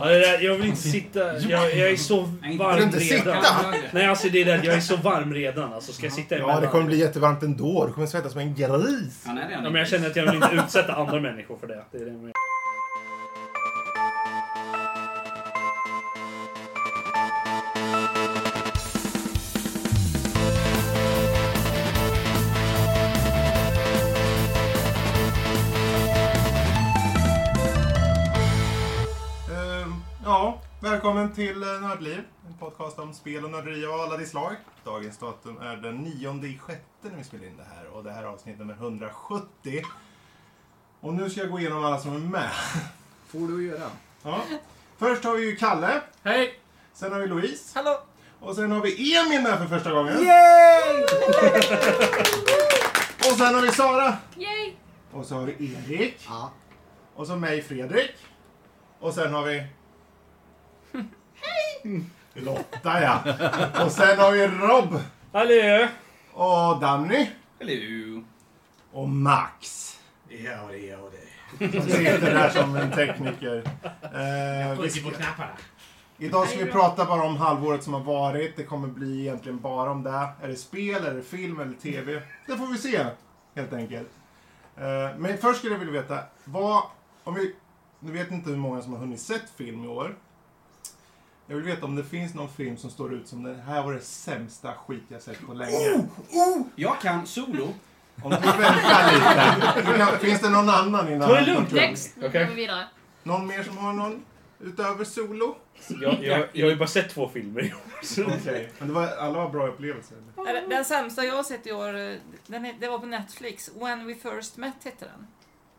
Ja, det där, jag vill inte sitta... Jag, jag är så inte- varm inte redan. sitta? Nej, alltså det är det att jag är så varm redan. Alltså, ska jag sitta Ja, emellan? det kommer bli jättevarmt ändå. Du kommer svettas som en gris. Han är redan Ja, men jag känner att jag vill inte utsätta andra människor för det. det, är det med. Ehm, ja, välkommen till eh, Nördliv. En podcast om spel och nörderi av alla de slag. Dagens datum är den 9 i sjätte när vi spelar in det här och det här är avsnitt nummer 170. Och nu ska jag gå igenom alla som är med. Får du göra. Ja. Först har vi ju Kalle. Hej! Sen har vi Louise. Hallå! Och sen har vi Emil med för första gången. Yay! Och sen har vi Sara. Yay! Och så har vi Erik. Ja. Och så mig, Fredrik. Och sen har vi... Hej! Lotta, ja. Och sen har vi Rob. Hallå! Och Danny. Hello! Och Max. Ja, det är det. Som sitter här som en tekniker. Eh, vi ska, knapparna. idag ska vi prata bara om halvåret som har varit. Det kommer bli egentligen bara om det. Är det spel, är det film eller TV? Det får vi se, helt enkelt. Eh, men först skulle jag vilja veta, vad... Om vi, nu vet inte hur många som har hunnit sett film i år. Jag vill veta om det finns någon film som står ut som den här var det sämsta skit jag sett på länge. Oh, Jag kan solo. Om du väntar lite. Du kan- Finns det någon annan innan? Ta det lugnt. Next! Nu Okej. går vi vidare. Någon mer som har någon? Utöver solo? Jag, jag, jag har ju bara sett två filmer i år. så- Okej. Men det var, alla var bra upplevelser. Den den sämsta jag har sett i år, eh, den, he- det var på Netflix. When we first met hette den.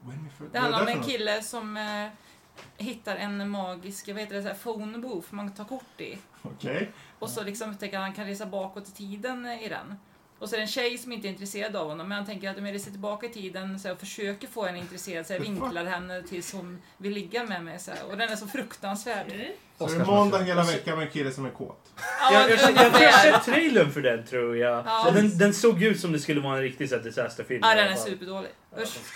When we first- Det Vad är handlar om för en något? kille som eh, hittar en magisk, vad heter det, så här phone booth man tar kort i. Okej. Och så liksom upptäcker han att han kan resa bakåt i tiden eh, i den. Och så är det en tjej som inte är intresserad av honom, men han tänker att om jag reser tillbaka i tiden så här, och försöker få henne intresserad, så jag vinklar henne tills hon vill ligga med mig. Så här. Och den är så fruktansvärd. Så det är måndag hela veckan med en kille som är kåt. Jag, jag, jag, jag tror jag har ungefär. sett trailern för den, tror jag. Ja. Och Den, den såg ut som det skulle vara en riktig så här disasterfilm. Ja, den är Jag bara, superdålig. Usch. Jesus.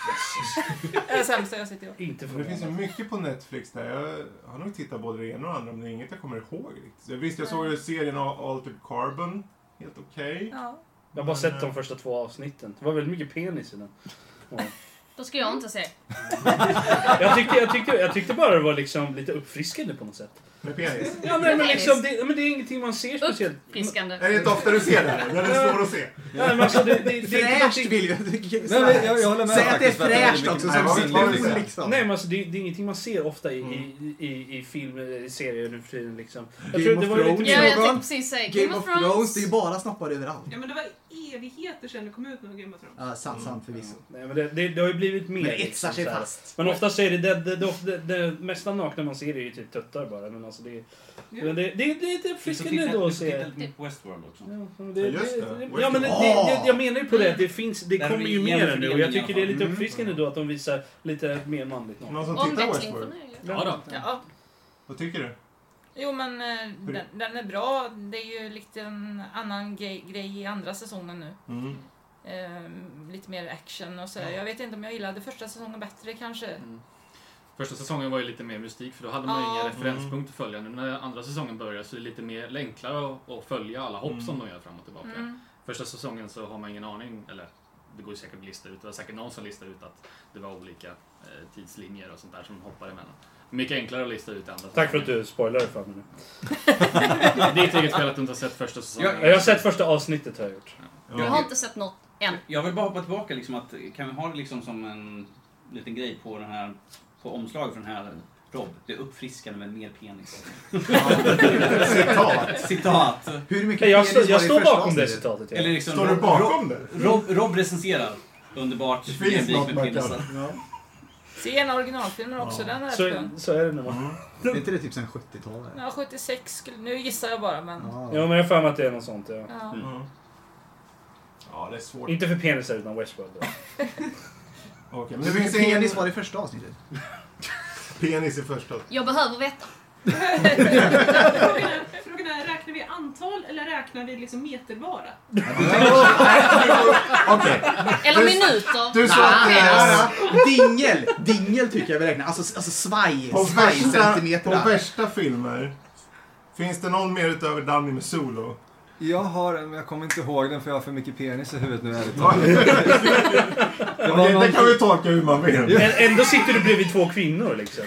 Det är det sämsta jag har sett i år. Inte Det finns ju för mycket på Netflix där. Jag har nog tittat både det ena och det andra, men det är inget jag kommer ihåg riktigt. Jag visste, jag såg ju serien Altered Carbon. Helt okej. Ja. Jag har bara sett de första två avsnitten. Det var väldigt mycket penis i den. Då ska jag inte se. Jag tyckte, jag tyckte, jag tyckte bara det var liksom lite uppfriskande på något sätt. Med penis. Ja, men, men, liksom, det, men det är ingenting man ser speciellt. Uppfriskande. Är det inte ofta du ser det här? När det är svårt att se. Nej, men alltså, det, det, det, det, är Fräscht inte vill jag. Nej, men jag, jag håller med Säg att det är faktiskt, för väldigt fräscht mycket- också Nej, som vad- vad vill sitter du säga? liksom. Nej men alltså det, det är ingenting man ser ofta i, i, i, i filmer, i serier nu för tiden liksom. Jag Game tror det of var ju lite Thrones. Ja, mer... jag tänkte precis säga Game of Thrones, det är ju bara snoppar överallt. Ja men det var evigheter sedan det kom ut någon Game of Thrones. Ja, sant, Mm. sant förvisso. Mm. Nej, men det, det, det har ju blivit mer. liksom, Men det etsar sig så här. fast. Men oftast är det det, det, det, det, det mesta nakna man ser är ju typ tuttar bara. Men alltså det, men det, det, det, det är typ friskande då att se. på Westworld också. Ja, men Ja, det, just det, det. ja, men det, det, jag menar ju på det att Mm. det finns, det Där kommer vi ju mer jämför nu det och jag med tycker det är lite mm. uppfriskande då att de visar lite mer manligt naket. Någon som tittar på Omväxling för Westworld? nu. Ja då. Ja. Vad tycker du? Jo men eh, den, den är bra. Det är ju lite en annan grej, grej i andra säsongen nu. Mm. Ehm, lite mer action och sådär. Jag vet inte om jag gillade första säsongen bättre kanske. Mm. Första säsongen var ju lite mer mystik för då hade man ju Ja. inga referenspunkter att följa. Nu när andra säsongen börjar så är det lite mer enklare att- att följa alla hopp som de gör fram och tillbaka. Mm. Första säsongen så har man ingen aning, eller det går ju säkert att lista ut, det var säkert någon som listade ut att det var olika eh, tidslinjer och sånt där som hoppar emellan. Mycket enklare att lista ut i andra Tack för att säsongen. du spoilade för mig nu. Det är ditt eget fel att du inte har sett första säsongen. Jag har sett första avsnittet har jag gjort. Jag har inte sett något än. Jag vill bara hoppa tillbaka liksom att kan vi ha det liksom som en liten grej på den här på omslaget för den här Rob. Det är uppfriskande med mer penis. Citat. Citat. Hur mycket Nej, jag, penis står- jag var det i står första bakom det avsnittet? citatet. Eller Ja. liksom Står du Rob- bakom det? Rob, Rob recenserar. Underbart. Det finns Jämlik något med man penisar. kan... Se gärna originalfilmen också. Den är Så, skön. så är det när man... Är inte det typ sen 70-talet? Ja, 76 skulle... Nu gissar jag bara men... Ja. Ja, men jag har för mig att det är något sånt. Ja. Ja. Mm. Ja, det är svårt. Inte för penisar utan Westworld. Då. Okej, men Hur det mycket finns penis var ingen det i första avsnittet? penis i första. Jag behöver veta. Frågan är, frågan är Räknar vi antal eller räknar vi liksom metervara? Okej. Eller minuter. Du sa att det här... Dingel! Dingel tycker jag vi räknar. Alltså, alltså svaj. På värsta, på Svajcentimeter. värsta filmer, finns det någon mer utöver Danny med Solo? Jag har en, men jag kommer inte ihåg den för jag har för mycket penis i huvudet nu ärligt talat. Okej, Det var det kan någon... vi tolka hur man vill. Ä- Ändå sitter du bredvid två kvinnor liksom.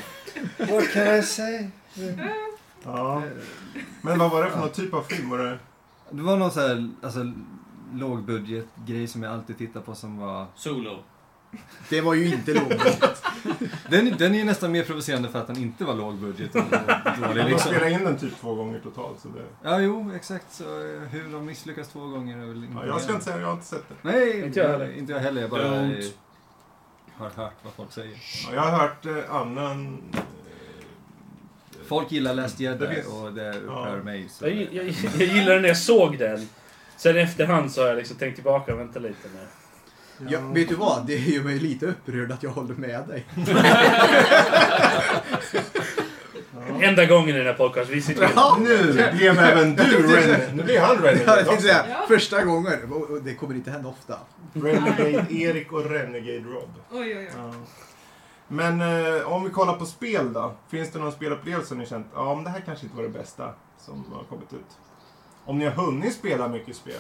What can I say? Ja. Men vad var det för någon typ av film? Var det? Det var någon så här, alltså, lågbudgetgrej som jag alltid tittar på som var... Solo. Det var ju inte lågt. Den, den är ju nästan mer provocerande för att den inte var lågbudget och dålig De liksom. spelade in den typ två gånger totalt. Så det... Ja, jo, exakt. Så eh, hur de misslyckas två gånger är väl ja, jag ska inte säga jag har inte sett den. Nej, eh, Inte jag heller. Inte jag heller. Jag bara Don't. eh, har hört vad folk säger. Ja, jag har hört eh, annan... Folk gillar Last Jedi Mm. Det finns- och det upprör ja. mig. Så. Jag, jag, jag gillade den när jag såg den. Sen efterhand så har jag liksom tänkt tillbaka och vänta lite. Med. Ja. Ja, vet du vad? Det gör mig lite upprörd att jag håller med dig. Enda gången i den här podcasten. Vi sitter Ja. Nu blev även du Ren... Nu blir han Ja, jag Renegade tänkte också. säga, första gången. Och- och Det kommer inte hända ofta. Renegade Erik och Renegade Rob. Oj, oj, oj. Men eh, om vi kollar på spel då. Finns det någon spelupplevelse ni känt, ja men det här kanske inte var det bästa som har kommit ut? Om ni har hunnit spela mycket spel.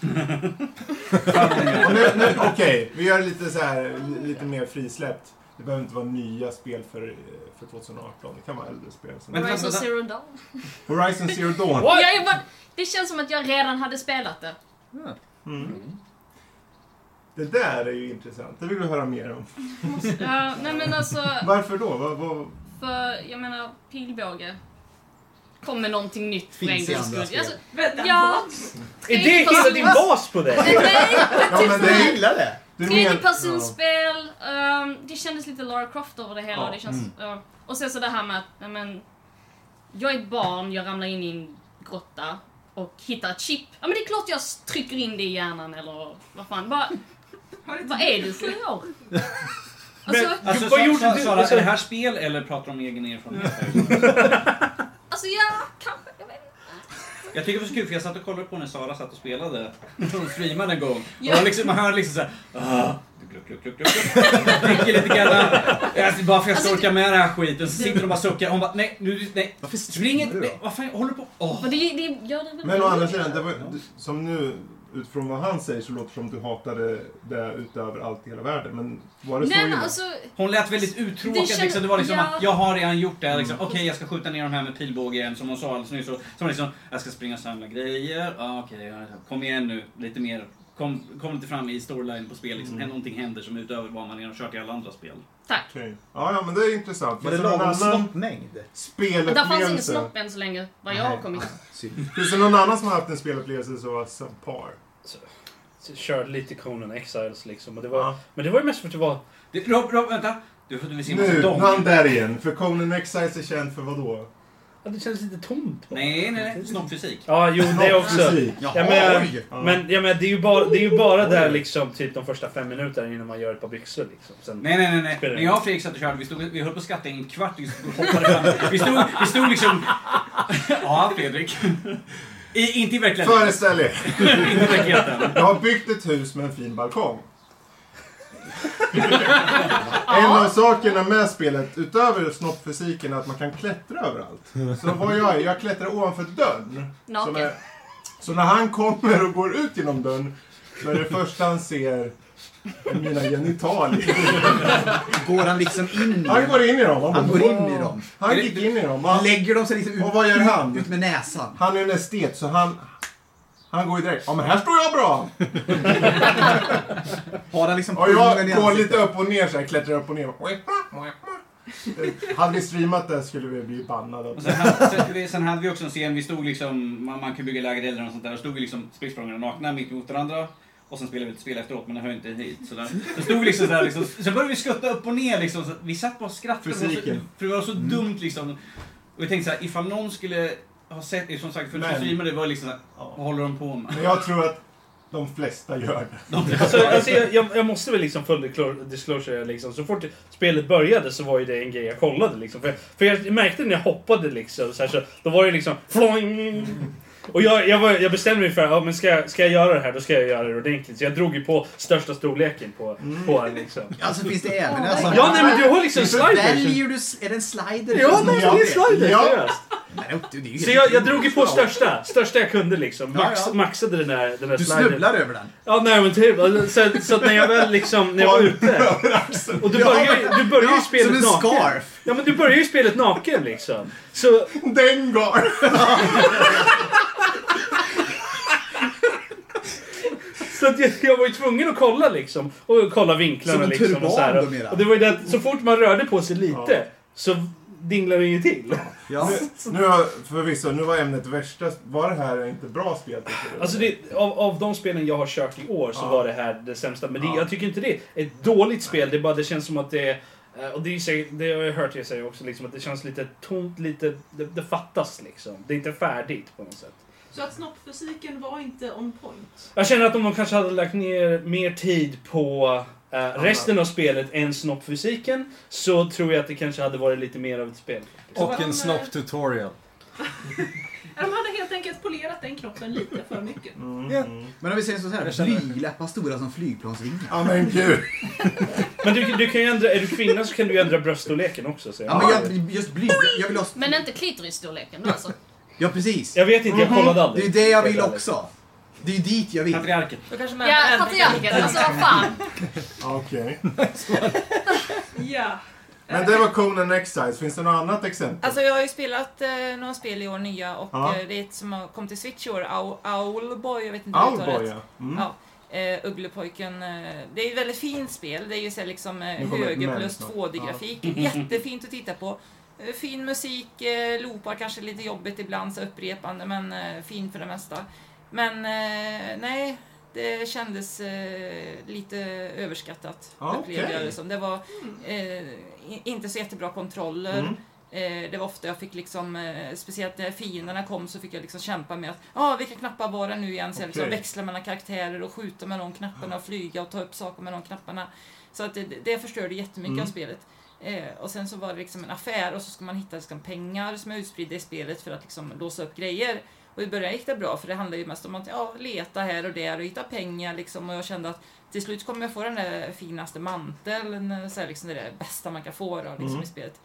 Och nu- nu- Okej, vi gör lite så här, li- lite mer frisläppt. Det behöver inte vara nya spel för, eh, för 2018, det kan vara äldre spel. som- Men- Horizon Zero Dawn. Horizon Zero Dawn. What? Jag är bara, det känns som att jag redan hade spelat det. Ja. Mm. Det där är ju intressant, det vill vi höra mer om. Ja, nej men alltså, Varför då? Vad, vad... för jag menar pilbåge. Kommer någonting nytt för Finns en i gångs andra skull. spel. Alltså, Vänta, ja, Är det hela din bas på dig? nej, Ja, men Jag det, gillar det! du men- ja. tredjepersonsspel. ehm, det kändes lite Lara Croft över det hela. Ja, Mm. Och, det känns, ja. och sen så det här med att, nej men, jag är barn, jag ramlar in i en grotta och hittar ett chip. Ja men det är klart jag s- trycker in det i hjärnan eller vad fan. Bara, Har inte- vad är du för år? Men- Alltså, Alltså, Vad Sa- gjorde Sa- du? Sara, Alltså- är det här spel eller pratar du om egen erfarenhet? alltså ja, kanske. Jag vet inte. Jag tycker det var så kul för jag satt och kollade på när Sara satt och spelade. Hon streamade en gång. Och jag liksom, man hör liksom såhär... "Ah, Gluck, gluck, gluck, gluck. Dricker lite grann. Alltså, bara för jag ska Alltså, orka med den här skiten. Så sitter hon bara och suckar. Hon bara nej, nu, nej. Varför Spring streamar inte. du Nej, då? vad fan håller du på? Åh. Men det, det gör det väl Men å andra sidan, det var, du- som nu, utifrån vad han säger så låter det som du hatade det utöver allt i hela världen. Men var det så Nej men illa? alltså, Hon lät väldigt uttråkad. Det känns- liksom. Det var liksom ja. att jag har redan gjort det. här, Liksom. Mm. Okej, jag ska skjuta ner de här med pilbåge igen som hon sa alldeles nyss. Och- Som liksom, jag ska springa och samla grejer. Ah, Okej, ja, kom igen nu. Lite mer. Kom, kom lite fram i storyline på spel. Mm. Liksom. Någonting händer som är utöver vad man redan har kört i alla andra spel. tack. Okej. Ja, ja, men det är intressant. Var Finns det det någon lagom annan snoppmängd? Där fanns ingen spelupplevelse? snopp än så länge, vad jag har kommit. Ah, Synd. Finns det någon annan som har haft en spelupplevelse som var subpar? Så Körde lite Conan Exiles liksom. Och det var, Men det var ju mest för att det var... Det, Rob, Rob, vänta! Du får du vill se Nu, dom. han där igen. För Conan Exiles är känd för vad då? Ja, det kändes lite tomt. bara. Nej, nej, nej. Snoppfysik. Ja, jo det också. Snoppfysik. Jaha, Ja, men- oj! Ja. Men, ja, men det är ju bara, det är ju bara där liksom typ de första fem minuterna innan man gör ett par byxor liksom. Sen, Nej, nej, nej. nej. Spelar När ingen jag och Fredrik satt och körde, vi, stod, vi höll på att skratta i en kvart. Vi stod- hoppade fram. Vi stod, vi stod liksom... Ja, Fredrik. I, inte i verkligheten. Föreställ er, Inte i verkligheten. jag har byggt ett hus med en fin balkong. en av sakerna med spelet, utöver snoppfysiken, är att man kan klättra överallt. Så vad jag är, jag klättrar ovanför dörren. Som Naken. är, så när han kommer och går ut genom dörren så är det första han ser mina genitalier. Går han liksom in i Han går in i dem. Han bara, går in i dem. Han gick in i dem. Han, Lägger de sig liksom och ut, vad gör han? ut med näsan. Han är en estet så han, han går ju direkt. Ja men här står jag bra! Har han liksom Och jag pungen i går ansiktet? lite upp och ner så här, klättrar upp och ner. Eh, Hade vi streamat det skulle vi bli bannade. Och sen, hade, sen, vi- sen hade vi också en scen, vi stod liksom, man, man kan bygga läger eller något sånt där, och stod vi liksom spricksprångarna nakna mitt emot varandra. Och sen spelade vi ett spel efteråt, men det hör ju inte hit. Sådär. Så stod vi liksom sådär, liksom, sen började vi skutta upp och ner liksom. Så vi satt bara och skrattade. För, Fysiken. för det var så dumt liksom. Och vi tänkte såhär, ifall någon skulle ha sett, som sagt, för Men- streamare, det var liksom såhär, Ja. vad håller de på med? Men jag tror att de flesta gör det. Alltså, alltså, jag, jag, jag måste väl liksom full disclosure- disclosure liksom. Så fort spelet började så var ju det en grej jag kollade liksom. För, jag- för jag märkte när jag hoppade liksom så, här, så då var det liksom floing. Och jag, jag, var, jag bestämde mig för ja, men ska, jag- ska jag göra det här, då ska jag göra det ordentligt. Så jag drog ju på största storleken på, på den liksom. Alltså finns det även alltså... Ja, nej, men du har liksom Så sliders. Väljer du... s- Är det en slider? Ja, nej, det är en slider, seriöst. Men upp, det är ju Så helt jag, jag drog ju på otroligt bra. största, största jag kunde liksom. Max, Ja, ja. Maxade den där, den där Du sliden. snubblar över den. Ja, nej men typ. Alltså, Så, så att när jag väl liksom, när jag var ute. Och du börjar, ju- du börjar ju alltså. Ja, spelet som en naken. scarf. Ja, men du börjar ju spelet naken liksom. Så... Dengar! Så att jag, jag var ju tvungen att kolla liksom. Och kolla vinklarna Som en liksom. turban och så, här. då, mera. och det var ju det att så fort man rörde på sig lite så dinglade den ju till. Nu, nu har, förvisso, nu var ämnet värsta. Var det här inte bra spel? tycker du? Alltså det, av, av de spelen jag har kört i år så Ja. var det här det sämsta. Men det, Ja. jag tycker inte det är ett dåligt spel. Det, är bara, det känns som att det är... eh, Och det, är, ju säkert- det har jag hört er säga också, liksom, att det känns lite tomt, lite... Det, det fattas liksom. Det är inte färdigt på något sätt. Så att snoppfysiken var inte on point. Jag känner att om de kanske hade lagt ner mer tid på eh, resten av spelet än snoppfysiken så tror jag att det kanske hade varit lite mer av ett spel. Och en snopp-tutorial. Ja, De hade helt enkelt polerat den knoppen lite för mycket. Mm. Mm. Men om vi säger så här, blygdläppar stora som flygplansvingar. Ja men gud. Men du, du kan ju ändra, är du kvinna så kan du ju ändra bröststorleken också. Så Ja, men jag, just blyg, jag vill ha... Men inte klitorisstorleken då alltså. Ja, precis. Mhm. Jag vet inte, jag kollade Det aldrig. är det jag vill också. Det är ju dit jag vill. Patriarket. Då kanske man Ja, ändrar- patriarken. Alltså vad fan. Okej. Ja. Men det var Conan Exiles. Finns det något annat exempel? Alltså jag har ju spelat eh, några spel i år nya och Ja. eh, det är ett som har kommit till Switch i år, Ow- Owlboy, jag vet inte hur jag Owlboy, rätt. ja. Mm. Ja. Eh, Ugglepojken, eh, det är ett väldigt fint spel. Det är ju så här liksom eh, Nu kommer ett höger män plus snart. 2D-grafik. Jättefint att titta på. Eh, Fin musik, eh, loopar kanske lite jobbigt ibland, så upprepande, men eh, fin för det mesta. Men eh, nej, det kändes eh, lite överskattat, Ah, upplevde jag okej. det som. Det var eh, i- inte så jättebra kontroller. Mm. Eh, Det var ofta jag fick liksom, eh, speciellt när fienderna kom så fick jag liksom kämpa med att ah, vilka knappar var det nu igen? Så jag liksom Okej. växla mellan karaktärer och skjuta med de knapparna och flyga och ta upp saker med de knapparna. Så att det, det förstörde jättemycket Mm. av spelet. Eh, och sen så var det liksom en affär och så ska man hitta liksom pengar som är utspridda i spelet för att liksom låsa upp grejer. Och i början gick det bra för det handlade ju mest om att ja, leta här och där och hitta pengar liksom. Och jag kände att till slut kommer jag få den där finaste manteln, så här, liksom det där bästa man kan få då, liksom, i spelet.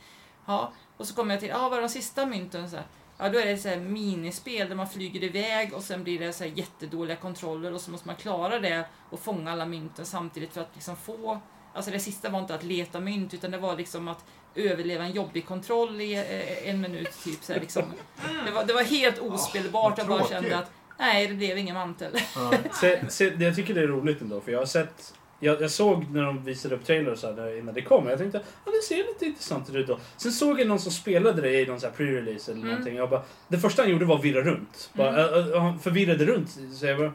Ja, och så kommer jag till, ja ah, vad är de sista mynten? Så här, ja, då är det så här minispel där man flyger iväg och sen blir det så här jättedåliga kontroller och så måste man klara det och fånga alla mynten samtidigt för att liksom få Alltså det sista var inte att leta mynt utan det var liksom att överleva en jobbig kontroll i eh, en minut typ. Så här, liksom. det, var, det var helt ospelbart. vad Jag bara tråkigt. kände att nej, det blev ingen mantel. Se, se, det- jag tycker det är roligt ändå, för jag har sett... Jag, jag såg när de visade upp trailers så här, när- innan det kom, jag tänkte ja, det ser lite intressant ut då. Sen såg jag någon som spelade det i någon så här pre-release eller Mm. någonting. Jag bara, det första han gjorde var att virra runt. Bara, "Ä, ä, Han förvirrade runt. Så jag bara,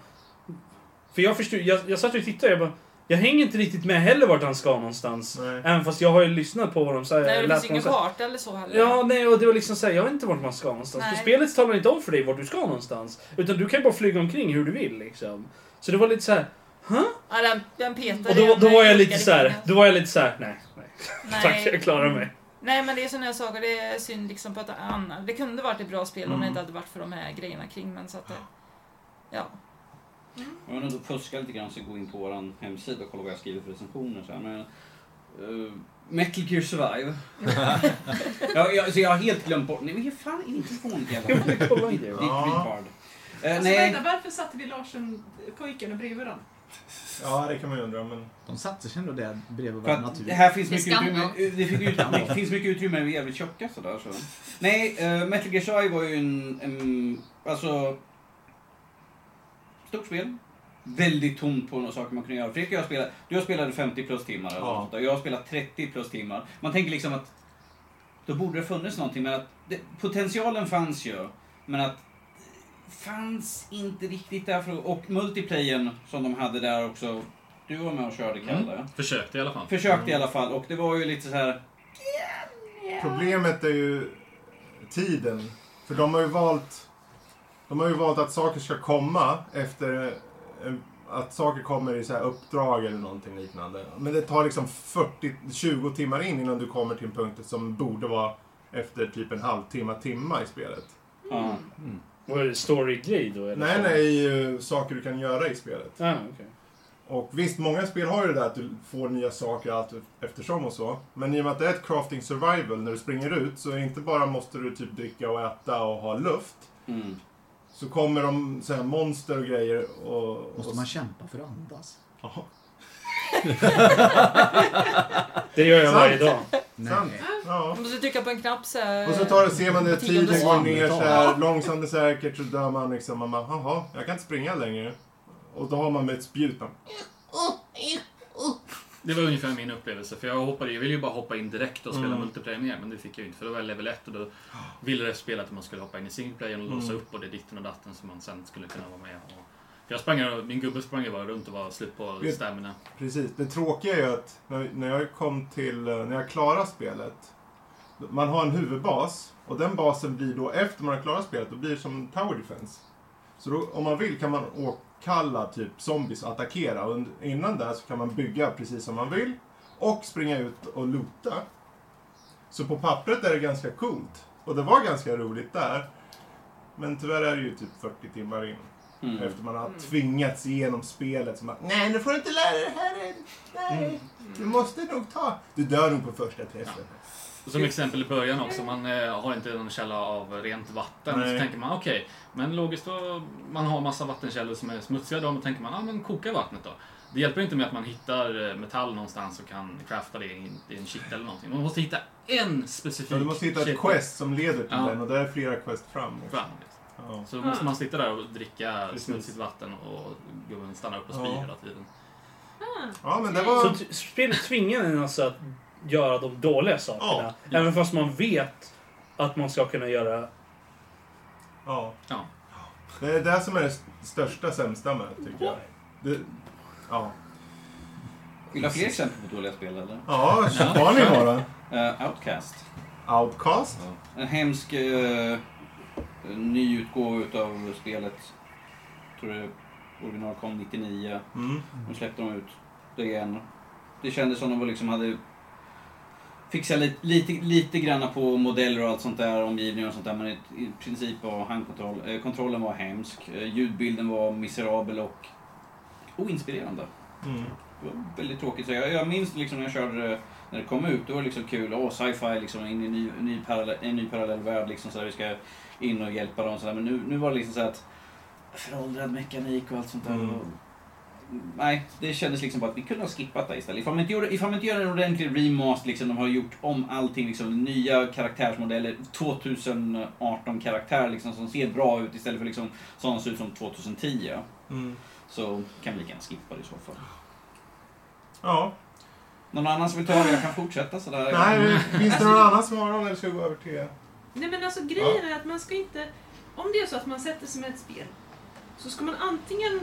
för jag förstod, jag, jag satt och tittade jag bara, jag hänger inte riktigt med heller vart han ska någonstans. Nej. Även fast jag har ju lyssnat på vad de säger. Nej, det läst finns vad de ingen säger. karta eller så heller. Ja, nej, och det var liksom såhär, jag vet inte vart man ska någonstans. Nej. För spelet talar inte om för dig vart du ska någonstans. Utan du kan ju bara flyga omkring hur du vill liksom. Så det var lite såhär, Ja, den, den petade och då, en, då var eh, jag lite olika såhär, riktningar. då var jag lite såhär, nej, nej. Nej. Tack, jag klarar mig. Nej, men det är sådana saker. Det är synd liksom på att annat. Det kunde varit ett bra spel Mm. om det inte hade varit för de här grejerna kring. Men så att det, ja. Om jag ändå fuskar lite grann så gå in på vår hemsida och kolla vad jag skriver för recensioner. Så här. Men, eh, Metal Gear Survive. jag, jag, så jag har helt glömt bort... Nej men ge fan inte på något jävla... Ditt Kolla in det. retard. Eh, Alltså, nej, vänta, varför satte vi Larsen-pojken bredvid dem? Ja, det kan man ju undra. Men... De satte sig ändå där bredvid för varandra. att Typ. det här finns Det är mycket skam, utrymme. eh, Det fick ut, det finns mycket utrymme, vi är jävligt tjocka sådär. Så. Nej, eh, Metal Gear Survive var ju en... en alltså... Stort spel. Väldigt tomt på några saker man kunde göra. Fredrik och jag spelade, du har spelat 50 plus timmar eller Ja. något sånt där. Jag har spelat 30 plus timmar. Man tänker liksom att då borde det funnits någonting men att det, potentialen fanns ju. Men att fanns inte riktigt där för, och multiplayern som de hade där också. Du var med och körde Kalle. Mm. Försökte i alla fall. Mm. Försökte i alla fall och det var ju lite så här. Problemet är ju tiden. För de har ju valt de har ju valt att saker ska komma efter eh, att saker kommer i så här uppdrag eller någonting liknande. Men det tar liksom 40, 20 timmar in innan du kommer till en punkt som borde vara efter typ en halvtimme, timma i spelet. Ja. Vad är det, story-grej då? Eller Nej, så? nej, eh, saker du kan göra i spelet. Ah, okej. Och visst, många spel har ju det där att du får nya saker allt eftersom och så. Men i och med att det är ett crafting survival, när du springer ut så är inte bara måste du typ dricka och äta och ha luft. Mm. Så kommer de så här monster och grejer och... Måste och, man kämpa för att andas? Ja. Det gör jag Sant. varje dag. Sant. Ja. Man måste trycka på en knapp så här. Och så tar det, ser man det, Tionde tiden går sekund. ner så här, långsamt och säkert så dör man liksom. Man bara, jaha, jag kan inte springa längre. Och då har man med ett spjut. man- Det var ungefär min upplevelse. För jag hoppade, jag ville ju bara hoppa in direkt och spela Mm. multiplayer mer, men det fick jag ju inte. För då var jag level 1 och då ville det spela att man skulle hoppa in i single player och låsa Mm. upp och det ditten och datten som man sen skulle kunna vara med och... För jag sprang, min gubbe sprang ju bara runt och var slut på Vet- stamina. Precis. Det tråkiga är ju att när, när jag kom till, eh, när jag klarade spelet. Man har en huvudbas och den basen blir då efter man har klarat spelet, då blir det som Tower Defense. Så då, om man vill kan man åkalla typ zombies och attackera. Och und- innan där så kan man bygga precis som man vill och springa ut och loota. Så på pappret är det ganska coolt. Och det var ganska roligt där. Men tyvärr är det ju typ 40 timmar in. Mm. Efter man har tvingats igenom spelet. Så man, Nej, nu får du inte lära dig det här. än. Nej, Mm. du måste nog ta... Du dör nog på första träffen. Som exempel i början också, man eh, har inte någon källa av rent vatten. Nej. Så tänker man okej, men logiskt då, man har massa vattenkällor som är smutsiga då, men tänker man, ja ah, men koka vattnet då. Det hjälper inte med att man hittar eh, metall någonstans och kan crafta det i en, i en kitt eller någonting. Man måste hitta en specifik Ja, du måste hitta ett kittel quest som leder till Ja. den och där är flera quest fram. också. fram. Ja. Så då måste man sitta där och dricka Precis. smutsigt vatten och gubben stannar upp och spyr Ja. hela tiden. Ah. ja, men det Mm. Så var... t- spelet tvingar en alltså att göra de dåliga sakerna. Även fast man vet att man ska kunna göra... Ja. Ja. Det är det som är det st- största sämsta med det, tycker jag. Det, ja. Vill du ha fler exempel på dåliga spel eller? Ja, kör ni bara. Eh, Outcast. Outcast. En hemsk uh, ny utgåva utav spelet. Tror det original kom 99. Mm. Nu släppte de ut det igen. Det kändes som de var liksom hade fixat lite, lite, lite granna på modeller och allt sånt där, omgivningar och sånt där. Men i i princip var handkontroll, eh, kontrollen var hemsk, eh, ljudbilden var miserabel och oinspirerande. Mm. Det var väldigt tråkigt. Så jag, jag minns liksom när jag körde det- när det kom ut, då var det liksom kul. Åh, sci-fi liksom, in i en ny, ny parallell, en ny parallell värld liksom så där, vi ska in och hjälpa dem så där. Men nu, nu var det liksom så här att föråldrad mekanik och allt sånt där. Mm. Och, nej, det kändes liksom bara att vi kunde ha skippat det istället. Ifall man inte, gjorde, ifall man inte gör en ordentlig remaster, liksom, de har gjort om allting, liksom, nya karaktärsmodeller, 2018-karaktär liksom, som ser bra ut istället för liksom, sådana som ser ut som 2010. Mm. Så kan vi lika gärna skippa det i så fall. Ja. Någon annan som vill ta det? Jag kan fortsätta sådär. Nej, finns det någon annan som har någon eller ska vi gå över till... Nej men alltså grejen är att man ska inte... Om det är så att man sätter sig med ett spel så ska man antingen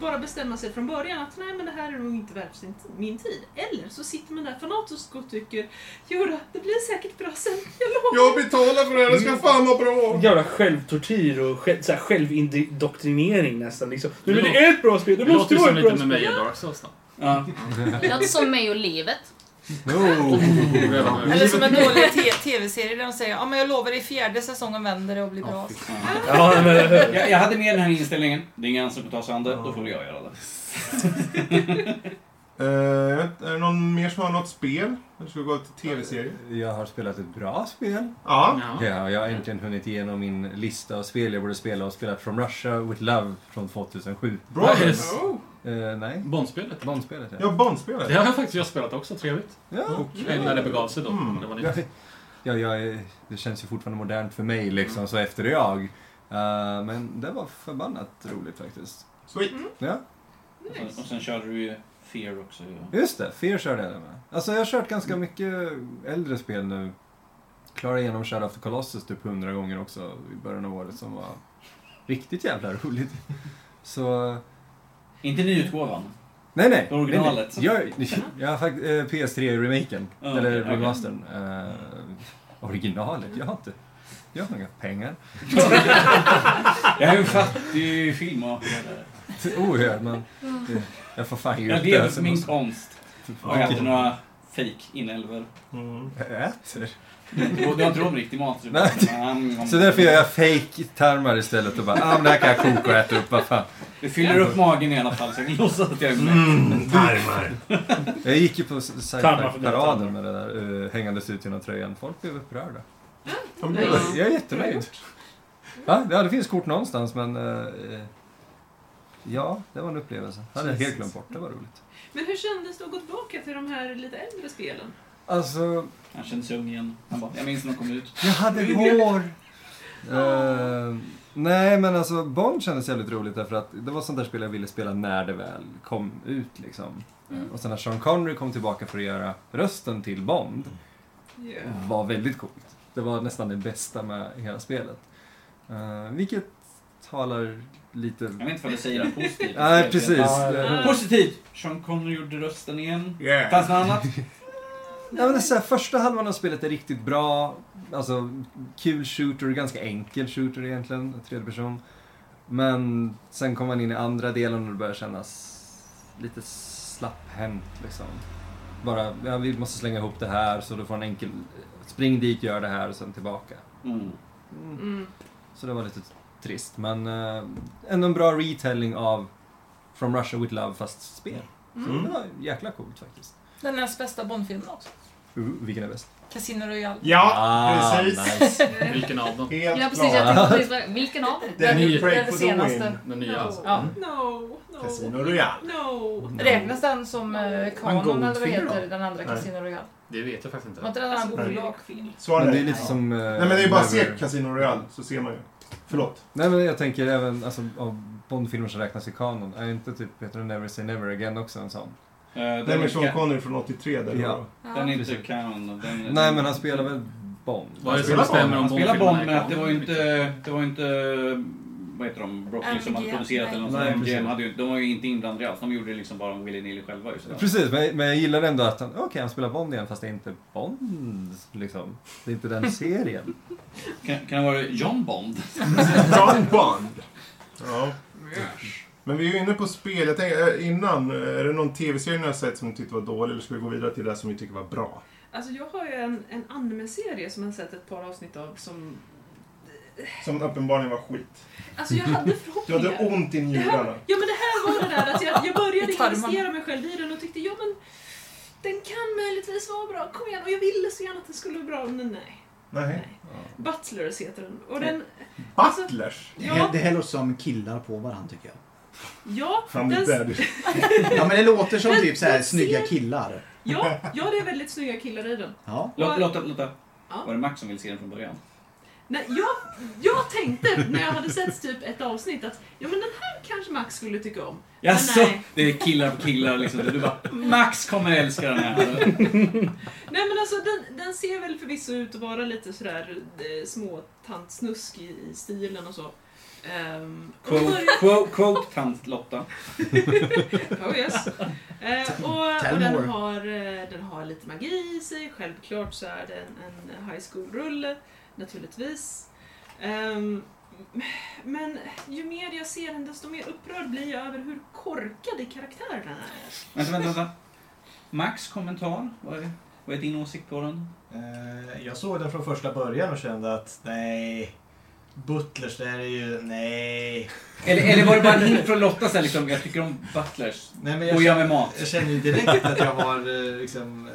bara bestämma sig från början att nej men det här är nog inte värt sin, min tid. Eller så sitter man där fanatiskt och tycker Jodå, det blir säkert bra sen, jag lovar. Mm. Jag betalar för det här, det ska fan vara bra! Mm. Jävla självtortyr och själv, så här, självindoktrinering nästan. Liksom. Nu, men det är ett bra spel, det Det låter måste ju vara som ett bra lite med spel. mig i Dark Souls då. Ja. Det låter som mig och livet. Oh. Eller som en dålig te- tv-serie där de säger ja men jag lovar i fjärde säsongen vänder det och blir bra. Ja, men, eller hur? Jag, jag hade med den här inställningen. Det är ingen annan som får ta sig an det. Då får väl jag göra det. Eh, är det någon mer som har något spel? Eller ska vi gå till tv-serier? Eh, Jag har spelat ett bra spel. Ja. Ja. Ja, jag har äntligen hunnit igenom min lista av spel jag borde spela och spelat From Russia with Love från 2007. Brothers. Nice. Eh, nej, Bondspelet. Bondspelet ja. Ja, Bondspelet. Det har jag faktiskt jag spelat också, trevligt. ja. När det begav sig då. Mm. Det var Ja, nytt. ja, jag, det känns ju fortfarande modernt för mig liksom, Mm. så efter jag. Eh, men det var förbannat roligt faktiskt. Sweet. Ja, Och sen, och sen körde du ju Fear också. ju. just det. Fear körde jag det med. Alltså jag har kört Mm. ganska mycket äldre spel nu. Klarade igenom Shadow of the Colossus typ hundra gånger också i början av året som var riktigt jävla roligt. Så Inte nyutgåvan. Nej, nej. Det originalet. Nej, nej. Jag, jag har faktiskt eh, PS3-remaken. Ja, eller okej, remastern. Eh, originalet? Jag har inte... Jag har inga pengar. Jag är ju en fattig filmmakare. Oerhört, men... eh, Jag får fan ge Jag upp lever så för min måste- Typ- konst. för fan. Och jag äter några fake inälvor. Mm. Jag äter? Du du har inte råd med riktig mat. Så, du Nej. bara, mm, mm. Så därför gör jag fake-tarmar istället och bara ah, men det här kan jag koka och äta upp, vad fan. Du fyller upp magen i alla fall så jag kan låtsas att jag är med. Mm, tarmar. Jag gick ju på Tarmar för dina tarmar. sci-fi-paraden med det där eh, hängandes ut genom tröjan. Folk blev upprörda. De blev, jag är jättenöjd. Ja, ja, det finns kort någonstans men... eh, eh, ja, det var en upplevelse. Det hade jag helt glömt bort. Det var roligt. Men hur kändes det att gå tillbaka till de här lite äldre spelen? Alltså, Han kände sig ung igen. Han bara, jag minns när de kom ut. jag hade hår! Eh, nej, men alltså Bond kändes jävligt roligt därför att det var sånt där spel jag ville spela när det väl kom ut liksom. Eh, Och sen när Sean Connery kom tillbaka för att göra rösten till Bond Yeah. var väldigt coolt. Det var nästan det bästa med hela spelet. Eh, vilket talar lite... Jag vet inte vad du säger är positivt. Nej, precis. Eh, Ja, Det- ja. Positivt! Sean Connery gjorde rösten igen. Yeah. Fanns det något annat? Nej, men det är så här, första halvan av spelet är riktigt bra. Alltså, kul shooter, ganska enkel shooter egentligen, tredje person. Men sen kommer man in i andra delen och det börjar kännas lite slapphänt liksom. Bara, ja, vi måste slänga ihop det här så du får en enkel... Spring dit, gör det här och sen tillbaka. Mm. Mm. Mm. Så det var lite trist, men eh, ändå en bra retelling av From Russia With Love fast spel. Så det var jäkla coolt faktiskt. Den näst bästa Bondfilmen också. Uh, vilken är bäst? Casino Royale. Ja, precis. Nice. Vilken av dem? Helt Ja precis, jag klart. tänkte precis på- vilken av dem? Det är Ny- ju det är Break det for the senaste. win. Den nya alltså. No. Ja. Mm. No. Casino No. Royale. No. Räknas den som eh, kanon Goldfinger eller vad heter då? den andra Nej. Casino Royale? Det vet jag faktiskt Var inte. inte den Alltså, andra bolag. bolag? Svara Men det är nej. lite som... eh, Nej men det är bara att se Never- Casino Royale så ser man ju. Förlåt. Nej men jag tänker även alltså, av Bondfilmer som räknas i kanon. Är inte typ, heter den Never Say Never Again också en sån? Eh, den Nej är men Sean inte- Connery från 83 där. Ja. Den Ja. är inte kanon. Den, Nej men han spelar väl Bond? Vad är det som spelar bestämmer om Han Bondfilmerna spelar Bond, är men att det var ju kanon? inte... Det var ju inte vad heter de? Broccoli som hade MGM, producerat eller något nej. sånt. Nej, MGM precis. hade ju, de var ju inte inblandade alls. De gjorde det liksom bara om Willy Nilly själva. ju sådär. Precis, men, jag- men jag gillar ändå att han, okej han spelar Bond igen fast det är inte Bond liksom. Det är inte den serien. Kan, kan det vara John Bond? John Bond. Ja. Men vi är ju inne på spel. Jag tänker, eh, innan, eh, är det någon tv-serie ni har sett som ni tyckte var dålig eller ska vi gå vidare till det som vi tycker var bra? Alltså jag har ju en, en anime-serie som jag har sett ett par avsnitt av som... Som uppenbarligen var skit. Alltså jag hade Du förhoppningar. hade ont i njurarna. Ja men det här var det där att jag, jag började I tarmarna. investera mig själv i den och tyckte ja men den kan möjligtvis vara bra, kom igen. Och jag ville så gärna att den skulle vara bra, men nej. Nej. Butlers heter den. Och den, alltså, Butlers? Det, hä- ja, det häller som killar på varandra tycker jag. ja, Fan, det den, där. Ja men det låter som typ så här Men- snygga killar. ja, ja det är väldigt snygga killar i den. Ja. Lotta, Lotta, Lotta. Ja. Var det Max som ville se den från början? Nej, jag, jag tänkte när jag hade sett typ ett avsnitt att ja men den här kanske Max skulle tycka om. Jaså? nej. Det är killar på killar liksom. Du bara, Max kommer älska den här. Nej men alltså den, den ser väl förvisso ut att vara lite sådär eh, småtantsnusk i, i stilen och så. Ehm, och då Quote, börjar- quote, quote tant Lotta. Oh yes. Eh, och, Tell och den, more. har, eh, den har lite magi i sig. Självklart så är det en, en high school-rulle, naturligtvis. Ehm, men ju mer jag ser den, desto mer upprörd blir jag över hur korkade karaktärerna är. Vänta, vänta, vänta. Max kommentar? Vad är, vad är din åsikt på den? Eh, Jag såg den från första början och kände att nej, Butlers det här är ju, nej. Eller, eller var det bara en hint från Lotta sen liksom, jag tycker om butlers. nej men Och jag känner- med mat. jag känner ju direkt att jag har eh, liksom, eh,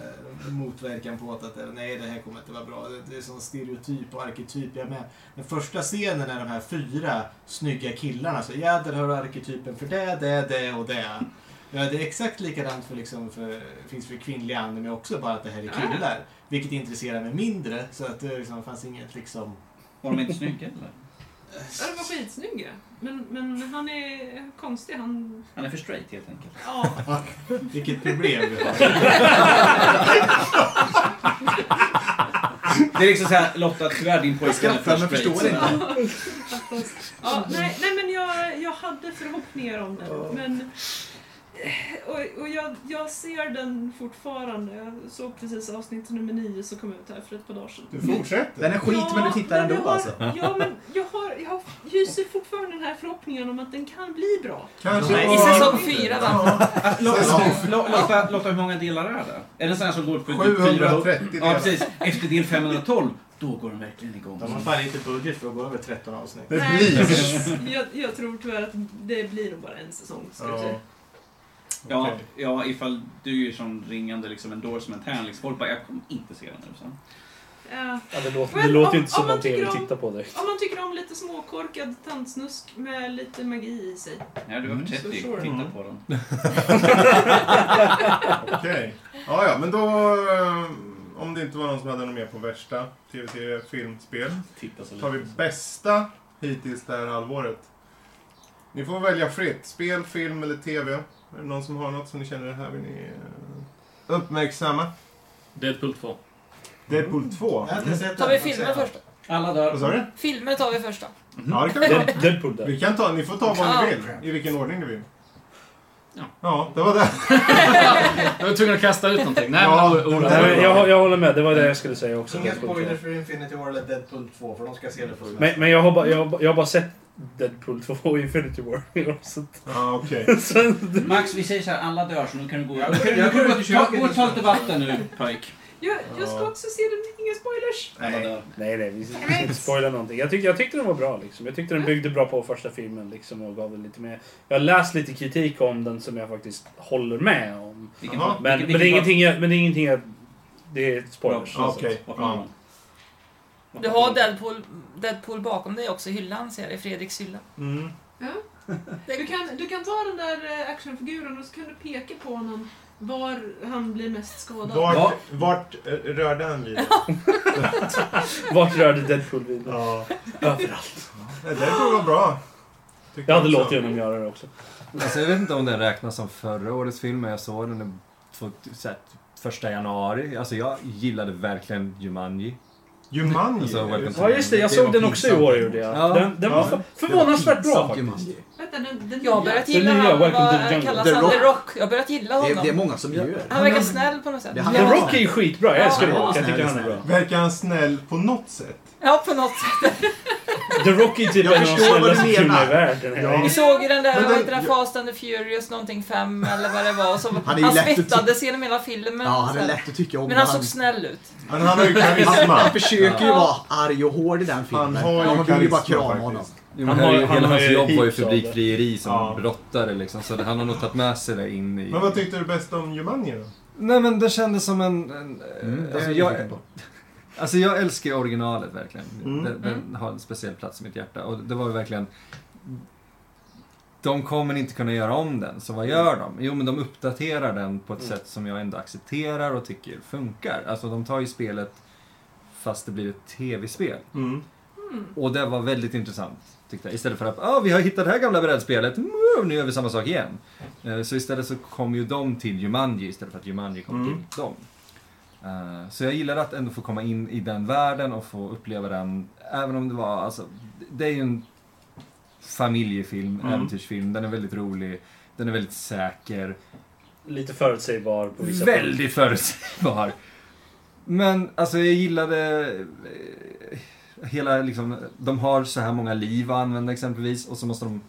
motverkan på att eh, nej, det här kommer inte vara bra. Det- Det är sån stereotyp och arketyp. Jag är med. Den första scenen är de här fyra snygga killarna. Så ja, där har du arketypen för det, det, det och det. Ja, det är exakt likadant för, liksom, för, finns för kvinnliga anime också, bara att det här är killar. Vilket intresserar mig mindre. Så att det liksom, fanns inget liksom... Var de inte snygga eller? Ja, de var skitsnygga. Men, men han är konstig. Han... Han är för straight helt enkelt. Ja. Vilket problem vi har. Det är liksom såhär, Lotta tyvärr din pojkvän är för Skrattar men straight. förstår så- inte. Ja, nej, nej men jag, jag hade förhoppningar om den. Men, och och jag, jag ser den fortfarande. Jag såg precis avsnitt nummer nio som kom ut här för ett par dagar sedan. Du fortsätter. Den är skit men du tittar men jag ändå har, alltså. Ja, men jag har, jag har, hyser fortfarande den här förhoppningen om att den kan bli bra. Nej, var- Ja. Äh, Lotta, Säsong- Lotta, Lotta, Lotta, hur många delar är det? Är det en sån här som går på typ 730 400? delar. Ja, precis. Efter del 512, då går de verkligen igång. De har fan inte budget för att gå över 13 avsnitt. Nej, jag, jag tror tyvärr att det blir nog bara en säsong. Ska jag säga. Ja, Okej. ja, ifall du är som ringande liksom endorsement här. Liksom, folk bara, jag kommer inte se den nu sen. Ja. Ja, det låter, det Men låter om- inte som om man något jag vill tycker om- titta på direkt. Om man tycker om lite småkorkad tantsnusk med lite magi i sig. När du är över Mm, så 30, sure. titta Mm. på den. Okej. Ja, ja, men då... eh, Om det inte var någon som hade något mer på värsta tv-serie, film, spel. så tar vi lite. bästa hittills det här halvåret. Ni får välja fritt. Spel, film eller tv. Är det någon som har något som ni känner här vill ni eh, uppmärksamma? Deadpool 2. Deadpool 2? Jag har inte sett Tar vi filmen först? då? Alla Vad sa du? Mm-hmm. Filmer tar vi först då. Mm-hmm. Ja, det kan vi ta. Dead- Deadpool där. Vi kan ta, ni får ta vad ni Ja. vill. I vilken ordning ni vill. Ja. det var det. Jag var tvungen att kasta ut någonting. Nej, Ja, men Ola. Nej, men jag, jag håller med, det var det jag skulle säga också. Inga Deadpool spoilers 2. för Infinity War eller Deadpool 2 för de ska se det först. Men, men jag, har bara, jag, har, bara- jag har bara sett Deadpool 2 och Infinity War. Så att- Ja, okej. så- Max, vi säger så här, alla dör så nu kan du gå. Ja, Nu kan du- jag nu kan du kommer gå till ta- köket gå och ta nu. lite vatten nu, Pike. Jag, jag ska Ja. också se den, inga spoilers. Alla dör. Nej, nej, vi ska inte spoila någonting. Jag tyckte, jag tyckte den var bra. Liksom. Jag tyckte den byggde bra på första filmen liksom, och gav det lite mer. Jag har läst lite kritik om den som jag faktiskt håller med om. Vilken- Jaha. Men, men, vilken- det, är vilken- ingenting jag, men det är ingenting jag... Det är spoilers. alltså. Bra. så att- Okej. Vad fan? Du har Deadpool, Deadpool bakom dig också i hyllan ser jag i Fredriks hylla. Mm. Du kan, du kan ta den där eh, actionfiguren och så kan du peka på honom var han blir mest skadad. Vart, Ja. vart eh, rörde han vid? Vart rörde Deadpool vid? ja. Överallt. Det där var bra. Tyckte Jag hade också. låtit honom göra det också. Alltså, jag vet inte om den räknas som förra årets film, men jag såg den i- två- så här, första januari. Alltså, jag gillade verkligen Jumanji. Jumanji? Alltså, Welcome to- Ja just det, jag såg var den också i pinsamt. år gjorde jag. Ja. Den, den var Ja. för, förvånansvärt bra. Jumanji. Vänta, den, den Jag har nya. börjat Den gilla nya honom. Welcome to Vad the Jungle. kallas The han? The Rock. Rock. Jag har börjat gilla Det, honom. är- det är många som gör. Han verkar snäll på något sätt. Det The handlar- Rock är ju skitbra, jag älskar Ja, The Rock. Jag snäll, tycker han är bra. snäll. Verkar han snäll på något sätt? Ja, på något sätt. The Rock är typ en Jag av de förstår vad du snällaste filmerna i menar. världen. Ja. Vi såg ju den där, Men vad den- heter den, Fast and the Furious någonting 5 eller vad det var. Och så, är han ju lätt att- svettades genom hela filmen. Ja, han är Så- lätt att tycka om. Men han såg snäll ut. Men han har ju han, karisma. han försöker ju vara arg och hård i den filmen. Han har ju man vill ju bara karisma, krama honom. faktiskt. Jo, men Han här, har- är ju- han hela har hans ju jobb var ju heaps av det. fabriksfrieri som Ja. brottare liksom, så han har nog tagit med sig det in i... Men vad tyckte du bäst om Jumanji då? Nej men det kändes som en... en Mm, alltså, det är jag, jag på. Alltså jag älskar ju originalet verkligen. Mm. Den, den har en speciell plats i mitt hjärta. Och det var ju verkligen... De kommer inte kunna göra om den, så vad gör de? Jo, men de uppdaterar den på ett sätt som jag ändå accepterar och tycker funkar. Alltså de tar ju spelet fast det blir ett tv-spel. Mm. Hmm. Och det var väldigt intressant. Tyckte jag. Istället för att ah, vi har hittat det här gamla brädspelet, mm, nu gör vi samma sak igen. Eh, Så istället så kom ju de till Jumanji istället för att Jumanji kom Mm. till dem. Eh, Så jag gillade att ändå få komma in i den världen och få uppleva den. Även om det var, alltså, det är ju en familjefilm, Mm. äventyrsfilm. Den är väldigt rolig, den är väldigt säker. Lite förutsägbar på vissa Väldigt förutsägbar. Men alltså jag gillade eh, hela liksom, de har så här många liv att använda exempelvis och så måste de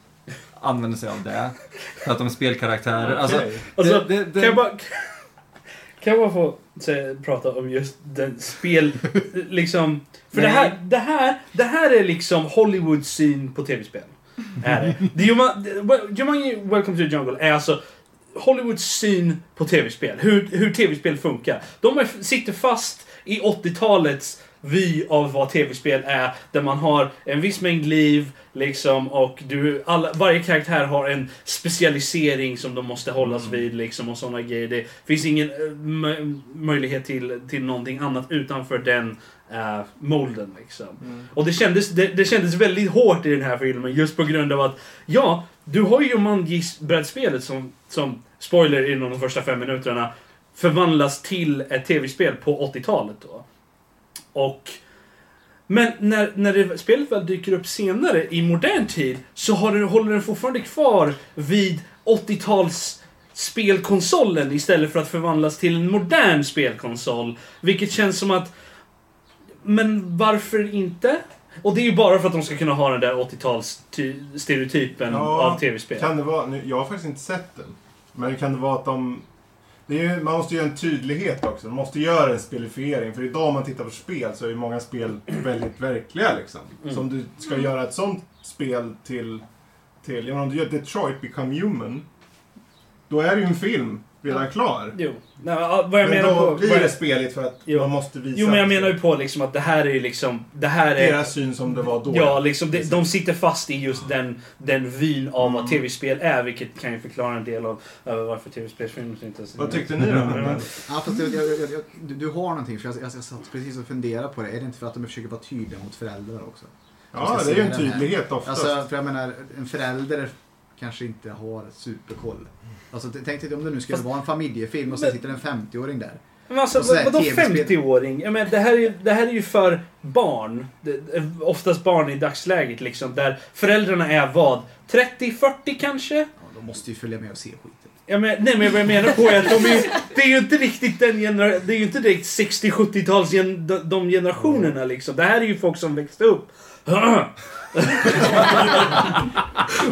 använda sig av det. För att de är spelkaraktärer. Alltså, Okej. Alltså, det, det, det, Kan jag bara... Kan jag bara få säga, prata om just den spel... liksom... För det här, det här, det här är liksom Hollywoods syn på tv-spel. Är det. det Juma- det- Well- Jumanji Welcome to the Jungle är alltså Hollywoods syn på tv-spel. Hur, hur tv-spel funkar. De är, sitter fast i 80-talets vy av vad tv-spel är. Där man har en viss mängd liv, liksom, och du, alla, varje karaktär har en specialisering som de måste hållas vid, liksom, och sådana grejer. Det finns ingen eh, mö- möjlighet till, till någonting annat utanför den eh, molden, liksom. Och det kändes, det, det kändes väldigt hårt i den här filmen just på grund av att ja, du har ju Jumanji-brädspelet som, som, spoiler inom de första fem minuterna, förvandlas till ett tv-spel på 80-talet då. Och... Men när, när det, spelet väl dyker upp senare i modern tid så har det, håller den fortfarande kvar vid 80-tals spelkonsolen istället för att förvandlas till en modern spelkonsol. Vilket känns som att men varför inte? Och det är ju bara för att de ska kunna ha den där 80-tals-stereotypen av tv-spel. Kan det vara, nu, jag har faktiskt inte sett den. Men kan det vara att de... Det är ju, man måste ju göra en tydlighet också. Man måste göra en spelifiering. För idag om man tittar på spel så är ju många spel väldigt verkliga liksom. Mm. Så om du ska göra ett sånt spel till... till jag menar, om du gör Detroit Become Human. Då är det ju en film redan klar. Jo. Nej, men, ja, vad jag men menar då på- blir vad jag- det speligt för att man måste visa... Jo, men jag menar ju på liksom att det här är ju liksom... Det här är... Deras syn som det var då. Ja, liksom, de, de sitter fast i just den, den vyn av Mm. vad tv-spel är, vilket kan ju förklara en del av över varför tv-spelsfilmer inte ens... Mm. Ja, fast jag, jag, jag, jag, du, du har någonting, för jag, jag, jag satt precis och funderade på det. Är det inte för att de försöker vara tydliga mot föräldrar också? Ja, De ska det är se ju en den här- tydlighet oftast. Alltså, för jag menar, en förälder kanske inte har superkoll. Alltså, t- tänk dig om det nu skulle Fast- vara en familjefilm och så Men- sitter en 50-åring där. Men alltså, Och så här, vadå TV-spel? 50-åring? Jag menar, det, här är, ju- det här är ju för barn. Det- Oftast barn i dagsläget liksom, där föräldrarna är vad? 30-40 kanske? De måste ju följa med och se skiten. Jag men, nej men vad jag menar på är att de är ju, det är ju inte riktigt den genera, Det är ju inte direkt 60-70-tals gen, de- de generationerna liksom. Det här är ju folk som växte upp.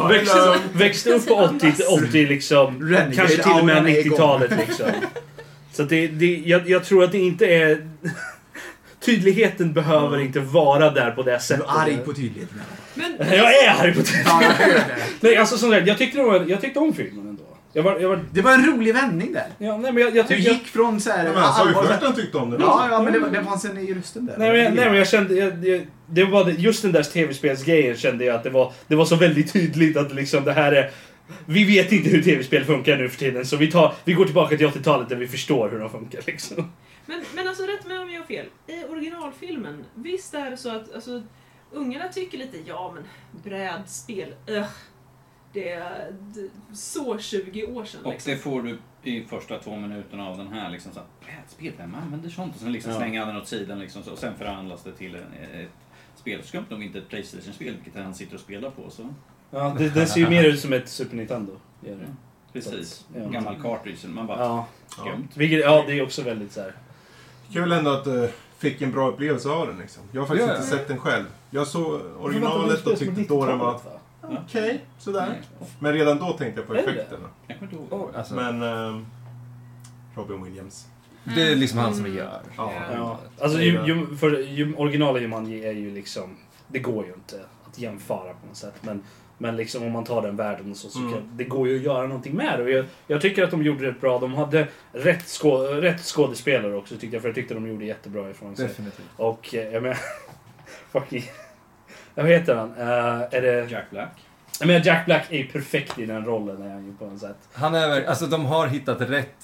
växte, växte upp på 80, 80 liksom. Renegade kanske till och med auran är igång. 90-talet liksom. Så att det, det, jag, jag tror att det inte är... Tydligheten behöver inte vara där på det sättet. Du är arg på tydligheten i alla fall. Men, Jag är arg på tydligheten. Nej, alltså som sagt, jag tyckte, det var, jag tyckte om filmen ändå. Jag var, jag var... Det var en rolig vändning där. Ja, nej, men jag, jag Du tyckte- gick från så här... Ja, men han sa ju allvar- först att han tyckte om det. Ja, ja men det, var- det fanns en i rösten där. Nej men, nej men jag kände, jag, jag, det var det- just den där tv-spelsgrejen kände jag att det var, det var så väldigt tydligt att liksom det här är... Vi vet inte hur tv-spel funkar nu för tiden så vi, tar, vi går tillbaka till 80-talet där vi förstår hur de funkar liksom. men, men alltså rätt mig om jag har fel. I originalfilmen, visst är det så att alltså, ungarna tycker lite ja men brädspel, öh. Det är d- så 20 år sedan. Och liksom. det får du i första två minuterna av den här. Liksom, så här Brädspel, vem använder sånt? Och sen liksom Ja. slänger han den åt sidan liksom, så, och sen förvandlas det till en, ett spel. Skumt nog inte ett Playstation-spel, vilket han sitter och spelar på. Så. Ja, det, det ser ju mer ut som ett Super Nintendo. Gör det. Precis. Ja. Gammal cartridge. Man bara... Ja. Skumt. Vilket, ja, det är också väldigt så här. Kul ändå att du fick en bra upplevelse av den. Liksom. Jag har faktiskt Ja, ja. inte sett den själv. Jag såg Men vänta, originalet det är och som tyckte då den var... 90-talet, va? Okej, sådär. Men redan då tänkte jag på Är det? effekterna. Jag kommer inte ihåg. alltså. Men... ehm, Robin Williams. Mm. Det är liksom han som gör. Ja. Ja. Alltså, ju, ju, för, ju, originala Jumanji är ju liksom... Det går ju inte att jämföra på något sätt. Men, men liksom om man tar den världen och så, så Mm. kan, det går ju att göra någonting med det. Och jag, jag tycker att de gjorde det bra. De hade rätt, skå, rätt skådespelare också tyckte jag. För jag tyckte de gjorde jättebra ifrån sig. Definitivt. Och eh, jag menar... fucking... Vad heter han? Eh, är det... Jack Black? Jag menar Jack Black är ju perfekt i den rollen är han ju på något sätt. Han är, verk- alltså de har hittat rätt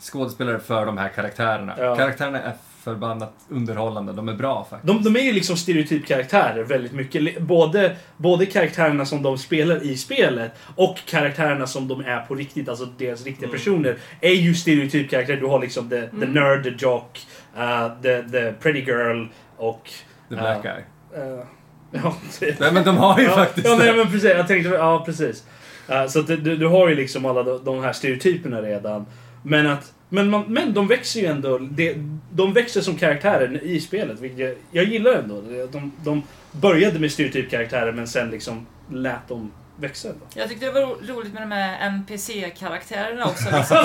skådespelare för de här karaktärerna. Ja. Karaktärerna är förbannat underhållande. De är bra faktiskt. De, de är ju liksom stereotypkaraktärer väldigt mycket. Li- Både, både karaktärerna som de spelar i spelet och karaktärerna som de är på riktigt, alltså deras riktiga Mm. personer, är ju stereotypkaraktärer. Du har liksom the, the Mm. nerd, the jock, uh, the, the pretty girl och... The eh, black guy. eh, ja, Nej, men de har ju ja, faktiskt Ja, nej, det. men precis. Jag tänkte, ja, precis. Eh, så att du, du, du har ju liksom alla de, de här stereotyperna redan. Men att men, man, men de växer ju ändå. De, de växer som karaktärer i spelet. Vilket jag, jag gillar ändå. De, de började med stereotypkaraktärer men sen liksom lät dem växa. Ändå. Jag tyckte det var ro- roligt med de här NPC-karaktärerna också. Liksom.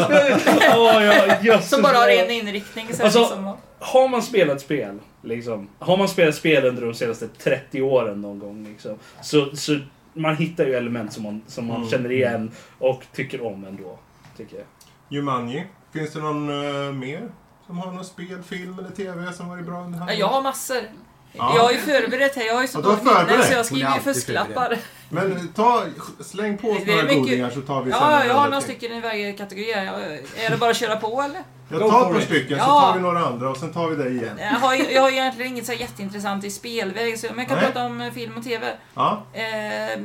Ja, ja, jösses. som bara har en inriktning. Så Alltså, liksom, Har man spelat spel, liksom, har man spelat spel under de senaste 30 åren någon gång, liksom, så, så man hittar ju element som man, som man Mm. känner igen och tycker om ändå. Tycker jag. Jumanji. Finns det någon eh, mer som har något spel, film eller TV som varit bra under ja, hand? jag har massor. Ja. Jag har ju förberett här. Jag har ju så Ja, du har dåligt minne förberett. så jag Hon skriver är ju alltid fusklappar. förberedd. Men ta, släng på oss Det är några mycket- godingar så tar vi sen Ja, jag andra har några ting. stycken i varje kategori. här. Jag- Är det bara att köra på eller? Jag Go tar for ett par it. stycken så Ja. tar vi några andra och sen tar vi dig igen. Jag har, ju- jag har egentligen inget så här jätteintressant i spelväg, så, men jag kan Nej. prata om eh, film och TV. Ja. Eh,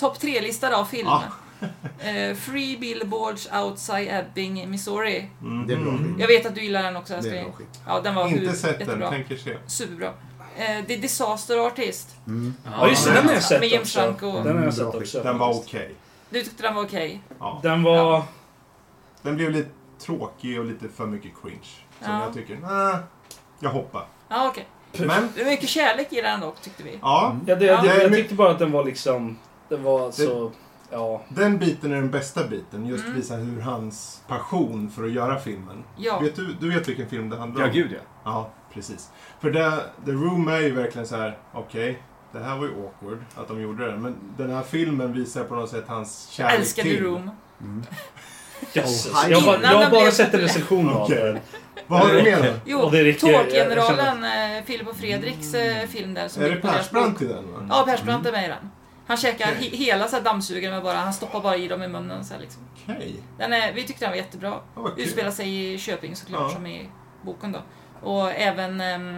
Topp tre-lista av film. Eh, Free Billboards Outside Ebbing, Missouri. Mm. Det är bra skit. Jag vet att du gillar den också, Det är älskling. bra skit. Ja, den var Inte hur- sett den, jättebra. tänker se. Superbra. Eh, The Disaster Artist. Mm. Ja, just det. Den har jag sett Med James också. Franco. Den har jag sett också. Den var okej. Du tyckte den var okej? Den var... Den blev lite tråkig och lite för mycket cringe. Som Ja. jag tycker, nej, jag hoppar. Ja, okej. Men... Det är mycket kärlek i den dock, tyckte vi. Ja. Mm. Ja, det, Ja. det, jag Men- tyckte bara att den var liksom... Den var så... Alltså, Ja. Den biten är den bästa biten. Just Mm. visa hur hans passion för att göra filmen. Ja. Vet du, du vet vilken film det handlar om? Ja, gud, ja. Ja, precis. För det, The Room är ju verkligen så här, okej, det här var ju awkward att de gjorde det. Men den här filmen visar på något sätt hans kärlek Älskade till. Room. Jösses. Oh, hi. Mm. jag, har bara- Innan jag den har bara blev sett en populär. recension av Okej. den. Vad har Det du med räcker. dig? Jo, Och det räcker. Jag- jag känner- Tårtgeneralen, eh, Filip och Fredriks eh, film där. Som Är det bygger på deras bok. Persbrandt i den? Va? Ja, Persbrandt är med i den. Han käkar he- hela så här dammsugaren med bara, han stoppar bara i dem i munnen så här, liksom. Okej. Den är, vi tyckte den var jättebra. Ja, vad kul. Utspelar sig i Köping såklart, Ja. som i boken då. Och även ehm,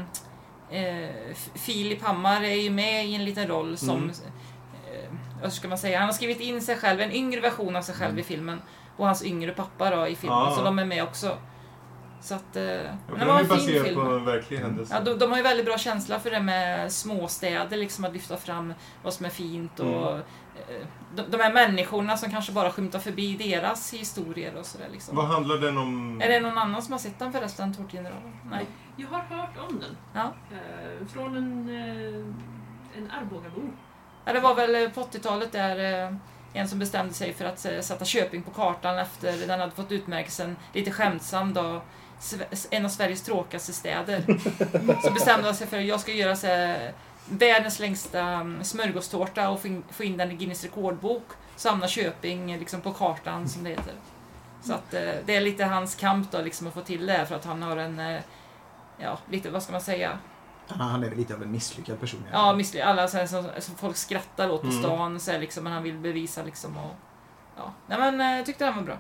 eh, F- Filip Hammar är ju med i en liten roll som, Mm. eh, vad ska man säga, han har skrivit in sig själv, en yngre version av sig själv i filmen. Och hans yngre pappa då i filmen, Mm. Ja. så de är med också. Så att, eh, Ja, men för det den var är en fin baserad film. på en verklig händelse. Ja, de, de har ju väldigt bra känsla för det med småstäder, liksom att lyfta fram vad som är fint och Mm. eh, de, de här människorna som kanske bara skymtar förbi deras historier och sådär. Liksom. Vad handlar den om? Är det någon annan som har sett den förresten, Tårtgeneralen? Nej. Jag har hört om den. Ja. Eh, från en, eh, en Arbogabo. Ja, det var väl eh, på 80-talet där eh, en som bestämde sig för att eh, sätta Köping på kartan efter den hade fått utmärkelsen, lite skämtsam då, Sve- en av Sveriges tråkigaste städer. Så bestämde han sig för att jag ska göra så här, eh, världens längsta mm, smörgåstårta och få in- få in den i Guinness rekordbok. Så hamnar Köping eh, liksom på kartan som det heter. Så att eh, det är lite hans kamp då liksom att få till det här för att han har en, eh, ja lite vad ska man säga, Han han är väl lite av en misslyckad person. egentligen. Ja, missly- alla så här, som, som folk skrattar åt på Mm. stan, så här, liksom, men han vill bevisa liksom och... Ja. Nej men eh, jag tyckte den var bra.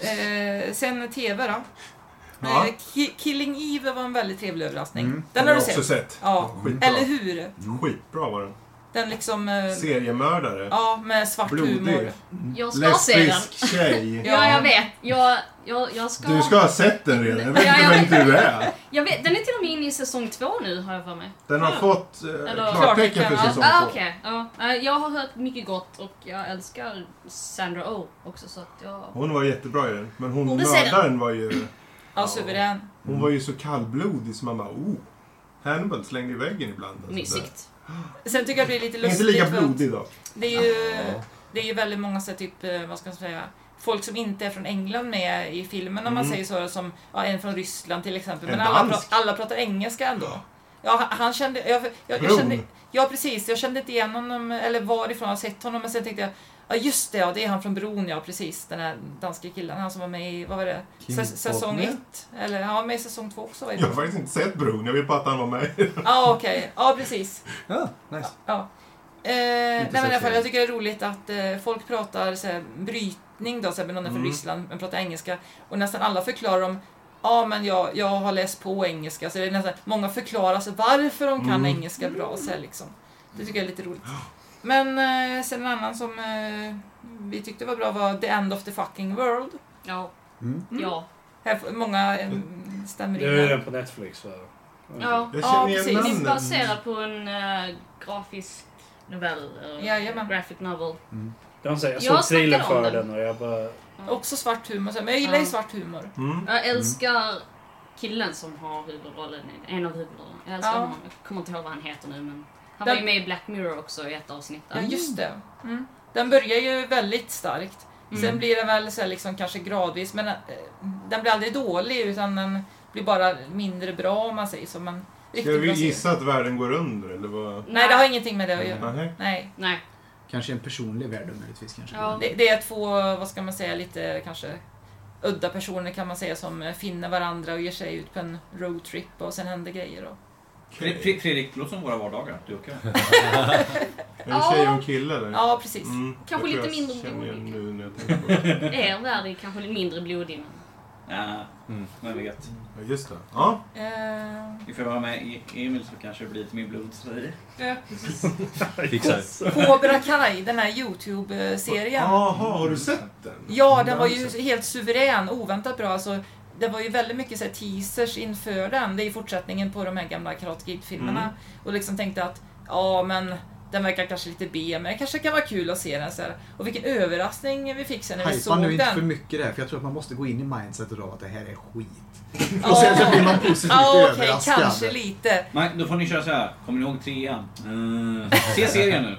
Eh, sen TV då. Ja. Eh, Ki- Killing Eve var en väldigt trevlig överraskning. Mm. Den har du också sett? sett. Ja. Skitbra. Eller hur? Skitbra var den. Den liksom... Eh, Seriemördare. ja, med svart humor. Blodig. Jag ska se den. Lesbisk tjej. Ja. Ja, jag vet. Jag, jag, jag ska... Du ska ha sett den redan. Jag vet Ja, inte jag vem vet. du är. Jag vet, den är till och med inne i säsong två nu, har jag för mig. Den har Ja. fått eh, Eller- klartecken för Klartecken, säsong ah, två. okej. Ja. Eh, Jag har hört mycket gott och jag älskar Sandra Oh också, så att jag... Hon var jättebra i den. Men hon Borde se den. mördaren var ju... Ja, suverän. Hon var Mm. ju så kallblodig så man bara oh. Hannibal slängde i väggen ibland. Alltså, Mysigt. Sen tycker jag det blir lite där. Inte lustigt. lika för att- blodig dock. Det är ju, det är ju väldigt många så här, typ, eh, vad ska man säga, folk som inte är från England med i filmen om man Mm. säger så, som ja, en från Ryssland till exempel. En Men alla, pra- dansk. alla pratar engelska ändå. Ja. han- han kände, jag, jag, jag Bron. kände, ja precis, jag kände inte igen honom eller varifrån jag har sett honom men sen tänkte jag Ja just det, ja, det är han från Bron ja precis, den här danske killen, han som var med i, vad var det, Kim Säs- säsong Bodner? ett? Eller han var med i säsong två också va? Jag har faktiskt inte sett Bron. Jag vill bara att han var med. Ja okej, ja precis. Ja, nice. Ja. Eh, nej, men i alla fall, sexuellt. jag tycker det är roligt att eh, folk pratar så här, brytning då, så här, med någon är från Mm. Ryssland men pratar engelska. Och nästan alla förklarar om Ja, men jag, jag har läst på engelska. Så det är nästan, många förklarar sig varför de kan Mm. engelska bra. Så här, liksom. Det tycker jag är lite roligt. Men eh, sen en annan som eh, vi tyckte var bra var The End of the Fucking World. Ja. Mm. Ja. Här, får- många eh, stämmer Det är ju in. den här. på Netflix va? Mm. ja. Jag Ja, känner precis. igen Det är namnen. baserat på en eh, grafisk novell. eh, Jajamän. graphic novel. Mm. Jag, säga, jag Jag såg trailern snackade om för den. den och jag bara... Också svart humor. så här, Men jag gillar ju Mm. Ja. svart humor. Mm. Jag älskar killen som har huvudrollen, i- en av huvudrollerna. Jag älskar Ja. honom. Jag kommer inte ihåg vad han heter nu men han Den- var ju med i Black Mirror också i ett avsnitt där. Ja, just det. Mm. Den börjar ju väldigt starkt. Sen blir den väl så här liksom kanske gradvis, men eh, den blir aldrig dålig utan den blir bara mindre bra om man säger så. Men Ska riktigt vi bra serie. gissa att världen går under eller vad? Nej, det har ingenting med det att göra. Nej. Nej. Nej. Kanske en personlig värld möjligtvis. Kanske. Ja. Det, det är två, vad ska man säga, lite kanske udda personer kan man säga som eh, finner varandra och ger sig ut på en roadtrip och sen händer grejer. Och... Fre- Fre- Fredrik, låt som våra vardagar. Du och jag. Är det tjej och en kille eller? Ja, precis. Mm. Kanske Jag tror lite jag mindre känner igen blodig. nu när jag tänker på det. Er värld är kanske lite mindre blodig men... Ja, men vi vet. Mm. Ja, just det. Ja. Eh, Vi får vara med i Emil så kanske det blir lite mer blod. så det- Ja, precis. Fixar det. Cobra Kai, den här Youtube-serien. Jaha, har du sett den? Ja, den var har jag ju sett. helt suverän. Oväntat bra. Alltså, det var ju väldigt mycket så här, teasers Mm. inför den. Det är ju fortsättningen på de här gamla Karate Kid-filmerna. Och liksom tänkte att, ja men Den verkar kanske lite B, men det kanske kan vara kul att se den. Så här. Och vilken överraskning vi fick sen när vi Hajpa såg nu inte den. för mycket där, för jag tror att man måste gå in i mindsetet av att det här är skit. Ja. Och sen så blir man positivt Ja, okej, överraskad. kanske lite. Nej, då får ni köra så här. Kommer ni ihåg trean? Mm. Se serien nu.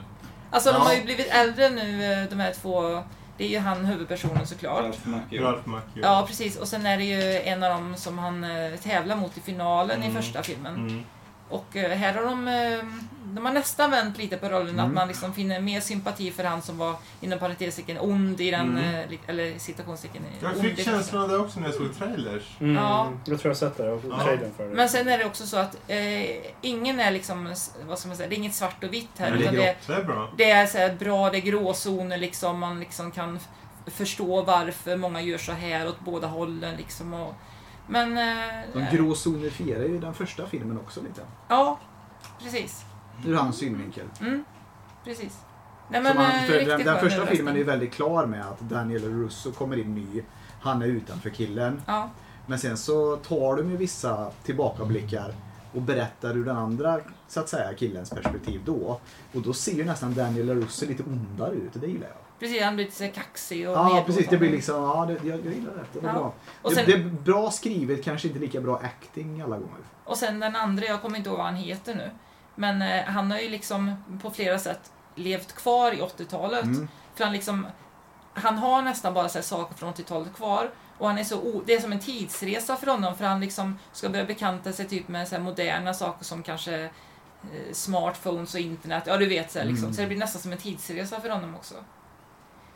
Alltså Ja. de har ju blivit äldre nu eh, de här två. Det är ju han huvudpersonen såklart. Ralph Macchio. Ralph Macchio. Ja precis och sen är det ju en av dem som han eh, tävlar mot i finalen Mm. i första filmen. Mm. Och eh, här har de, eh, de har nästan vänt lite på rollen Mm. att man liksom finner mer sympati för han som var inom parentestecken ond i den, Mm. eh, li- eller citationstecken eh, Jag ond i fick första. känslan av det också när jag såg trailers. Mm, Ja. Jag tror jag har sett det. Jag Ja. har trailern för det. Men sen är det också så att eh, ingen är liksom, s- vad ska man säga, det är inget svart och vitt här. Nej, det är utan grått. Det är bra. Det är så här bra, det är gråzoner liksom, man liksom kan f- förstå varför många gör så här åt båda hållen liksom. Och, men... Eh, De gråzonifierar ju den första filmen också lite. Ja, precis. Ur hans synvinkel. Mm, precis. Nej, Så men, man, eh, för den, riktigt den skön första filmen är ju överraskning. väldigt klar med att Daniel Russo kommer in ny. Han är utanför killen. Ja. Men sen så tar de ju vissa tillbakablickar och berättar ur den andra så att säga, killens perspektiv då. Och då ser ju nästan Daniel Russo lite ondare ut och det gillar jag. Precis, han blir lite så här kaxig och Ja, nedlåtande. precis. Det blir liksom, ja, det, jag, jag gillar det. Det, var Ja. bra. Och sen- det, det är bra skrivet, kanske inte lika bra acting alla gånger. Och sen den andra, jag kommer inte ihåg vad han heter nu. Men eh, han har ju liksom på flera sätt levt kvar i 80-talet. Mm. För han liksom, han har nästan bara så här saker från 80-talet kvar. Och han är så o- det är som en tidsresa för honom för han liksom ska börja bekanta sig typ med så här moderna saker som kanske eh, smartphones och internet. Ja, du vet så här liksom. Mm. Så det blir nästan som en tidsresa för honom också.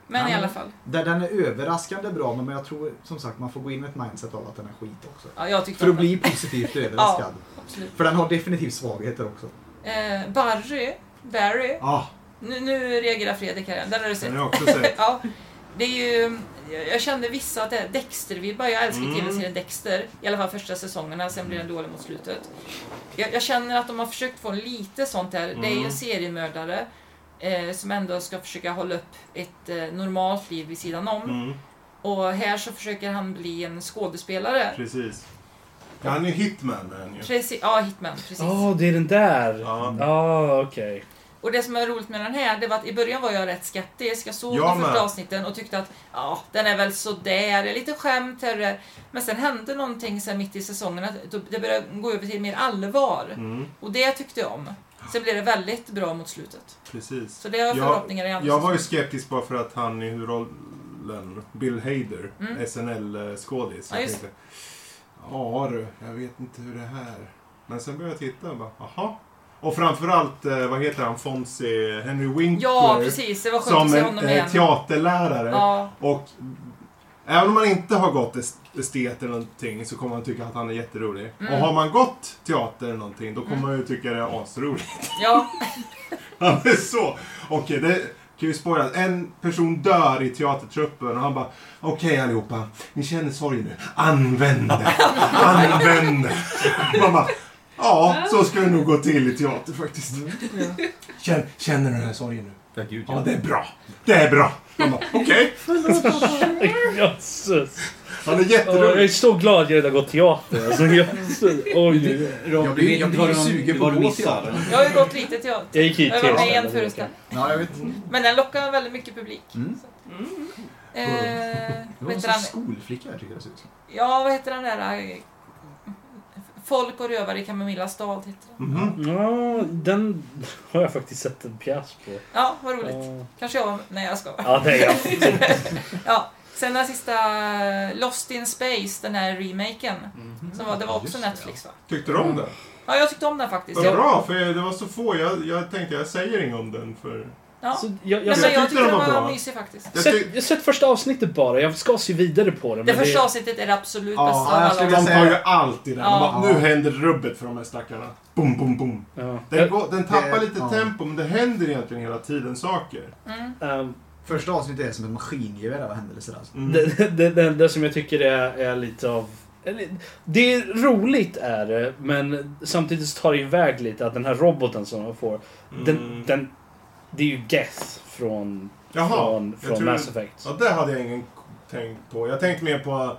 Men i Ja, alla fall. Där den är överraskande bra, men jag tror som sagt man får gå in med ett mindset av att den är skit också. Ja, jag tyckte För att att- bli positivt överraskad. Ja, absolut. För den har definitivt svagheter också. Eh, Barry, Barry. Ja. Nu, nu reagerar Fredrik här igen. Den har du sett. Den har jag också sett. ja, det är ju, jag- jag kände vissa att det är Dexter-vibbar. Jag älskar Mm. mm. tv-serien Dexter. I alla fall första säsongerna, sen blir den dålig mot slutet. Jag, jag känner att de har försökt få lite sånt här. Det är ju Mm. en seriemördare eh, som ändå ska försöka hålla upp ett eh, normalt liv vid sidan om. Mm. Och här så försöker han bli en skådespelare. Precis. Ja, han är hitman. är han ju. Preci- ja, Hitman. Precis. Ja, det är den där! Ja, okej. Och det som är roligt med den här, det var att i början var jag rätt skeptisk. Jag såg Jag de första med. avsnitten och tyckte att ja, den är väl sådär, det är lite skämt här och där. Men sen hände någonting sen mitt i säsongen, att då- det började gå över till mer allvar. Mm. Och det tyckte jag om. Sen blev det väldigt bra mot slutet. Precis. Så det har jag förhoppningar i andra Jag var ju säsongen. skeptisk bara för att han i huvudrollen, Bill Hader, Mm. SNL-skådis. Ja, jag just tänkte, ja du, jag vet inte hur det här... Men sen började jag titta och bara, aha. Och framförallt, eh, vad heter han, Fonzie, Henry Winkler. Ja, precis. Det var skönt som att se en honom eh, igen. teaterlärare. Ja. Och även om man inte har gått est- estet eller någonting så kommer man tycka att han är jätterolig. Mm. Och har man gått teater eller någonting då kommer Mm. man ju tycka det är asroligt. Ja. Han är så. Okej, det kan ju spoila. En person dör i teatertruppen och han bara Okej allihopa, ni känner sorg nu. Använd det. Använd det. Man bara, ja, så ska det nog gå till i teater faktiskt. Känn, känner du den här sorgen nu? Ja, gud, ja. det är bra. Det är bra. Man bara, Okej. Jösses. Han är jätterolig. jag är så glad jag redan gått teater. Alltså, jösses. Oj. Jag blir- jag blir ju sugen på att gå teater. Jag har ju gått lite teater. Jag gick hit har varit med i teater. en föreställning. Ja, jag vet. Men den lockar väldigt mycket publik. Mm. Mm. Eh, Det var vad en heter sån han? skolflicka jag tycker det ser ut som. Ja, vad heter den där? eh, Folk och rövare i Kamomilla stad heter den. Mm-hmm. Ja, den har jag faktiskt sett en pjäs på. Ja, vad roligt. Ja. Kanske jag var Nej, jag skojar. Ja, det är jag. ja, sen den sista eh, Lost in Space, den här remaken. Mhm. Som var, det var också Netflix va? Tyckte du om den? Ja, jag tyckte om den faktiskt. Vad Jag- bra, för jag- det var så få. Jag, jag tänkte jag säger inget om den för... Ja. Så jag- jag, jag- Nej, men jag jag tyckte tyckte den den var var bra. mysig faktiskt. Jag sett- jag har sett första avsnittet bara. Jag ska se vidare på det. Det men första avsnittet är det absolut Ja, bästa av jag alla. skulle De säga- tar ju allt i den. Ja. De Bara, nu händer rubbet för de här stackarna. Boom, boom, boom. Den, går, den tappar lite tempo, men det händer egentligen hela tiden saker. Mm. Första avsnittet är som ett maskingevär av händelser alltså. Mm. Det, det, det, det enda som jag tycker är, är lite av... eller, Det är roligt är det, men samtidigt så tar det iväg lite att den här roboten som de får, den, Mm. den, det är ju Geth från, från, jag från tror- Mass Effect. Ja, det hade jag ingen tänkt på. Jag tänkte mer på...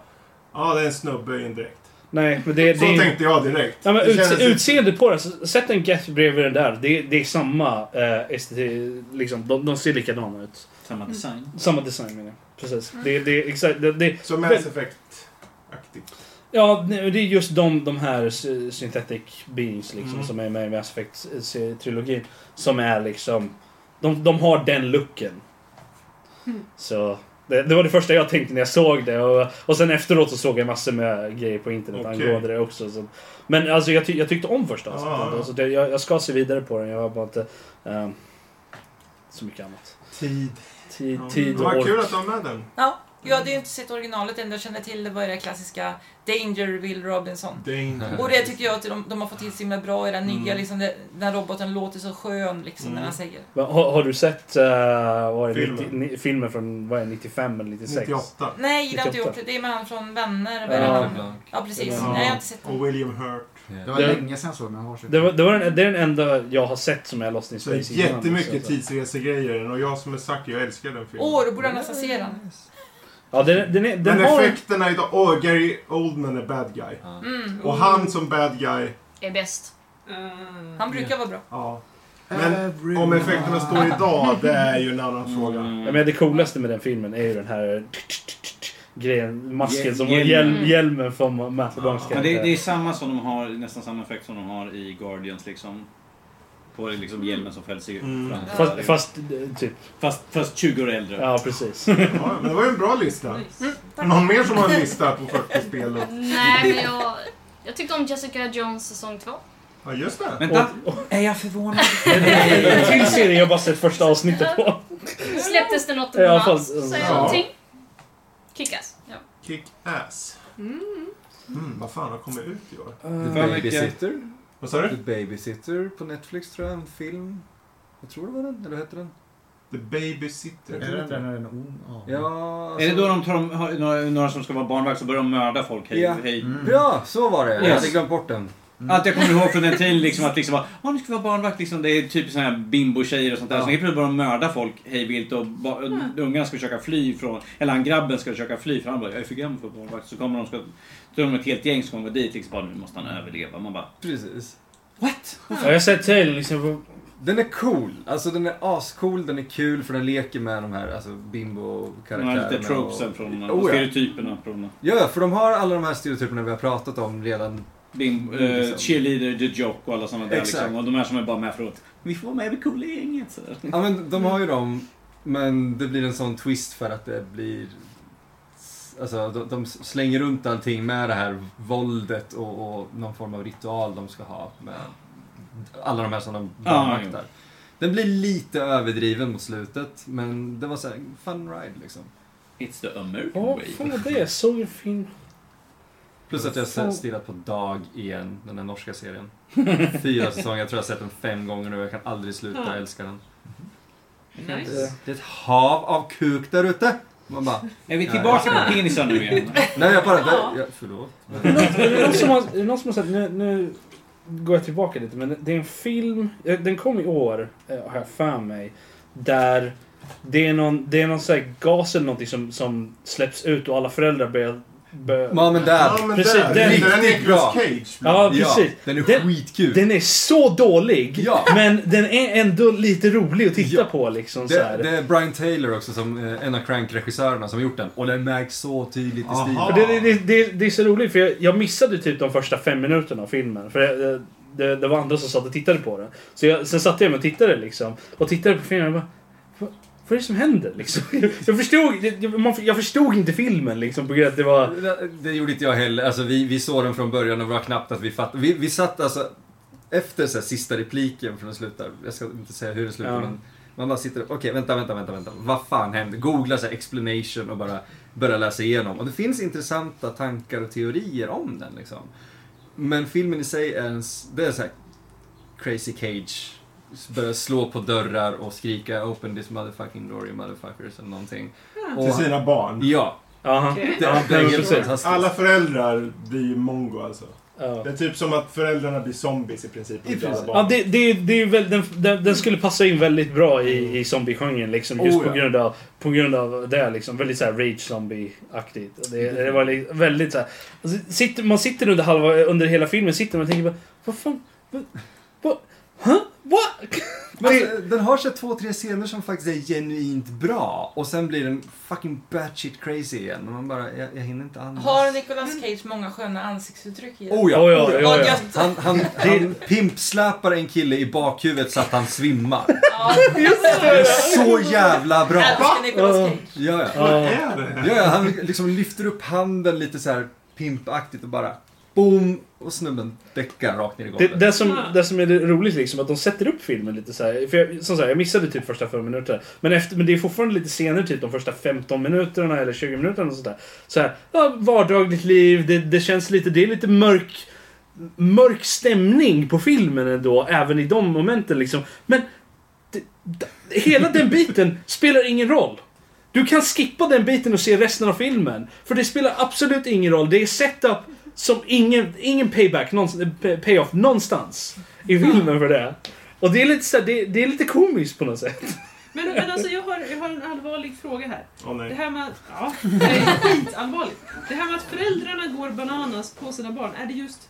Ja, det är en snubbe i en dräkt. Nej, men det, Så det är- tänkte jag direkt. Ja, men Det utse, kändes- Utseendet på den, så- sätt en Geth bredvid den där. Det, det är samma eh, estetik, liksom, de, de ser likadana ut. Samma design. Samma design menar jag. Precis. Det, det, är exakt, det, det, Som Mass Effect-aktigt. Ja, nej, det är just de, de här sy- synthetic beings liksom, Mm. som är med i Mass Effect-trilogin. Som är liksom... De, de har den looken. Mm. Så det, det var det första jag tänkte när jag såg det. Och, och sen efteråt så såg jag massor med grejer på internet Okej. angående det också. Så. Men alltså jag, ty, jag tyckte om första Ja, avsnittet. ja. Alltså, det, jag, jag ska se vidare på den. Jag har bara inte... ehm, så mycket annat. Tid. Tid, Det tid och var ork. kul att de var med den. Ja, jag hade ju inte sett originalet än. Jag känner till det var ju det klassiska Dangerville Robinson. Ding. Och det tycker jag att de, de har fått till så himla bra i den nya, Mm. liksom, det, den roboten låter så skön liksom när Mm. han säger. Men Har, har du sett eh, vad är det, Filmen. 90, ni, filmen från vad är det, 95 eller 96? 98. Nej, det har jag inte 98. gjort. Det är med han från Vänner. Ja. Ja, han? Blank. ja precis. Ja. Nej, jag har inte sett den. Och William Hurt. Det var Det- länge sedan jag såg den. men jag har sett Det, var, den. det, var den, det är den enda jag har sett som är Lost in Så det Space är innan, alltså. jättemycket så- tidsresegrejer i den och jag som är sagt, jag älskar den filmen. Åh, då borde han nästan se den. Ja, den, den, är- den Men har... effekterna idag. Åh, Gary Oldman är bad guy. Mm. Och han som bad guy, Är bäst. Eh, Han brukar vara bra. ja. Men Everyone. om effekterna står idag, det är ju en annan fråga. Mm. Ja, men det coolaste med den filmen är ju den här grejen, masken, som Hjälmen. hjälm, hjälmen från Matt LeBlancs Men det, det är karaktär. samma som de har, nästan samma effekt som de har i Guardians liksom. På liksom hjälmen som fälls i- Mm. fram. Fast, fast eh, typ, fast, fast 20 år äldre. ja precis. Ja, men det var ju en bra lista. nice. Mm, Någon mer som har en lista på 40 spel? och- Nej, men jag... Jag tyckte om Jessica Jones säsong två. Ja, just det. Vänta! Är jag förvånad? En till serie jag bara sett första avsnittet på. Släpptes den 8 Ja, mars, fast- säger ja. någonting. Kickass. Ja. Kick-Ass. Mm, vad fan har kommit ut i år? The Babysitter. Vad sa du? The Babysitter på Netflix tror jag, en film. Jag tror det var den, eller vad hette den? The Babysitter. Är det den där när den är ond? Ja. Ja, Är det alltså- då de tar de, har några, några som ska vara barnvakt så börjar de mörda folk? Hej, Ja. hej. Mm. Ja, så var det. Jag hade Yes. glömt bort den. Allt Mm. jag kommer ihåg från den tiden liksom att liksom bara, "Åh, nu ska vi vara barnvakt liksom. Det är typ sådana här bimbo-tjejer och sånt där. Ja. Så helt plötsligt börjar de mörda folk hej vilt och ba- och ungarna ska försöka fly från, eller han grabben ska försöka fly för han bara, jag är för gammal för att vara barnvakt. Så kommer de, ska, så är de ett helt gäng som kommer dit liksom bara, nu måste han överleva. Man bara, Precis. what? Ja, jag har sett trailern liksom. Den är cool. Alltså den är ascool, den är kul för den leker med de här alltså, De här lite bimbo-karaktärerna. tropesen från, och Oh, ja. stereotyperna från Ja, ja, för de har alla de här stereotyperna vi har pratat om redan. bim, Mm, eh, liksom. cheerleader, the jock och alla sådana där Exakt. liksom. Och de här som är bara med för att, vi får vara med i det coola gänget. Så där. Ja, men de har ju dem, men det blir en sån twist för att det blir... Alltså, de, de slänger runt allting med det här våldet och, och någon form av ritual de ska ha med alla de här som de Ja, bakvaktar. Den blir lite överdriven mot slutet, men det var så här, fun ride liksom. It's the American Ja, way. fan vad det är. Jag såg en film. Plus att jag har Alltså. stirrat på Dag igen, den här norska serien. Fyra säsonger, jag tror jag har sett den fem gånger nu jag kan aldrig sluta älska den. nice. Det är ett hav av kuk där ute! Man bara, Är vi Ja, tillbaka ja. på penisar nu igen? nej jag bara, där, ja, förlåt. Är det någon som har, är det någon som har sett, nu, nu går jag tillbaka lite, men det är en film, eh, den kom i år, eh, har jag för mig, där det är någon, det är någon sån här gas eller någonting som, som släpps ut och alla föräldrar börjar... börjar Mom and Dad. Ja, men Precis, där. den- Den, den är Riktigt bra. Nicolas Cage. ja, precis. Ja, den är Den- skitkul. Den är så dålig, Ja. men den är ändå lite rolig att titta Ja. på liksom så det, här. det är Brian Taylor också, som eh, en av Crank-regissörerna, som har gjort den. Och den märks så tydligt i Aha. stilen. För det, det- det, det, det är så roligt för jag, jag missade typ de första fem minuterna av filmen. För det, det, det var andra som satt och tittade på den. Så jag, sen satte jag mig och tittade liksom. Och tittade på filmen och bara... Vad, vad är det som händer liksom? Jag förstod, jag, man, jag förstod inte filmen liksom på grund av att det var... Det, det gjorde inte jag heller. Alltså, vi, vi såg den från början och det var knappt att vi fattade. Vi, vi satt alltså efter så här, sista repliken från den slutar. Jag ska inte säga hur den slutar Ja. men man bara sitter och, okej vänta, vänta, vänta, vänta. Vad fan hände? Googla så här, explanation och bara börja läsa igenom. Och det finns intressanta tankar och teorier om den liksom. Men filmen i sig är en, s- det är så här crazy cage. Börjar slå på dörrar och skrika open this motherfucking door you motherfuckers eller någonting. Till Och, sina barn. ja, Jaha. det, det är helt alltså, precis. fantastiskt. Alla föräldrar blir ju mongo alltså. Ja. Det är typ som att föräldrarna blir zombies i princip. I inte alla princip. barn. Ja, det, det, det är väl, den, den, den skulle passa in väldigt bra i, i zombie-genren. Liksom, just Mm. Oh, på, ja. grund av, på grund av det. Liksom, väldigt såhär rage-zombie-aktigt. Och Det, det var li- väldigt såhär... Alltså, sitter, man sitter under, halva, under hela filmen sitter man och tänker bara, Vad fan? Vad? Vad? Huh? What? Men alltså, den har så här två, tre scener som faktiskt är genuint bra och sen blir den fucking batshit crazy igen. Och man bara, jag, jag hinner inte andas. Har Nicolas Cage många sköna ansiktsuttryck i den? Oh ja, Oh ja, oh ja. ja, ja. Han, han, han pimpsläpar en kille i bakhuvudet så att han svimmar. Det är så jävla bra! Älskar Nicolas Cage. Ja, ja. Vad är det? ja, ja han liksom lyfter upp handen lite så här pimpaktigt och bara boom! Och snubben däckar rakt ner i Det, golvet. det, som, det som är det roligt liksom att de sätter upp filmen lite så här. För jag, som sagt, jag missade typ första fem minuter. Men, efter, men det är fortfarande lite senare, typ de första 15 minuterna eller 20 minuterna. Och sånt där. Så här, ja, vardagligt liv, det, det känns lite, det är lite mörk, mörk stämning på filmen ändå, även i de momenten liksom. Men det, det, hela den biten spelar ingen roll. Du kan skippa den biten och se resten av filmen. För det spelar absolut ingen roll. Det är setup som ingen, ingen payback, någonstans, pay- payoff någonstans i filmen för det. Och det är lite, så här, det, det är lite komiskt på något sätt. Men, men alltså jag har, jag har en allvarlig fråga här. Åh, nej. Det här med att... Ja, det är skitallvarligt. Det här med att föräldrarna går bananas på sina barn. Är det just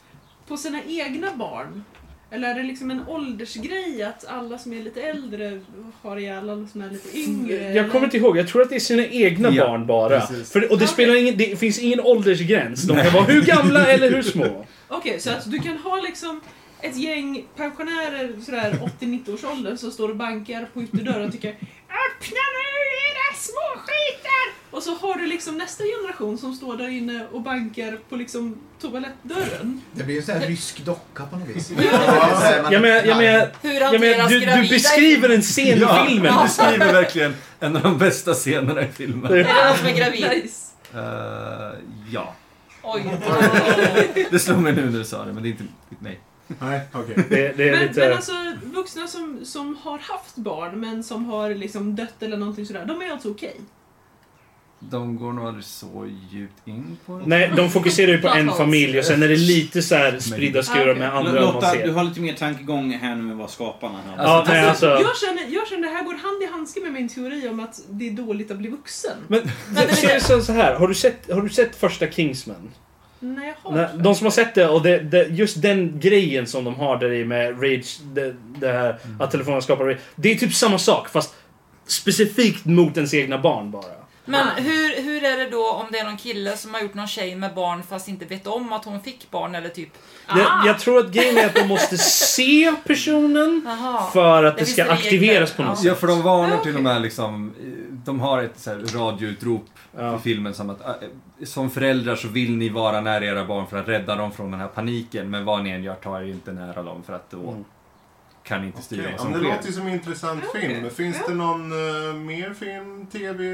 på sina egna barn? Eller är det liksom en åldersgrej att alla som är lite äldre har ihjäl alla som är lite yngre? Jag kommer inte ihåg, jag tror att det är sina egna Ja, barn bara. precis. För, och det, spelar ingen, det finns ingen åldersgräns. De kan vara hur gamla eller hur små. Okej, så att du kan ha liksom ett gäng pensionärer sådär 80-90 års ålder som står och bankar på ytterdörren och tycker Öppna nu era småskitar! Och så har du liksom nästa generation som står där inne och bankar på liksom toalettdörren. Det blir ju en sån här rysk docka på något vis. Jag menar, jag menar, Hur jag menar hanteras du, gravida? du beskriver en scen Ja, i filmen. han beskriver verkligen en av de bästa scenerna i filmen. Är det någon som är gravid? Nice. Eh, ja. Oj. Det slog mig nu när du sa det, men det är inte... Nej. Nej, okej. Det, det är Men, men lite... alltså vuxna som, som har haft barn men som har liksom dött eller någonting sådär, de är alltså okej? De går nog aldrig så djupt in på det. Nej, de fokuserar ju på en Plot holes. familj och sen är det lite så här spridda skurar med andra man Lotta, ser. du har lite mer tankegång här nu än vad skaparna hade. Ja, nej, alltså... Jag, känner, jag känner det här går hand i handske med min teori om att det är dåligt att bli vuxen. Men ser det som så här. Har du sett, har du sett första Kingsman? Nej, jag har Nej, inte. De som har sett det och det, det, just den grejen som de har där i med Rage, det, det här Mm. att telefonen skapar Rage. Det är typ samma sak fast specifikt mot ens egna barn bara. Men hur, hur är det då om det är någon kille som har gjort någon tjej med barn fast inte vet om att hon fick barn eller typ... Ah. Jag, jag tror att grejen är att de måste se personen Jaha. för att Det det finns ska regler. aktiveras på något Ja. sätt. Ja, för de varnar till och med liksom... eh, De har ett så här radioutrop Ja. i filmen som att eh, som föräldrar så vill ni vara nära era barn för att rädda dem från den här paniken. Men vad ni än gör, ta er inte nära dem för att då Mm. kan ni inte styra Okej, vad men som det sker. låter ju som en intressant film. Finns det någon eh, mer film, tv,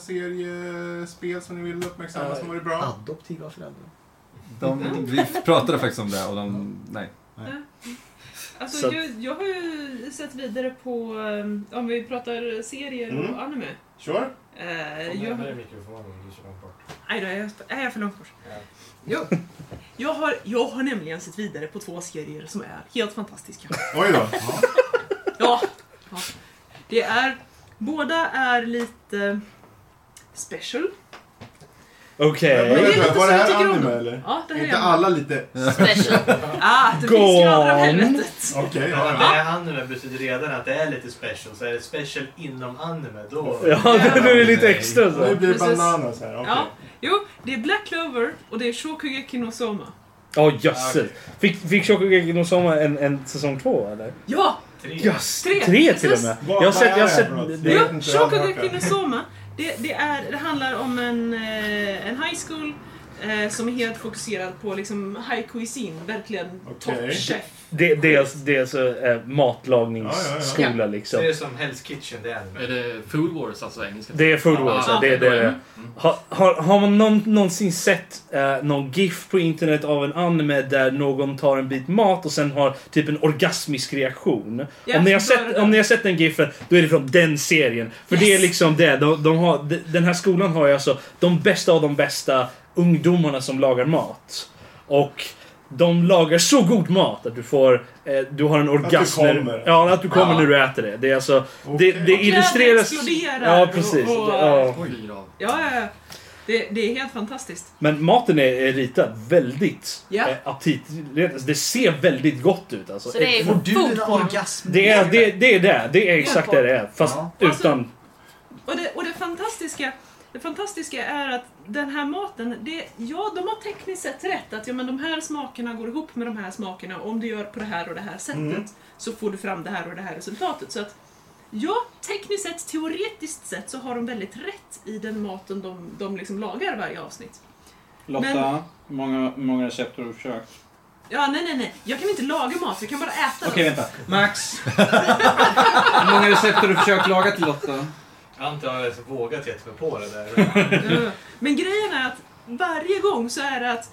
serie, spel som ni vill uppmärksamma Eh, som varit bra? Adoptiva föräldrar. De, vi pratade faktiskt om det och de... Nej. Alltså, Så att- jag, jag har ju sett vidare på, ehm, om vi pratar serier Mm. och anime. Sure. Eh, jag, har- mikrofonen, du kör långt bort. nej då, är jag, är jag för långt bort? Ja. Ja. Jag, har, jag har nämligen sett vidare på två serier som är helt fantastiska. Oj då. Ja. ja. Det är, båda är lite special. Men Okej. det är lite Var så det jag här tycker om anime dem. eller? Ja, det Är här inte är alla lite... Special. Ah, det finns grader av Gone. helvetet. Okej, ja, Ja, ja. det han nu betyder redan att det är lite special, så är det special inom anime då... Ja, det blir lite extra Nu så. blir det Precis. bananas här. okej. Ja. Jo, det är Black Clover och det är Shokugeki no Soma. Ja, Ah, jösses. Fick, fick Shokugeki no Soma en, en säsong två eller? Ja! Yes, Tre. tre till och med. Vad- Jag har vad sett, är jag har det sett... för något? det- Jag Jo, vet inte, jag har hört Shokugeki det. no Soma. Det, det, är, det handlar om en, eh, en high school eh, som är helt fokuserad på liksom high cuisine, verkligen Okej. toppchef. Det, det, är, det är alltså eh, matlagningsskola Ja, ja, Det liksom. är som Hell's Kitchen, det är anime. Är det Food Wars, alltså engelska? Ah. Mm. Det är food wars. Ja, ja. det, är då är det. Har, har, har man någon, någonsin sett eh, någon GIF på internet av en anime där någon tar en bit mat och sen har typ en orgasmisk reaktion? Ja, om, ni har då är sett, det om ni har sett den GIFen, då är det från den serien. För det är liksom det. De, de har, de, den här skolan har ju alltså de bästa av de bästa ungdomarna som lagar mat. Och De lagar så god mat att du får... Eh, du har en orgasm. när- kommer. Ja, att du kommer Ja. när du äter det. Det är alltså... Det, det Och kläder illustreras... exploderar. Ja, precis. Och, och, Det- ja. ja, ja, ja. Det, det är helt fantastiskt. Men maten är, är ritad väldigt Ja. eh, aptitretande. Alltså, det ser väldigt gott ut. Alltså. Så det är Eh, Får du Fotboll. dina orgasmer? det, är, det, det är det. Det är exakt det det är. Fast Ja. Alltså- utan... Och det, och det fantastiska det fantastiska är att den här maten, det, ja de har tekniskt sett rätt att ja, men de här smakerna går ihop med de här smakerna och om du gör på det här och det här sättet Mm. så får du fram det här och det här resultatet. Så att, ja, tekniskt sett, teoretiskt sett så har de väldigt rätt i den maten de, de liksom lagar varje avsnitt. Lotta, Men- hur många, hur många recept har du försökt? Ja, nej, nej, nej. Jag kan inte laga mat, jag kan bara äta Okej, den. vänta. Max! hur många recept har du försökt laga till Lotta? Jag har inte ens vågat gett mig på det där. Ja. Eh, Men grejen är att varje gång så är det att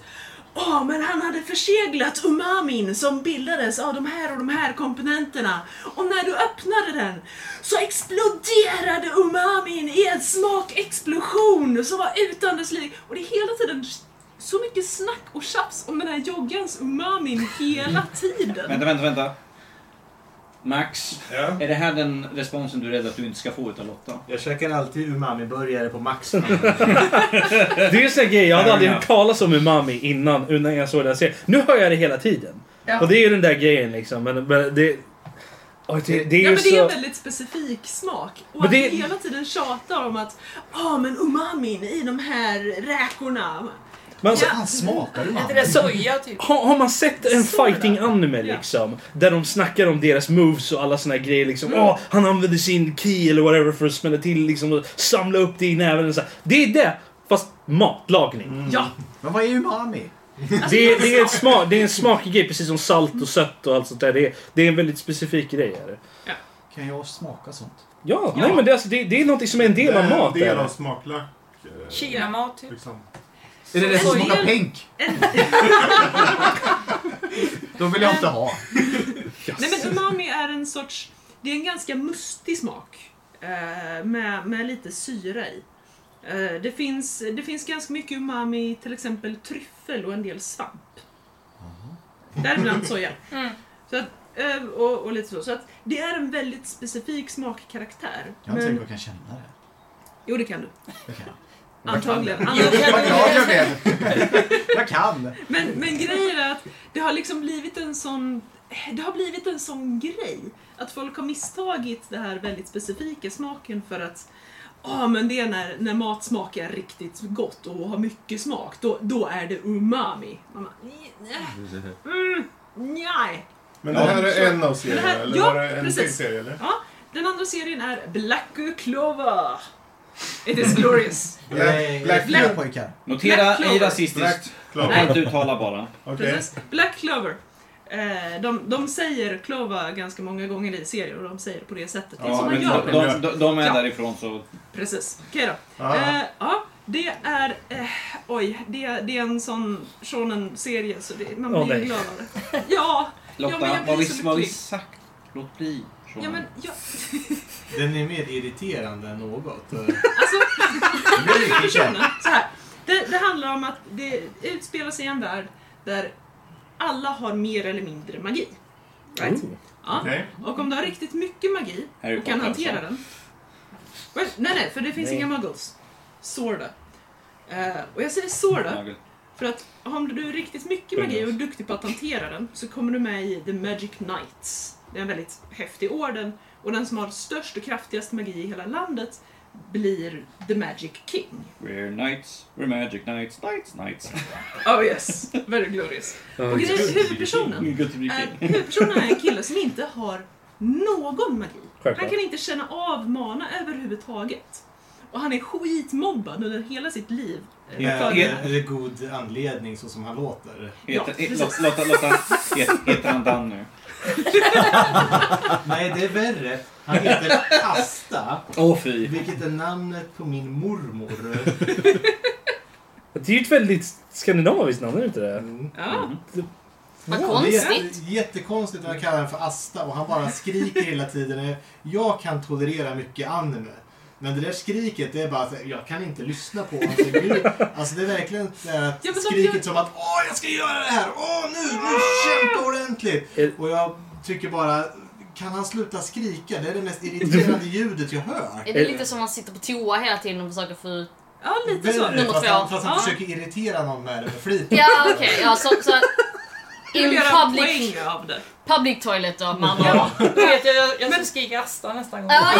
Åh, men han hade förseglat umamin som bildades av de här och de här komponenterna. Och när du öppnade den så exploderade umamin i en smakexplosion som var utan dess lik. Och det är hela tiden så mycket snack och tjafs om den här joggans umamin hela tiden. Vänta, vänta, vänta. Max, Ja. är det här den responsen du är rädd att du inte ska få utav Lotta? Jag käkar alltid umami-burgare på Max. Det är en sån här grej jag hade Fair aldrig enough. hört talas om umami innan, innan jag såg den här serien. Nu hör jag det hela tiden. Ja. Och det är ju den där grejen liksom. Men, men det... Oj, det, det är ju Ja, men det är en så... väldigt specifik smak. Och Men att det- vi hela tiden tjatar om att ja men umamin i de här räkorna. Men alltså, Fan, smakar du Är man? inte det soja typ? Har, har man sett en Så är det. fighting anime Ja. liksom? Där de snackar om deras moves och alla såna här grejer liksom. Åh, han använder sin key eller whatever för att smälla till liksom och samla upp det i näven och så här. Det är det! Fast matlagning. Ja, Men vad är umami? Alltså, Alltså, Det, är- det, är en smak, det är en smakig grej precis som salt och sött och allt sånt där. Det är, det är en väldigt specifik grej. Är det. Kan jag smaka sånt? Ja, nej men det är, alltså, det, det är något som är en del av mat. Det är en del eller? av smaklack. eh, Kinamat typ. Liksom. Är det det som Soja. smakar pink? Då vill jag inte ha. Nej men umami är en sorts, det är en ganska mustig smak. eh, Med, med lite syra i. Eh, Det finns, det finns ganska mycket umami i till exempel tryffel och en del svamp. Däribland soja. Mm. Så att, eh, och, och lite så. Så att det är en väldigt specifik smakkaraktär. Jag är inte Men- säker på att jag kan känna det. Jo, det kan du. Det kan jag. Antagligen. Vad Antagligen. glad jag blev! Jag kan! Men, men grejen är att det har liksom blivit en sån det har blivit en sån grej att folk har misstagit det här väldigt specifika smaken för att Ja men det är när, när mat smakar riktigt gott och har mycket smak, då, då är det umami. Man bara, "Nej, nej, mm, nej. Men det här är en av Det serierna, här- eller ja, var det en till precis. serie? Eller? Den andra serien är Black Clover. It is glorious. Nej, Black, Black- Fler pojkar. Black Notera Clover. i rasistiskt. Clover. Allt uttala bara. Okej. Precis. Black Clover. Eh, de, de säger Clover ganska många gånger i serier och de säger på det sättet. Det är Ja, så man men gör de, det. de, de, de är Ja. därifrån så... Precis. Okej då. Ja. Eh, ja, det är... Eh, oj, det, det är en sån shonen-serie så det, man Åh, blir nej. glad av det. Ja, Lotta, men jag blir vad, vi, så vad vi lycklig. sagt? Låt bli. Sean. ja men ja, Den är mer irriterande än något. Oh. personen, så här. Det, det handlar om att det utspelar sig i en värld där alla har mer eller mindre magi. Right? Ja. Okej. Och om du har riktigt mycket magi Harry och kan Potter, hantera alltså. den. Well, nej, nej, för det finns Nej. inga muggles. Sorda. Eh, och jag säger sorda Nagel. För att om du är riktigt mycket magi och är duktig på att hantera den så kommer du med i The Magic Knights. Det är en väldigt häftig orden och den som har störst och kraftigast magi i hela landet blir The Magic King. We're knights, we're magic knights, knights, knights. Oh yes, very glorious. Och grejen är huvudpersonen Good to be är, king. huvudpersonen är en kille som inte har någon magi. Han Självklart. kan inte känna av mana överhuvudtaget. Och han är skitmobbad under hela sitt liv. eh, Ja, för- är det god anledning så som han låter? Ja, Heter- precis. Lotta, Lotta, Lotta, heter- heter han Dan nu? Nej, det är värre. Han heter Asta, Åh fy. vilket är namnet på min mormor. Det är ju ett väldigt skandinaviskt namn, är det inte det? Mm. Ja, Vad Det är konstigt. jätte, jättekonstigt att man kallar honom för Asta och han bara skriker hela tiden. Jag kan tolerera mycket anime. Men det där skriket, det är bara att jag kan inte lyssna på hans ljud. Alltså det är verkligen så här att skriket som att åh, jag ska göra det här! Åh, nu, nu kämpa Eh. ordentligt! Och jag tycker bara, kan han sluta skrika? Det är det mest irriterande ljudet jag hör. Är det lite som man sitter på toa hela tiden och försöker få ut... Ja, Väldigt, Nummer fast två. han, fast han försöker irritera någon med det med flit. Ja, okej. Ja, så, så vill in göra en public, poäng av det. public toilet då, man. Ja, Då vet jag, jag, jag ska skrika Asta nästa gång. ja,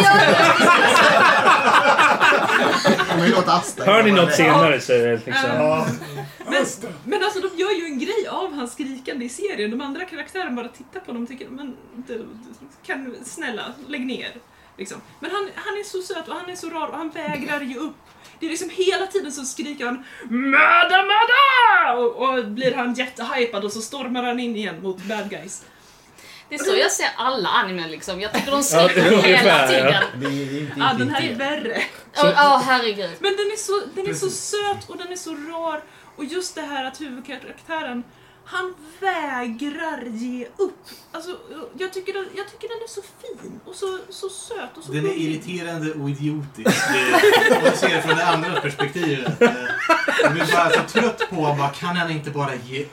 Hör ni något senare så är det liksom... Ja. Men, men alltså de gör ju en grej av hans skrikande i serien. De andra karaktärerna bara tittar på dem och tycker men du, du, kan du, snälla lägg ner. Liksom. Men han, han är så söt och han är så rar och han vägrar ge upp. Det är liksom hela tiden så skriker han MÖDA MÖDA! Och, och blir han jättehypad och så stormar han in igen mot bad guys. Det är så jag ser alla anime liksom. Jag tycker de Ja, skriker hela ungefär, ja. tiden. Ah, den här är värre. Åh, åh, herregud. Men den är, så, den är så söt och den är så rar. Och just det här att huvudkaraktären, han vägrar ge upp. Alltså, jag tycker, den- jag tycker den är så fin och så, så söt och så Den är gullig. irriterande och idiotisk. Det- Om man ser det från det andra perspektivet. Eh, Jag blir bara så trött på honom. Bara, Kan han inte bara ge upp?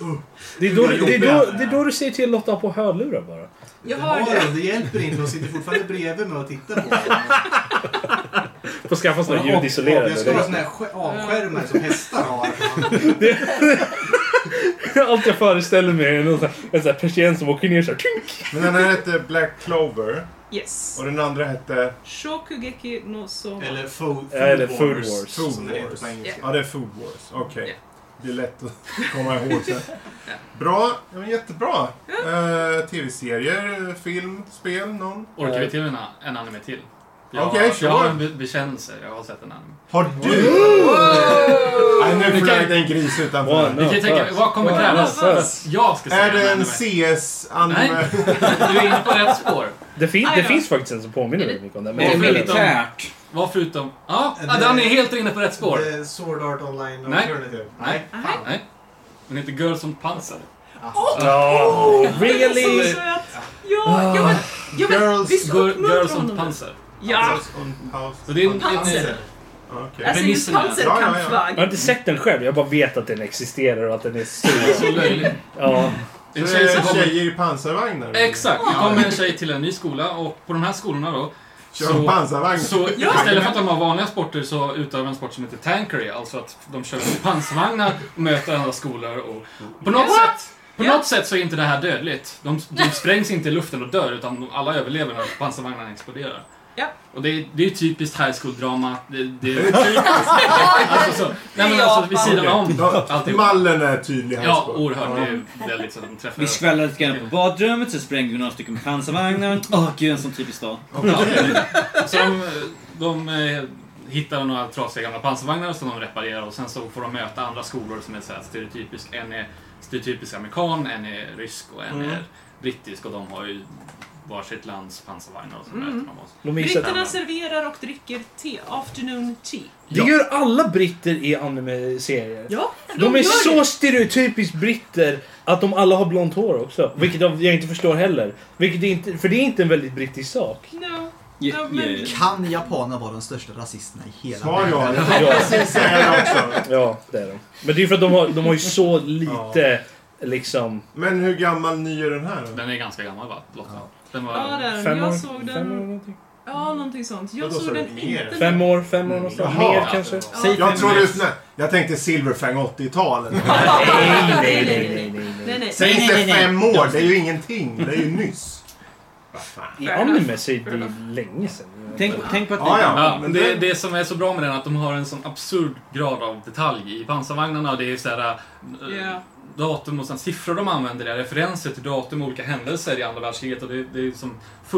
Det, är då, det, är då, det är då du säger till Lotta på hörlurar bara. Jag har hör det. det. det hjälper inte. Hon sitter fortfarande bredvid mig och tittar på honom. Får skaffa såna här Jag ska ha såna här ljudisolerade. sk- avskärmar som hästar har. Allt jag föreställer mig är någon sån här, en sån här persien som åker ner såhär. Men den här hette Black Clover. Yes. Och den andra hette... Shokugeki no Soma. Eller Food, food, Ja, eller Food Wars. Wars. som Food det heter Wars. på engelska. Ja, det är Food Wars. Okej. Det är lätt att komma ihåg sen. Bra. Ja, men jättebra. Eh, Tv-serier, film, spel, någon? Orkar vi till en, en anime till? Jag, Okej, jag har sure. en be- bekännelse. Jag har sett en anime. Har du? Nej, nu Vi kan- flög det en gris utanför. Vi kan tänka, vad kommer krävas för att jag ska se Är det en anime? CS-anime? Nej, du är inne på rätt spår. Det, fin, Aj det då. finns faktiskt en som påminner väldigt mycket om det. Vad men- förutom- Vad förutom... Ja, Är ah, det- den är helt inne på rätt spår. The Sword Art Online Nej. Alternative. typ. Nej. Nej. Den heter Girls on Panzer. Oh, Den är så really? söt. Ja, ja, men, ja, men visst Girl- uppmuntrar Girls on honom. Panzer. Ja, Så det är en... Panzer. Okej. Alltså just Premissen är- Jag har panserkampsvagn. inte sett den själv, jag bara vet att den existerar och att den är så... Så löjlig. Ja. Det är en Så tjej det som är kommer... tjejer i pansarvagnar? Exakt! Nu kommer en tjej till en ny skola och på de här skolorna då Kör de pansarvagn? Så istället för att de har vanliga sporter så utövar de en sport som heter tankery, alltså att de kör med pansarvagnar och möter andra skolor och... På något sätt, på Ja. något sätt så är inte det här dödligt. De, de sprängs inte i luften och dör, utan de, alla överlever när pansarvagnarna exploderar. Ja. Och det är, det är ju typiskt high school-drama. Det, det är typiskt... alltså så. Nej men alltså vid sidan om Okej. alltihop. Mallen är tydlig här. Ja, så. oerhört. Det är väldigt så att de träffar... Vi skvallrade lite grann på badrummet, så sprängde vi några stycken med pansarvagnar. Åh gud, en sån typisk dag. Så de, de eh, hittar några trasiga gamla pansarvagnar som de reparerar och sen så får de möta andra skolor som är så här stereotypisk. En är stereotypisk amerikan, en är rysk och en är brittisk och de har ju varsitt lands pansarvagnar och så Mm. möter de oss. De är ju så- Mm. Britterna serverar och dricker te, afternoon tea. Det gör alla britter i anime-serier. Ja, De är gör så stereotypiskt britter att de alla har blont hår också. Vilket jag jag inte förstår heller. Vilket är inte, för det är inte en väldigt brittisk sak. det. No. Ja, ja. Kan japaner vara de största rasisterna i hela Sa jag världen? det? Ja, Precis säger jag också. ja det är de. Men det är för att de har, de har ju så lite, liksom... Men hur gammal ny är den här? då? Den är ganska gammal va, Lotta? Den Ja, var... den. Fem år, Jag såg fem år den. någonting. Ja, någonting sånt. Jag Vadå, sa såg du den mer? inte. Fem år, fem år någonstans. Jaha. Mer kanske. Säg Jag tror just nej. Jag tänkte Silverfang 80-talet. Nej, nej, nej, nej. nej, nej. Säg nej, nej, inte nej. fem år, det är ju ingenting. Det är ju nyss. I anime så är det ju länge sedan. Tänk, tänk på att Ja, ja. Ja, men det, den- det som är så bra med den är att de har en sån absurd grad av detalj i pansarvagnarna. Det är sådär, Ja. datum och sen siffror de använder, det är referenser till datum och olika händelser i andra världskriget. Och det, det är liksom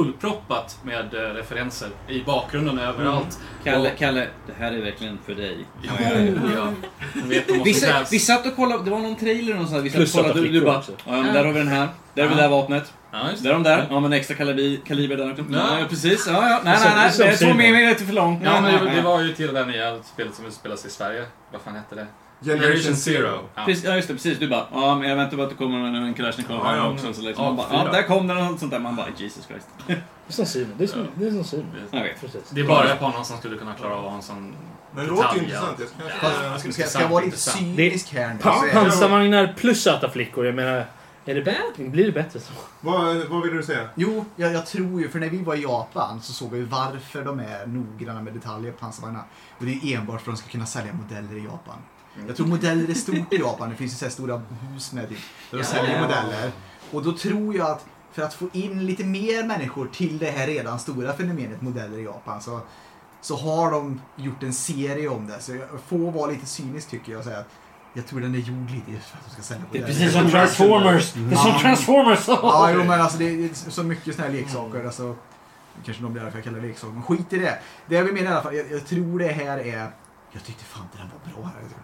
fullproppat med eh, referenser i bakgrunden överallt. Mm. Kalle, Kalle, det här är verkligen för dig. Mm. Ja, ja, ja. De vet, de måste Vi, krävs. vi satt och kollade, det var någon trailer någonstans. Vi satt och Plus kollade, att du, flickor du bara, också. ja, men där har vi den här, där har vi det här vapnet, Ja, just där det. har de där, ja men extra kaliber, kaliber där också. Ja. Ja, precis, ja, ja. Nej, Som- nej, nej, som det är två synen. meter för långt. Ja, Nej, men nej, det, det nej. var ju till det där nya spelet som utspelar sig i Sverige. Vad fan hette det? Generation Zero. Ja. Precis, ja, just det. Precis. Du bara, ja, men jag väntar bara att det kommer en, en Kalashnikov Ja, ja. också. Så liksom, man bara, Ja, ja, där kom den och allt sånt där. Man bara, Jesus Christ. Det är som Simon. Det är som, det är som Simon. Okej. Precis. Det är bara japanerna som skulle kunna klara av en sån Det detalj, låter ja. ju intressant. Jag ska- Ja, Fast- jag skulle ska- säga ska vara sant, lite intressant. Cynisk här nu. Pa- så är det- Pansarvagnar plus söta flickor. Jag menar, är det bättre? Blir det bättre så? Vad, vad vill du säga? Jo, jag, jag tror ju, för när vi var i Japan så såg vi varför de är noggranna med detaljer på pansarvagnarna. Och det är enbart för att de ska kunna sälja modeller i Japan. Jag tror modeller är stort i Japan. Det finns ju så här stora hus med typ, där de Ja. säljer modeller. Och då tror jag att för att få in lite mer människor till det här redan stora fenomenet modeller i Japan så, så har de gjort en serie om det. Så jag får vara lite cynisk tycker jag och säga att jag tror den är gjord lite just för att de ska sälja Det är modeller. precis som Transformers. Det är som Ja. Transformers. Mm. Ja, jo, men alltså det är så mycket såna här leksaker. Alltså, kanske någon blir därför jag kallar det leksaker, men skit i det. Det jag vill mena i alla fall, jag, jag tror det här är... Jag tyckte fan inte den var bra. Alltså.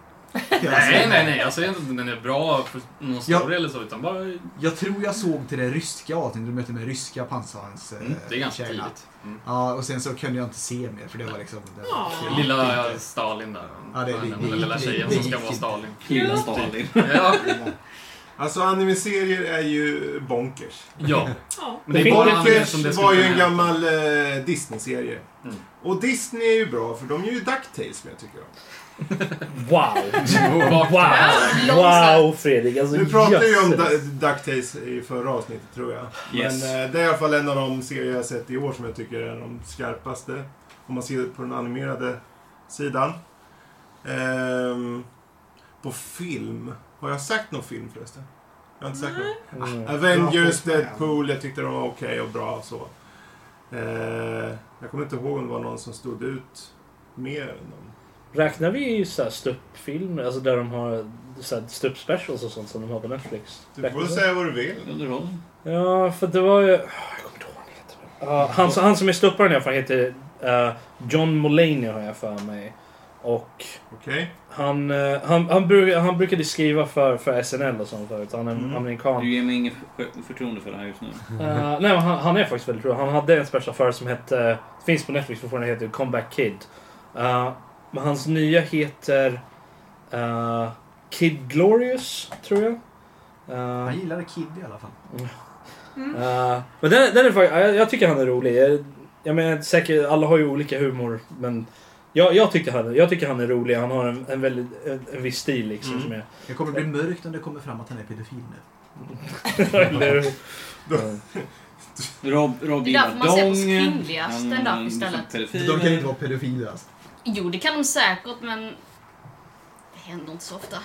Nej, nej, nej. Jag säger inte att den är bra för någon Ja. story eller så, utan bara... Jag tror jag såg till det ryska avsnittet, du mötte med ryska pansarvagns... eh, Mm, det är ganska tjejerna. tidigt. Mm. Ja, och sen så kunde jag inte se mer för det var liksom... Det var Lilla Stalin där. Ja, det är- den, det- det- lilla det- tjejen det- som ska det- vara Stalin. Lilla Stalin. Ja. Alltså animeserier är ju bonkers. Ja. Ja. Men det är bara anime som det Bonkers skulle var ju kunna en hända. gammal eh, Disney-serie. Mm. Och Disney är ju bra för de gör ju Ducktails som jag tycker om. Wow! Wow! Wow, Fredrik. Alltså, Nu pratade ju om jösses. Du- DuckTales i förra avsnittet tror jag. Yes. Men eh, det är i alla fall en av de serier jag har sett i år som jag tycker är de skarpaste. Om man ser det på den animerade sidan. Ehm, på film. Har jag sagt någon film förresten? Jag har inte sagt någon. Mm. Ah, Avengers, Bra. Deadpool. Jag tyckte de var okej och bra och så. Eh, jag kommer inte ihåg om det var någon som stod ut mer än dem. Räknar vi så här stuppfilmer, alltså där de har så här stuppspecials och sånt som de har på Netflix? Du Räknar får det? säga vad du vill. Underhållning. Ja, för det var ju... Ah, Jag kommer inte ihåg vad han heter. Ja, han, som- han som är stupparen i alla fall heter eh, John Mulaney har jag för mig. Och Okej? han, eh, han, han, bruk, han brukade skriva för, för SNL och sånt förut. Han är Mm. amerikan. Du ger mig inget för- förtroende för det här just nu. Eh, nej, men han, han är faktiskt väldigt rolig. Han hade en special förut som hette... Finns på Netflix fortfarande, heter Comeback Kid. Eh, men hans nya heter... eh, Kid Glorious, tror jag. Eh, Mm. Han gillade Kid i alla fall. Eh, men den, den är faktiskt, jag, jag tycker han är rolig. Jag, jag menar säkert, alla har ju olika humor. Men jag, jag, tycker han, jag tycker han är rolig. Han har en, en, väldigt, en, en viss stil liksom. Mm. Som är, Det kommer bli mörkt om det kommer fram att han är pedofil nu. eller, Rob, Rob Det är därför man ser på Dong. kvinnliga Han- stand-up han- istället. pedofil. De kan inte vara pedofiler alltså. Jo, det kan de säkert, men det händer inte så ofta.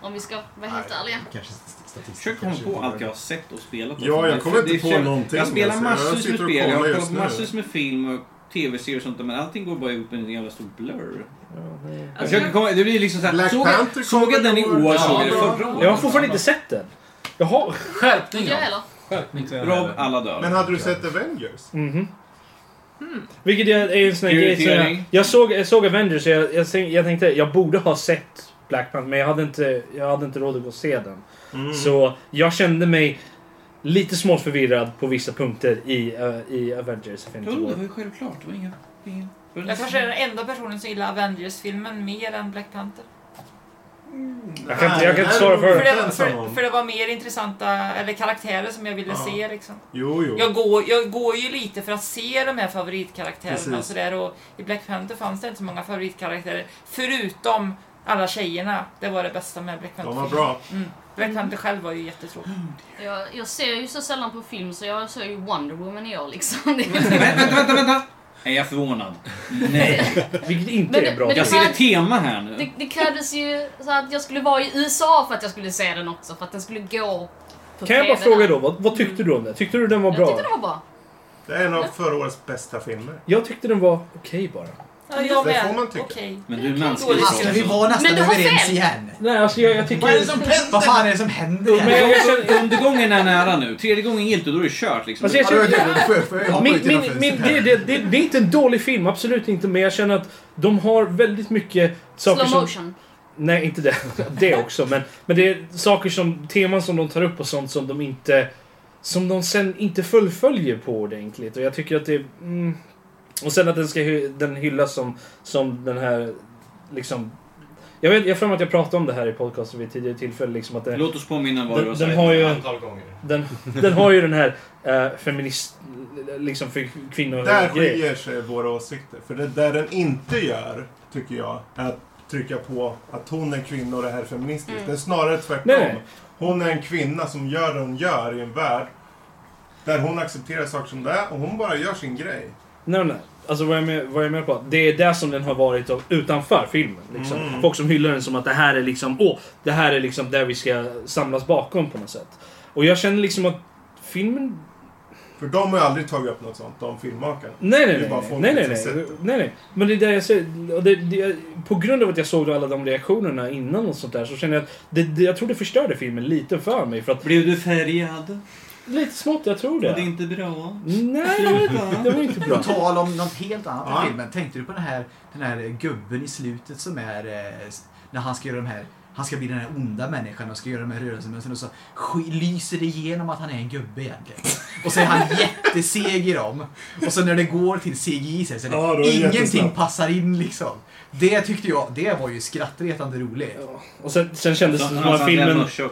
Om vi ska vara helt ärliga. Kanske st- statistiskt. Försök komma kanske på inte allt jag har sett och spelat. Ja, jag kommer Det inte på känns- någonting, Jag spelar alltså. Jag massor med sitter och spel, jag kollar har just kollat nu. massor med film och tv-serier och sånt där, men allting går bara ut med en jävla stor blur. Alltså, Alltså, jag kan komma, det blir liksom såhär, Black såg, Panther jag- såg jag kommer den i i år. år, såg jag den Ja, förra året. jag har fortfarande inte sett den. Jaha. Skärpning, Inte jag ja. heller. Inte jag Rob, heller. alla dör. Men hade du sett Avengers? Mhm. Vilket är är en sån här grej som jag, Prioritering. jag, såg, jag såg Avengers och jag, jag, tänk- jag tänkte jag borde ha sett Black Panther men jag hade inte, jag hade inte råd att gå och se den. Mm. Så jag kände mig lite smått förvirrad på vissa punkter i, eh, i Avengers. Jo, Infinity det War. var ju självklart. Det var inga... ingen- Jag kanske är den enda personen som gillar Avengers-filmen mer än Black Panther. Mm. Jag kan inte- jag kan inte svara för För det. det, för, för det var mer intressanta, eller karaktärer som jag ville Ja. se liksom. Jo, jo. Jag går, jag går ju lite för att se de här favoritkaraktärerna och Precis. sådär och i Black Panther fanns det inte så många favoritkaraktärer förutom alla tjejerna. Det var det bästa med Black Panther. De var bra. Mm. Black Panther själv var ju jättetråkig. Jag, jag ser ju så sällan på film så jag såg ju Wonder Woman i år liksom. Det är- Vänta, vänta, vänta, vänta! Är jag förvånad? Nej. Vilket inte Men- är bra. men Jag ser ett tema här nu. Det, det krävdes ju så att jag skulle vara i USA för att jag skulle se den också, för att den skulle gå på kan jag bara TV. fråga då, vad, vad tyckte du om den? Tyckte du den var Jag bra? tyckte det var bra. Det är en av förra årets bästa filmer. Jag tyckte den var okej bara. Ja, jag Det med. får man tycka. Okej. Men du är Dålig mänsklig. Ska vi vara nästan Men du har överens fel. igen? Nej, alltså jag, jag tycker... Vad är det som händer? Vad fan är det som händer? Men jag- alltså, jag känner- Undergången är nära nu. Tredje gången gillt och då är det kört liksom. Alltså, jag Ja, det var känner- trevligt. Får jag- får jag hoppa Min, ut genom min, min, fönstret här? det, det, det, det är inte en dålig film, absolut inte. Men jag känner att de har väldigt mycket saker Slow som... motion. Nej, inte det. Det också. Men, men det är saker som... Teman som de tar upp och sånt som de inte... Som de sen inte fullföljer på ordentligt. Och jag tycker att det... Mm, och sen att den ska hy, den hyllas som, som den här... Liksom... Jag vet, jag har för mig att jag pratade om det här i podcasten vid ett tidigare tillfälle. Liksom att det, Låt oss påminna vad du har den, den sagt har ju, ett antal gånger. Den, den har ju den här eh, feminist... Liksom för kvinnor... Där grejen. skiljer sig våra åsikter. För det där den inte gör, tycker jag, är att trycka på att hon är kvinna och det här är feministiskt. Mm. Det är snarare tvärtom. Nej. Hon är en kvinna som gör det hon gör i en värld där hon accepterar saker som det är och hon bara gör sin grej. Nej, nej. Alltså vad jag, är med, vad jag är med på, det är det som den har varit av, utanför filmen. Liksom. Mm. Folk som hyllar den som att det här är liksom, åh, det här är liksom där vi ska samlas bakom på något sätt. Och jag känner liksom att filmen... För de har ju aldrig tagit upp något sånt, de filmmakarna. Nej, Det nej, är nej. bara Nej, folket nej, nej, som nej, sett nej, nej. Men det är det jag säger. Och det, det, på grund av att jag såg alla de reaktionerna innan och sånt där så känner jag att det, det, jag tror det förstörde filmen lite för mig. För att, Blev du färgad? Lite smått, jag tror det. Var det inte bra? Nej, det var inte- det var inte bra. På tal om något helt annat Ja. i filmen. Tänkte du på den här, den här gubben i slutet som är... eh, s- När han ska göra de här... Han ska bli den här onda människan och ska göra de här rörelsemönstren och så sk- lyser det igenom att han är en gubbe egentligen. Och så är han jätteseg i dem. Och så när det går till CGI så är det Ja, då är det ingenting jättesnabbt. passar in liksom. Det tyckte jag, det var ju skrattretande roligt. Och sen, sen kändes det som att filmen... Ja,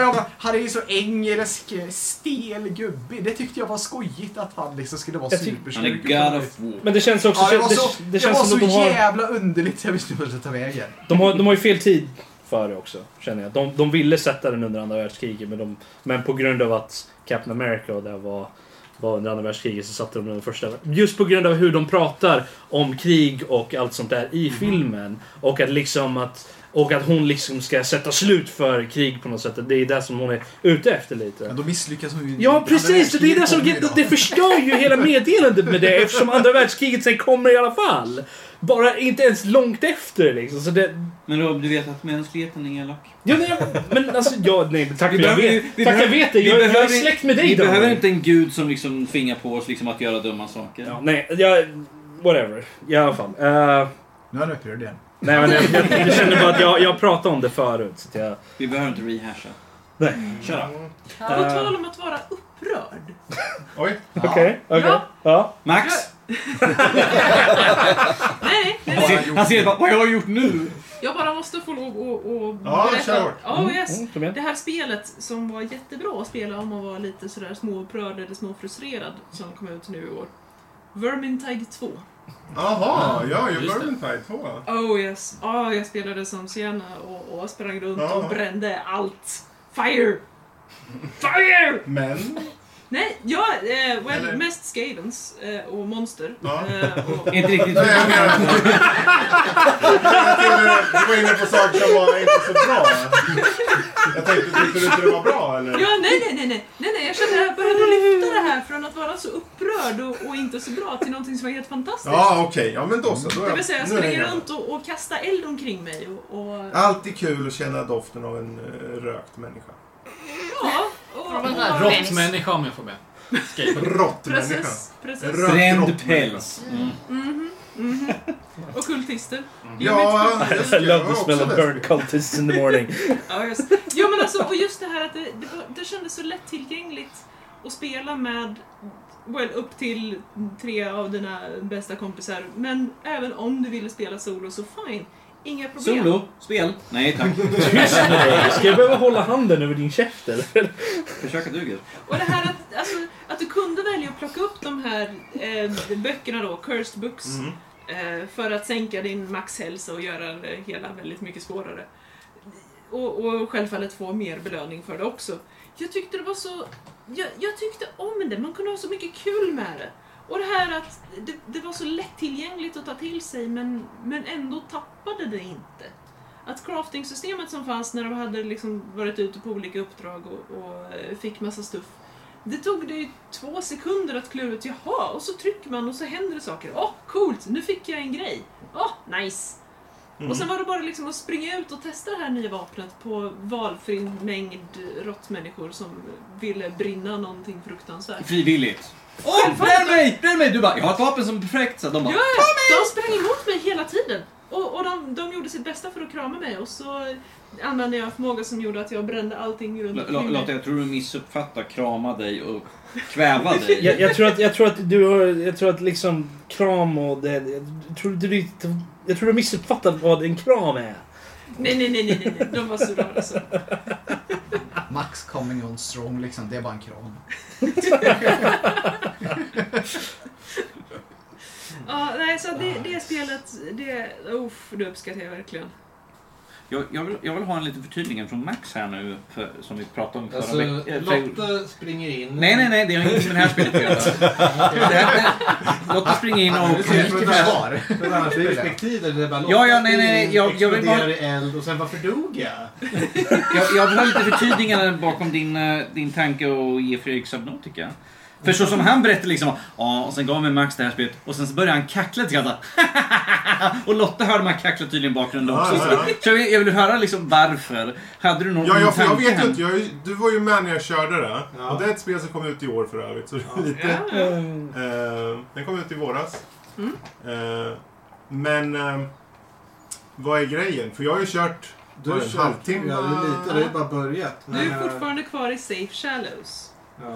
ja, men han är ju så engelsk, stel gubbe. Det tyckte jag var skojigt att han liksom skulle vara Jag tyck- supersnygg. Han är God of War. Men det känns också- Ja, det var det- så, det det, känns var som att så de har- jävla underligt så jag visste inte vart jag skulle ta vägen. De har, de har ju fel tid för det också, känner jag. De, de ville sätta den under andra världskriget, men, de, men på grund av att Captain America och det var, var under andra världskriget så satte de den första. Just på grund av hur de pratar om krig och allt sånt där i filmen. Och att liksom att och att hon liksom ska sätta slut för krig på något sätt. Det är det som hon är ute efter lite. Ja, då misslyckas hon ju. Ja, precis! Det är det som... Det förstör ju hela meddelandet med det eftersom andra världskriget sen kommer i alla fall. Bara inte ens långt efter liksom. Så det, Men Rob, du vet att mänskligheten är elak. Ja, nej, men alltså, ja, nej, men tack för jag behöver- vet. vi tack, jag behöver- vet det. vi Jag, jag är behöver- släkt med dig Vi då. behöver inte en gud som liksom tvingar på oss liksom att göra dumma saker. Ja, nej, jag... Whatever. I alla fall. Eh, Nu är han upprörd igen. nej, men jag, jag, jag känner bara att jag, jag pratade om det förut. Så att jag, Vi behöver inte rehasha. nej. Kör då. På tal om att vara upprörd. Oj. Okej, okej. Ja. Ja. Max? Nej, nej, Han nej. ser- Han ser bara, vad jag har gjort nu? Jag bara måste få lov att att Ja, kör hårt. Ja, Mm, yes. mm, kom igen. det här spelet som var jättebra att spela om man var lite sådär småupprörd eller småfrustrerad som kom ut nu i år. Vermintide 2. Jaha, ja, jag Just det. började med 2. Oh yes. Ah, jag spelade som Sienna och, och sprang runt Ja. och brände allt. Fire! Fire! Men? Nej, ja, eh, well, mest Skadens eh, och Monster. Eh, och, Inte riktigt. Nej, jag menar... Jag tänkte, du var inne på saker som var inte så bra. Jag tänkte, tyckte du inte det var bra eller? Ja, nej, nej, nej, nej, nej, nej, jag kände att jag behövde lyfta det här från att vara så upprörd och, och inte så bra till någonting som var helt fantastiskt. Ja, okej. Ja, men då så. Då är Det vill säga, jag nu hänger springer jag med. runt och, och kastar eld omkring mig och... och Alltid kul att känna doften av en eh, rökt människa. ja, och... och, Råttmänniska om jag får med. Råttmänniska. Precis, precis. En rökt Bränd råttmänniska. päls. Mhm, mhm. mm-hmm. Och kultister. Ja, just det. I love Jag the har smell också of läst bird cultists in the morning. Ja, just. Jo, men alltså, och just det här att det, det, var, det kändes så lättillgängligt att spela med well, upp till tre av dina bästa kompisar. Men även om du ville spela solo så fine. Inga problem. Solo? Spel? Nej tack. Ska jag behöva hålla handen över din käft eller? Försöka duger. Och det här att, alltså, att du kunde välja att plocka upp de här eh, böckerna då, Cursed Books, Mm. eh, för att sänka din maxhälsa och göra det hela väldigt mycket svårare. Och, och självfallet få mer belöning för det också. Jag tyckte det var så... Jag, jag tyckte om det, man kunde ha så mycket kul med det. Och det här att det, det var så lättillgängligt att ta till sig men, men ändå tappade det inte. Att crafting-systemet som fanns när de hade liksom varit ute på olika uppdrag och, och eh, fick massa stuff. Det tog det ju två sekunder att klura ut, jaha, och så trycker man och så händer det saker. Åh, coolt, nu fick jag en grej. Åh, nice. Mm. Och sen var det bara liksom att springa ut och testa det här nya vapnet på valfri mängd råttmänniskor som ville brinna någonting fruktansvärt. Frivilligt. Åh, bränn mig! Bränn mig! Du bara, jag har ett vapen som perfekt. Så de bara, Ja, de sprang emot mig hela tiden. Och, och de, de gjorde sitt bästa för att krama mig och så använde jag en förmåga som gjorde att jag brände allting runt L- omkring L- mig. Lotta, jag tror du missuppfattar krama dig och kväva dig. jag, jag, tror att, jag tror att du har... Jag tror att liksom kram och det... Jag tror, du, jag tror du missuppfattat vad en kram är. Nej, nej, nej, nej, nej. De var så alltså. röra så. Max coming on strong liksom, det är bara en kram. Ja, nej, så det, det spelet, det, uff, det uppskattar jag verkligen. Jag, jag, vill, jag vill ha en liten förtydligande från Max här nu, för, som vi pratade om förra Alltså, veck- eh, Lotta springer in. Nej, nej, nej, det har inget med det här spelet att göra. Det här- det- Lotta springer in och... Du ser det från ett annat- från ett annat perspektiv. Där det bara, Ja, ja, nej, nej, nej, jag, jag vill bara... exploderar i eld och sen varför dog jag? Jag, jag vill ha lite förtydliganden bakom din, eh, din tanke och ge Fredrik Subnautica. För så som han berättade liksom, ja, och sen gav mig Max det här spelet och sen så började han kackla lite grann. såhär, Och Lotta hörde man kackla tydligen i bakgrunden Ja, också. ja, ja. sådär. Så jag vill, jag vill höra liksom varför. Hade du någon Ja, ja, för jag tanke vet här? ju att jag, du var ju med när jag körde det. Och det är ett spel som kom ut i år för övrigt. Så det är lite, Ja. Mm. eh, den kom ut i våras. Eh, men eh, vad är grejen? För jag har ju kört Du har vad är det, kört- en halvtimme. ja, det är lite. Det är bara börjat. Nej, Du nej, är nej. fortfarande kvar i Safe Shallows.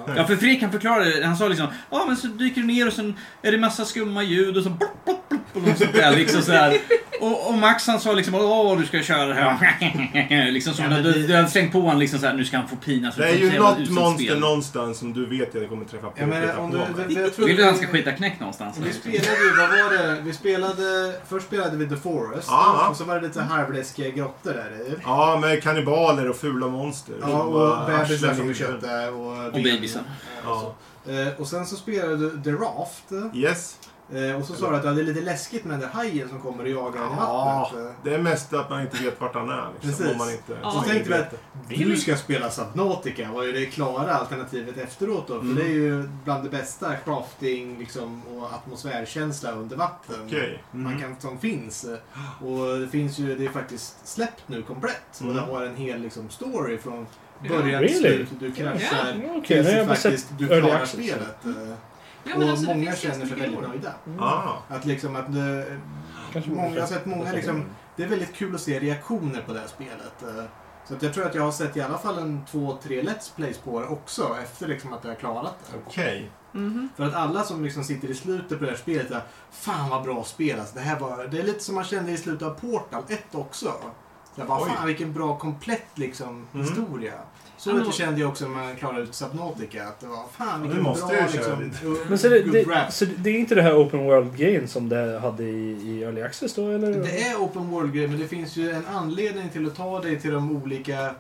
Ja, för Fredrik han förklarade, han sa liksom, ja men så dyker du ner och sen är det massa skumma ljud och så blopp, blopp, blopp och något sånt där liksom så här. Och, och Max han sa liksom, åh du ska köra det här. liksom som Ja, när men du, du hade slängt på honom liksom så här, nu ska han få pinas. för Det är ett så ju jävla något uselt monster spel." någonstans som du vet att jag kommer träffa på. Jag menar, skjuta om på du- mig. det- det- jag tror- Vill du att han ska skita knäck någonstans? Vi spelade ju, vad var det? Vi spelade, först spelade vi The Forest. Ja. Och så var det lite halvläskiga grottor där i. Ja, med kannibaler och fula monster. Ja, och bebisar som vi köpte. Och, Och bebisar. Ja. så. Eh, Och sen så spelade du The Raft. Yes. Eh, Och så sa du att det är lite läskigt med den där hajen som kommer och jagar en i Ja, vattnet. Eh, det är mest att man inte vet vart han är. Liksom, Precis. Om man inte, Så tänkte vi att Vill du ska spela Subnautica. Vad är det klara alternativet efteråt då? För Mm. det är ju bland det bästa crafting liksom, och atmosfärkänsla under vatten Okej. Mm. man kan, som finns. Och det finns ju, det är faktiskt släppt nu komplett. Och Mm. det har en hel liksom, story från Yeah. början till Really? slut. Du kraschar Yeah. Okej, tills det har du jag bara faktiskt sett du early klarar access. spelet. Eh, Ja, och men alltså, det många finns känner sig ganska mycket väldigt lore. nöjda. Ah. Att liksom att eh, Kanske borde många, jag har sett många testa liksom, det. det är väldigt kul att se reaktioner på det här spelet. eh. Så att jag tror att jag har sett i alla fall en två, tre Let's Plays på det också efter liksom att jag har klarat det. Okej. Mm-hmm. Mhm. För att alla som liksom sitter i slutet på det här spelet är Fan vad bra spel alltså. det, här var, det är lite som man kände i slutet av Portal 1 också. Jag bara, Oj. fan vilken bra komplett liksom, Mm. historia. Så Ja, men- lite kände jag också när man klarade ut Subnautica. Att det var fan nu vilken bra måste jag ju köra liksom, uh, Men så det, good det, rap. så det är inte det här open world-grejen som det hade i, i Early Access då eller? Det är open world-grejer men det finns ju en anledning till att ta dig till de olika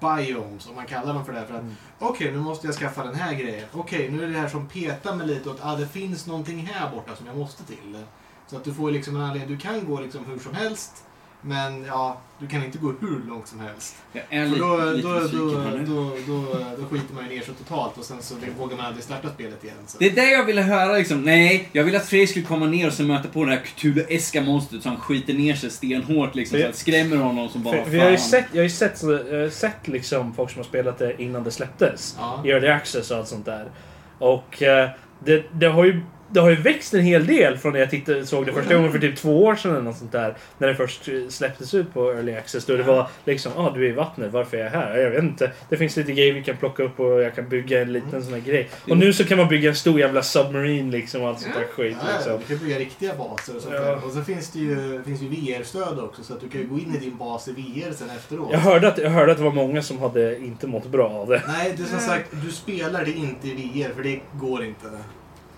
biomes, om man kallar dem för det. här, För att, Mm. Okej, nu måste jag skaffa den här grejen. Okej, nu är det här som petar mig lite åt, ah, det finns någonting här borta som jag måste till. Så att du får liksom en anledning. Du kan gå liksom hur som helst, men ja, du kan inte gå hur långt som helst. Jag är För lite, då, lite då, då, besviken då, på nu. då, då, skiter man ju ner sig totalt och sen så vågar man aldrig starta spelet igen. Så. Det är det jag ville höra liksom. Nej, jag ville att Fredrik skulle komma ner och så möta på det här Cthulhu-eska monstret så han skiter ner sig stenhårt liksom. Så att det skrämmer honom som bara För, för jag har ju fan. sett, jag har ju sett, så- jag har sett liksom folk som har spelat det innan det släpptes. Ja. I Early Access och allt sånt där. Och eh, det, det har ju det har ju växt en hel del från när jag tittade, såg det första gången för typ två år sedan eller något sånt där. När det först eh, släpptes ut på Early Access. Då det var liksom, ah du är i vattnet, varför är jag här? Jag vet inte. Det finns lite grejer vi kan plocka upp och jag kan bygga en Mm. liten sån här grej. Och nu så kan man bygga en stor jävla submarine liksom och allt sånt där skit Ja, ja, liksom. du kan bygga riktiga baser och sånt Ja. där. Och så finns det ju, finns ju VR-stöd också så att du kan ju gå in i din bas i VR sen efteråt. Jag hörde, att, jag hörde att det var många som hade inte mått bra av det. Nej, det är som sagt, du spelar det inte i VR för det går inte.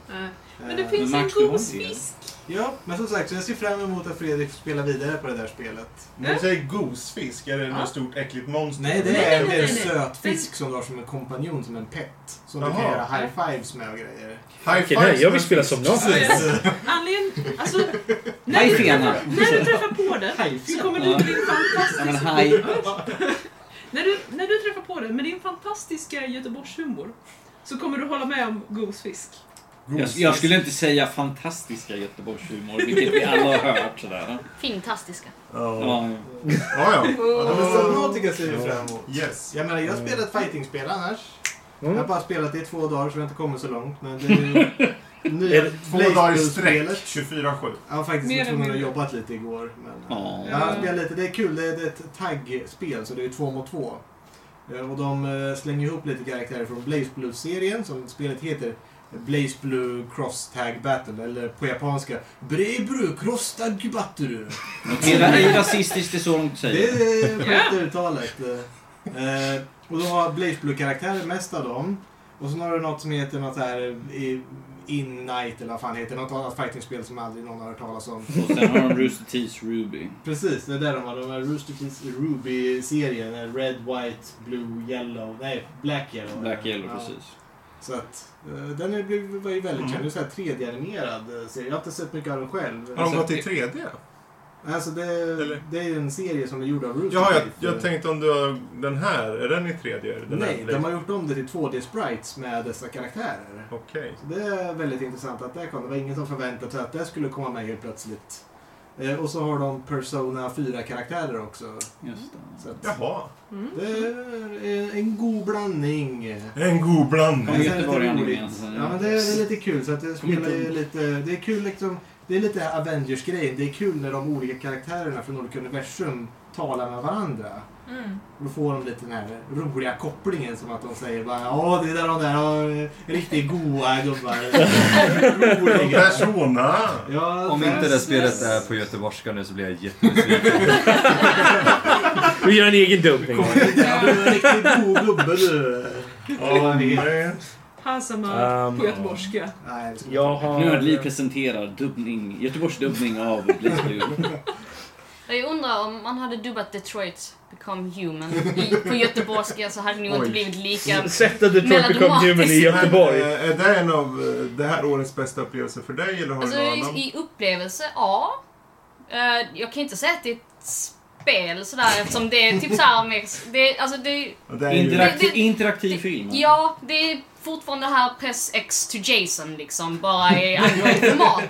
Nej. Men Eh, det finns Men en Max, du har en del. gosfisk. Ja, men som sagt, så jag ser fram emot att Fredrik får spela vidare på det där spelet. När du säger gosfisk, är det något stort äckligt monster? Nej, det Nej, är nej, nej, en nej. sötfisk som du har som en kompanjon, som en pet. Som du kan Jaha. göra high-fives med och grejer. High Okej, fives nej, jag vill med spela fisk. som Nazis. Anledningen... Alltså, när Haj du, fena! när du träffar på den Hajfena. så kommer du med din Ja, men fantastiska... haj. När du, när du träffar på den med din fantastiska Göteborgshumor så kommer du hålla med om gosfisk. Jag, jag skulle inte säga fantastiska Göteborgshumor, vilket vi alla har hört sådär. Fantastiska. Ja, Ja. ja. Ja, men Subnautica ser vi Ja. fram emot. Yes. Mm. Jag menar, jag har spelat fighting-spel annars. Mm. Jag har bara spelat det i två dagar så jag har inte kommit så långt. Men det är ju nya Är det Två dagar i sträck, Blaze-spelet. 24-7. Jag har faktiskt Mer än varit tvungen att mindre. jobbat lite igår. Men, eh, Ja. jag har spelat lite. Det är kul. Det är det är ett taggspel så det är två mot två. Eh, Och de eh, slänger ihop lite karaktärer från Blaze Blue-serien som spelet heter. Blaze Blue Cross Tag Battle, eller på japanska Brebru Cross Tag Battle. Notera hur rasistiskt det är så långt säger. Det är korrekta Ja. uttalet. Eh, och då har Blaze Blue karaktärer mest av dem. Och sen har du något som heter något så här eh, In Night eller vad fan heter. Något annat fightingspel som aldrig någon har hört talas om. Och sen har de Rooster Teeth Ruby. Precis, det är där de har. De har Rooster Teeth Ruby-serien. eh, Red, White, Blue, Yellow. Nej, Black Yellow. Black Yellow, Ja. precis. Så att, eh, den är, blev- var ju väldigt känd. Det är så här 3D-animerad eh, serie. Jag har inte sett mycket av den själv. Har de gått i Sett- 3D? Alltså det, det är ju en serie som är gjord av Rooster Jaha, jag, Teeth. jag tänkte om du har den här. Är den i 3D? Den Nej, här, de har gjort om det till 2D-sprites med dessa karaktärer. Okej. Så det är väldigt intressant att det kom. Det var ingen som förväntade sig att det skulle komma med helt plötsligt. Eh, och så har de Persona 4-karaktärer också. Just Så att, Jaha. Mm. Det är eh, en god blandning. En god blandning. Ja, men sen är det Göteborgarna roligt. alltså. gemensamt. Ja, men det är, det är lite kul. Så att det, spelar ju lite, det är kul liksom. Det är lite Avengers-grejen. Det är kul när de olika karaktärerna från olika universum talar med varandra. Mm. Då får de lite den här roliga kopplingen som att de säger bara ja det där de där ja, riktigt goa gubbar. Roliga. Ja, Om inte det precis. spelet är på göteborgska nu så blir jag jättebesviken. Vi gör en egen dumpning. Ja, du är en riktigt god gubbe du. Ja, Han som har Um, på göteborgska. Jag har... Nördliv presenterar dubbning, Göteborgs dubbning av Blaze Blue. Jag undrar om man hade dubbat Detroit Become Human i, på göteborgska så hade det nog inte blivit lika Sätta Detroit Become melodramatiskt. Human i Göteborg. Men, eh, är det en av eh, det här årets bästa upplevelser för dig eller har Alltså du någon annan? i, i upplevelse, ja. Eh, jag kan inte säga att det är ett spel sådär eftersom det är typ såhär med... Det, är- alltså det, Och det är ju- Interaktiv, Det- det- interaktiv film. ja, det är fortfarande här press X to Jason liksom, bara i Android-format.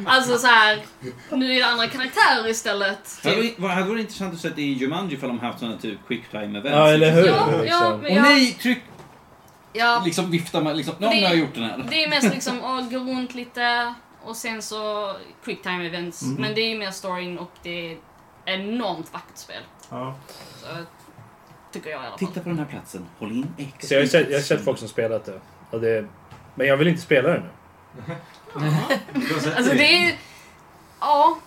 Alltså såhär, nu är det andra karaktärer istället. Det hade varit- vad- hade varit intressant att se i Jumanji ifall de haft sådana typ quick time events. Ja, eller hur? Liksom. Ja, ja, men Och jag- nej, tryck! Ja, Liksom viftar man liksom, nu Det- har jag gjort den här. Det är mest liksom att gå runt lite och sen så quick time events. Mm. Men det är ju mer storyn och det är ett enormt vackert spel. Ja. Så, tycker jag i alla fall. Titta på den här platsen, håll in X. Så jag, har sett, jag har sett folk som spelat det. Och det. Men jag vill inte spela det nu. Alltså det är ju... Ja.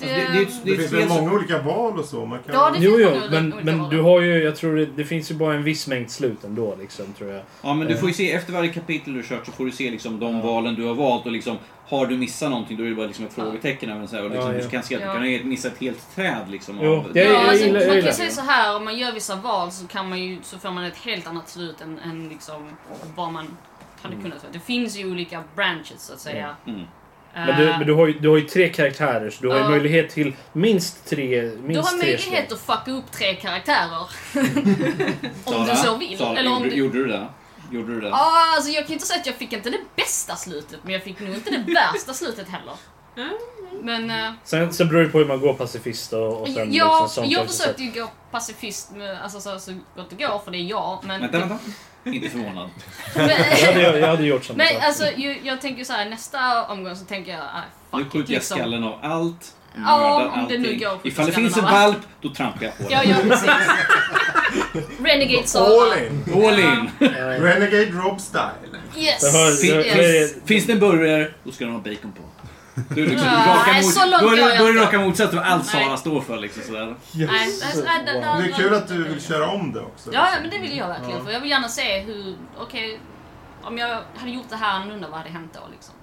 Alltså, Det, Det, finns väl många olika val och så. Man kan... Ja, det Jo, finns jo, många men, olika men val. du har ju, jag tror det, det finns ju bara en viss mängd slut ändå liksom, tror jag. Ja men du Eh, får ju se, efter varje kapitel du kört så får du se liksom de valen du har valt och liksom har du missat någonting då är det bara liksom ett frågetecken över en så här, och liksom, Ja, ja. du kan se att du kan ha missat ett helt träd liksom. Jo, av- det är- Ja, jag alltså, gillar- jag man kan gillar ju säga det. så här, om man gör vissa val så, kan man ju, så får man ett helt annat slut än, än liksom vad man hade Mm. kunnat. Det finns ju olika branches så att säga. Mm. Men, du, Eh, men du, har ju, du har ju tre karaktärer så du har ju Ja. möjlighet till minst tre minst Eh, Du har tre möjlighet slut. att fucka upp tre karaktärer. om Sara, du så vill. Sara, Eller gjorde, om du... gjorde du det? Gjorde du det? Ja, alltså jag kan inte säga att jag fick inte det bästa slutet, men jag fick nog inte det värsta slutet heller. Mm. Men... eh, Sen, sen beror det på hur man går pacifist och, och sen jag, liksom sånt jag också. försökte ju gå pacifist med, alltså, så, så gott det går, för det är jag. Men, Vänta, vänta. Inte förvånad. jag, hade, jag hade gjort samma Nej, sak. alltså ju, jag tänker så här nästa omgång så tänker jag... ah, Nu it, skjuter jag liksom. skallen av allt. Ja, mördar om det nu allting. går att skjuta Ifall det skallen finns en av allt. valp, då trampar jag på den. ja, ja, precis. Renegade Sara. All in! All in! Renegade Rob style. Yes. Det har- Fin- det- yes. Finns det en burgare, då ska den ha bacon på. Du är liksom Nej, raka mot, så långt då är går jag du- då är du inte. raka motsatsen till allt Sara står för. Liksom, sådär. Nej, alltså, äh, där- där- Det är kul att du vill köra om det också. Ja, ja, men det vill jag verkligen. Ja. För jag vill gärna se hur, okej, om jag hade gjort det här annorlunda, vad hade hänt då liksom?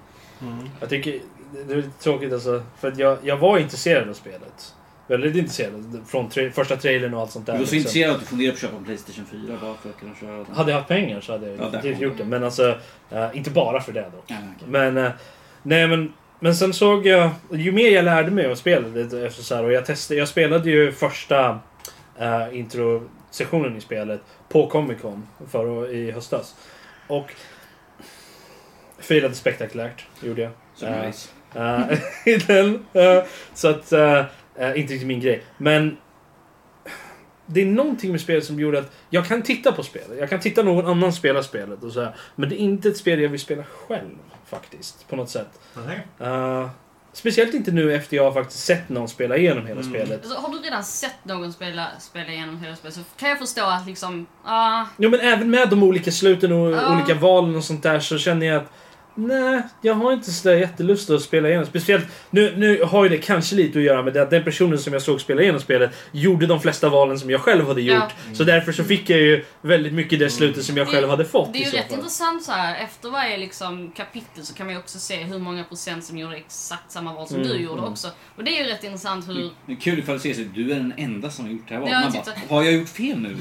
Mm. Jag tycker det- det är lite tråkigt alltså. För att jag, jag var intresserad av spelet. Väldigt intresserad. Från tra första trailern och allt sånt Du där. var så liksom. intresserad att du funderade på att köpa en Playstation 4 bara för att kunna köra den. Hade jag haft pengar så hade jag Ja, där definitivt kom gjort det. Men alltså, eh, inte bara för det då. Ja, Men, eh, nej men. Men sen såg jag, ju mer jag lärde mig om spelet efter så här, och jag testade, jag spelade ju första eh, introsessionen i spelet på Comic Con för, i höstas. Och filade spektakulärt, gjorde jag. Så Eh, nice. eh, i den, eh, så att, eh, eh, inte riktigt min grej. Men det är någonting med spelet som gjorde att jag kan titta på spelet. Jag kan titta någon annan spela spelet och så här. Men det är inte ett spel jag vill spela själv faktiskt. På något sätt. Nej. Eh, Speciellt inte nu efter jag har faktiskt sett någon spela igenom hela spelet. Alltså, har du redan sett någon spela, spela igenom hela spelet så kan jag förstå att liksom... ah, Jo men även med de olika sluten och Ja. olika valen och sånt där så känner jag att Nej, jag har inte sådär jättelust att spela igenom. Speciellt, nu, nu har ju det kanske lite att göra med det att den personen som jag såg spela igenom spelet gjorde de flesta valen som jag själv hade gjort. Ja. Så därför så fick jag ju väldigt mycket det slutet som jag själv hade fått liksom. Det är i ju så rätt fall. intressant så här. efter varje liksom, kapitel så kan man ju också se hur många procent som gjorde exakt samma val som Mm, du gjorde mm. också. Och det är ju rätt intressant hur... Mm. Det är kul ifall det ser sig du är den enda som har gjort det här Mm. Ja, typ valet. Man bara, titta. har jag gjort fel nu?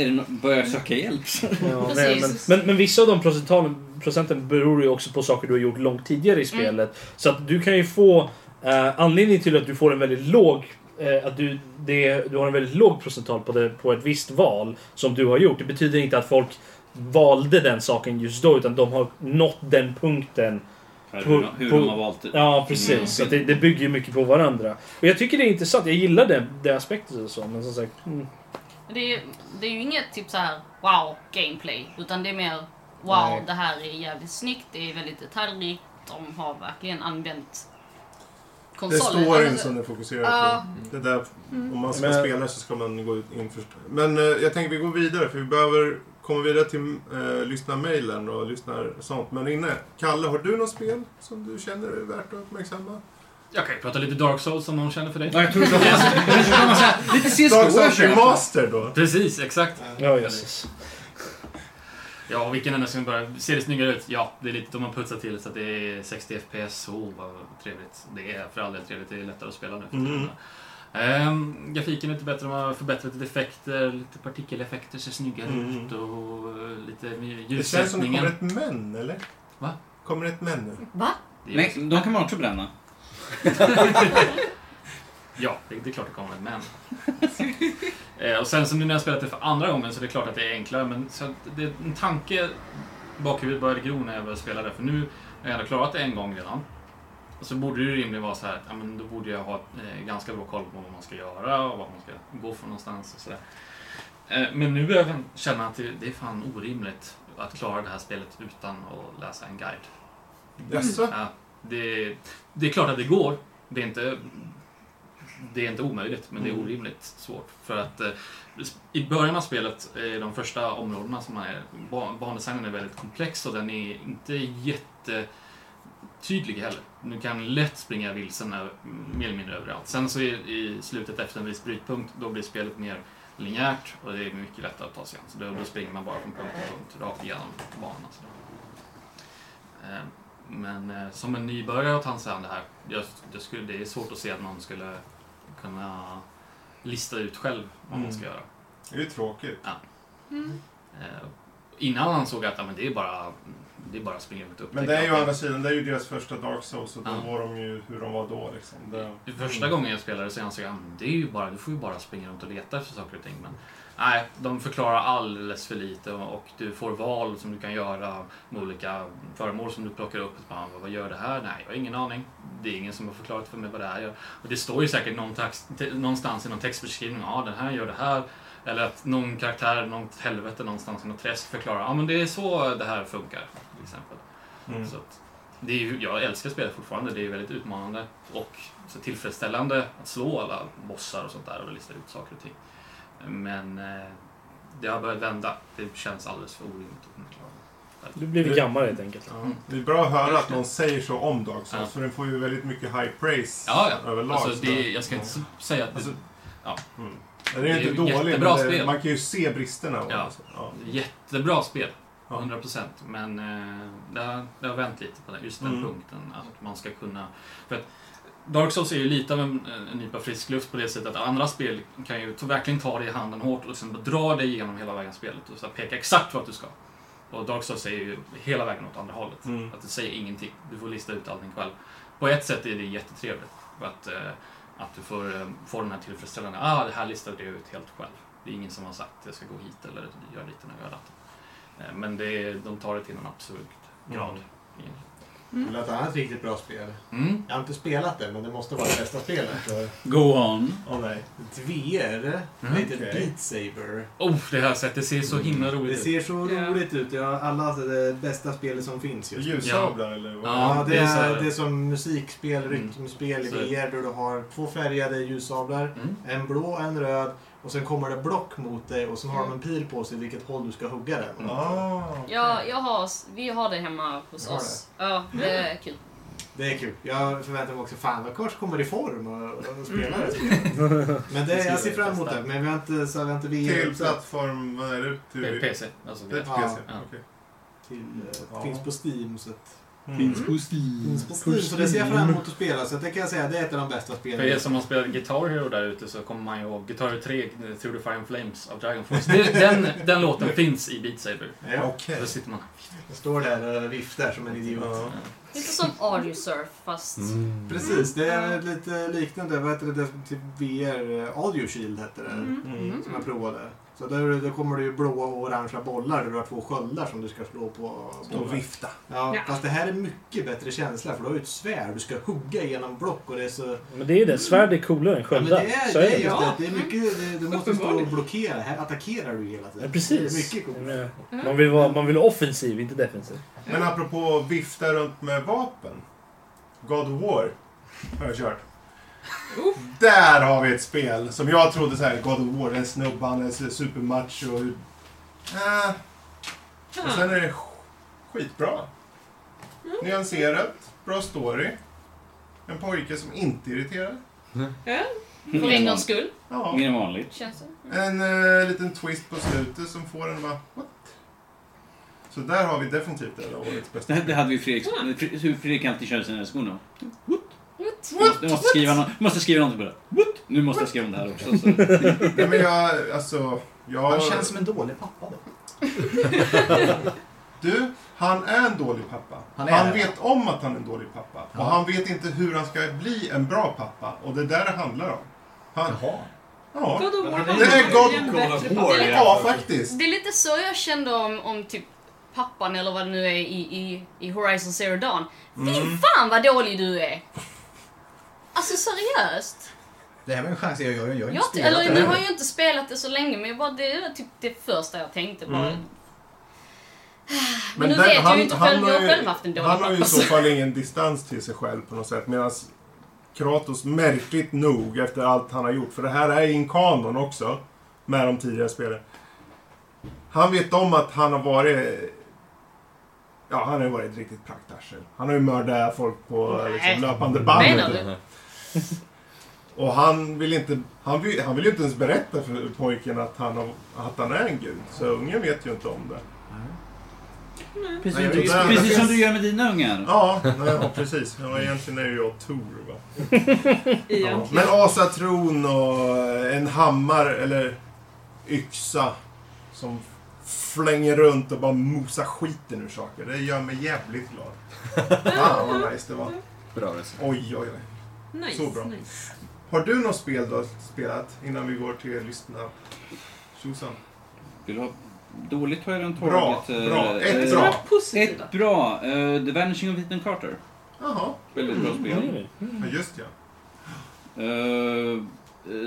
Är det no- Börjar jag söka hjälp? Ja, nej, men, men, men vissa av de procentalen, procenten beror ju också på saker du har gjort långt tidigare i spelet. Så att du kan ju få... Eh, anledningen till att du får en väldigt låg... Eh, att du, det, du har en väldigt låg procental på, det, på ett visst val som du har gjort. Det betyder inte att folk valde den saken just då, utan de har nått den punkten Hur- hur de har valt det. Ja, precis. Mm. Så att det, det bygger ju mycket på varandra. Och jag tycker det är intressant. Jag gillar den, den aspekten och så, men som sagt... Mm. Det är, ju- det är ju inget typ så här wow gameplay, utan det är mer wow Nej. det här är jävligt snyggt, det är väldigt detaljrikt, de har verkligen använt Det är konsolen. storyn Alltså, som du fokuserar Ja. på. Det där, Mm. om man ska Men- spela så ska man gå ut in först. Men eh, jag tänker vi går vidare för vi behöver komma vidare till eh, lyssnarmailen och lyssnar sånt. Men inne, Kalle, har du något spel som du känner är värt att uppmärksamma? Jag kan ju prata lite Dark Souls om någon känner för dig. Ja, jag tror det. Jag tror man säger, lite CS:GO Dark Souls är master då. Precis, exakt. Ja, precis. Ja, vilken ända ska vi börja? Ser det snyggare ut? Ja, det är lite de har putsat till så att det är 60 FPS. Oh, vad trevligt. Det är för all del trevligt. Det är lättare att spela nu. för Mm. tiden. Ehm, grafiken är lite bättre, de har förbättrat lite effekter, lite partikeleffekter ser snyggare Mm. ut och eh, lite ljussättningen. Det känns som det kommer ett men, eller? Va? Kommer ett men nu? Va? Nej, de kan man också bränna. Ja, det, det är klart det kommer, men... eh, och sen som nu när jag spelat det för andra gången så är det klart att det är enklare, men så att det är en tanke bakhuvudet började gro när jag började spela det, för nu när jag hade klarat det en gång redan, så borde det ju rimligen vara så här att ja, men då borde jag ha eh, ganska bra koll på vad man ska göra och vad man ska gå för någonstans och sådär. Eh, men nu börjar jag känna att det, det är fan orimligt att klara det här spelet utan att läsa en guide. Jaså? Ja, det, det är klart att det går. Det är inte det är inte omöjligt, men det är Mm. orimligt svårt. För att eh, i början av spelet, eh, de första områdena som är, ban- bandesignen är väldigt komplex och den är inte jättetydlig heller. Du kan lätt springa vilsen över, mer eller mindre överallt. Sen så i, i slutet efter en viss brytpunkt, då blir spelet mer linjärt och det är mycket lättare att ta sig an. Så då, då springer man bara från punkt till punkt, rakt igenom banan. Så. Eh, Men eh, som en nybörjare åt hans hand det här, jag, jag skulle, det är svårt att se att någon skulle kunna lista ut själv vad man Mm. ska göra. Det är ju tråkigt. Ja. Mm. Eh, Innan han såg att ja, men det är bara det är bara att springa runt och Men upptäcka det är ju å allting. andra sidan, det är ju deras första Dark Souls och då Ja. var de ju hur de var då liksom. Det... Första gången jag spelade så ansåg jag att det är ju bara, du får ju bara springa runt och leta efter saker och ting. Men nej, de förklarar alldeles för lite och, och du får val som du kan göra med olika föremål som du plockar upp. Och bara, vad gör det här? Nej, jag har ingen aning. Det är ingen som har förklarat för mig vad det här gör. Och det står ju säkert någon text, te, någonstans i någon textbeskrivning, ja den här gör det här. Eller att någon karaktär, något helvete någonstans i något träsk förklarar, ja men det är så det här funkar. Till exempel. Mm. Så att, det är ju, jag älskar spelet fortfarande, det är ju väldigt utmanande och så tillfredsställande att slå alla bossar och sånt där och lista ut saker och ting. Men eh, det har börjat vända. Det känns alldeles för orimligt att kunna klara det. Du blir väl gammal helt enkelt. Ja. Det är bra att höra att någon säger så om Dark Souls, för den får ju väldigt mycket high praise Ja, ja. överlag. Alltså, det, Så- jag ska inte s- säga att det... Alltså, ja. Den är ju inte ett dålig, jättebra men det, spel. man kan ju se bristerna. Ja. Alltså. Ja. Jättebra spel. 100 procent. Men eh, det, har, det har vänt lite på den, just den Mm. punkten. Att man ska kunna... För att Dark Souls är ju lite av en, en nypa frisk luft på det sättet att andra spel kan ju ta, verkligen ta dig i handen hårt och liksom dra dig igenom hela vägen spelet och så här peka exakt vart du ska. Och Dark Souls är ju hela vägen åt andra hållet. Mm. Att det säger ingenting. Du får lista ut allting själv. På ett sätt är det jättetrevligt. För att, eh, att du får, eh, får den här tillfredsställande, ah det här listade jag ut helt själv. Det är ingen som har sagt jag ska gå hit eller Eh, Mm. gör dit den här datorn. Men det är, de tar det till en absurd grad. egentligen. Det lät annat riktigt bra spel. Jag har inte spelat det, men det måste vara det bästa spelet. Mm. Go on. Åh nej. Ett VR. Mm. Det heter Okej. Beat Saber. Mm. Oh, det har jag sett. Det ser så himla roligt Det ut. ser så roligt ut. Jag har alla det bästa spelet som finns just nu. Ljussablar, ja. eller vad? Ja, det Ja, är, ljussablar. det är som musikspel, rytmspel i Mm. Så- Mm. VR där du har två färgade ljussablar. En blå och en röd. Och sen kommer det block mot dig och sen Mm. har de en pil på sig vilket håll du ska hugga den. Ah. Ja, jag har, vi har det hemma hos Har oss. Ja, det är kul. Det är kul. Jag förväntar mig också, fan vad Kors kommer i form och, och spelar Mm. det spelet. Men det, Det Typ, ska jag ser fram emot testa. det. Men vi har inte, så vi har inte VR. Till så- plattform, vad är det? Till, alltså det är till PC. Ja. okej. Till, eh, Ja. Finns på Steam. Så att... Mm. Finns på Steam. Finns på Steam. Så det ser jag fram emot att spela. Så det kan jag säga, det är ett av de bästa spelen. För er som har spelat Guitar Hero där ute så kommer man ju ihåg Guitar Hero 3, Through the Fire and Flames av Dragon Force. Det- Den, den låten finns i Beat Saber. Ja, okej. Då sitter man... Jag står där och viftar som en idiot. Lite som audiosurf fast... Precis, det är Mm. lite liknande. Vad heter det? det till VR? eh, Audio Shield hette det. Mm. Mm. Som jag provade. Så där, då kommer det ju blåa och orangea bollar där du har två sköldar som du ska slå på. Stå och vifta. Ja, Ja. fast det här är mycket bättre känsla för du har ju ett svärd. Du ska hugga genom block och det är så... Men det är ju det. Svärd är coolare än Ja, men sköldar. det är, Så det är ju. just det. Det är mycket, det, du måste stå och blockera. Här attackerar du hela tiden. Ja, precis. Det är mycket coolt. Mm. Man vill vara man vill vara offensiv, inte defensiv. Men apropå vifta runt med vapen. God of War har jag kört. Där har vi ett spel som jag trodde så här, God of War, en snubbe, han är supermacho. Och, äh. och sen är det sk- skitbra. Nyanserat, bra story. En pojke som inte irriterar. Ja, för en gångs skull. Ja. Mer än vanligt. Känns det. En eh, liten twist på slutet som får en bara, what? Så där har vi definitivt det här årets bästa. Det, det hade vi Fredrik, hur Fredrik alltid körde sina skor nu. What? Du måste skriva, no, du måste skriva någonting på det. What? Nu måste jag skriva om det här också. Så. Nej, men jag, alltså, jag... Han känns som en dålig pappa då. Du, han är en dålig pappa. Han Han, är det. vet om att han är en dålig pappa. Ja. Och han vet inte hur han ska bli en bra pappa. Och det är där det handlar om. Han... Jaha. Ja. God of War Det är handlar om God en bättre pappa. War. Ja, faktiskt. Det är lite så jag kände om, om typ pappan eller vad det nu är i, i, i Horizon Zero Dawn. Fy Mm. fan vad dålig du är! Alltså seriöst. Det här var en chans jag gör. Jag har inte Jag, spelat eller det nu här. har jag ju inte spelat det så länge men jag bara, det är typ det första jag tänkte bara. Mm. Men, nu där- vet jag ju inte själv, jag har själv haft en dålig Han har ju i pappa. så fall ingen distans till sig själv på något sätt. Medan Kratos märkligt nog efter allt han har gjort, för det här är in kanon också, med de tidigare spelen. Han vet om att han har varit... Ja, han har ju varit ett riktigt praktarsel. Han har ju mördat folk på Nej. liksom, löpande band. Menar du? Och han vill inte... Han vill, han vill ju inte ens berätta för pojken att han, har, att han är en gud. Så ungen vet ju inte om det. Precis, Nej, precis, jag vet inte. som du gör med dina ungar. Ja, nej, ja precis. Ja, egentligen är ju jag Tor va. Ja. Egentligen. Men asatron och en hammare eller yxa som flänger runt och bara mosar skiten ur saker. Det gör mig jävligt glad. Fan vad nice det var. Bra resa. Oj, oj, oj. Nice, Så bra. nice. Har du något spel du har spelat innan vi går till lyssna? Susan. Vill du ha dåligt har jag redan Bra, tagit. eh, bra. Ett eh, bra. Ett bra. eh, The Vanishing of Ethan Carter. Jaha. Väldigt Mm, bra spel. Ja, just ja. Uh,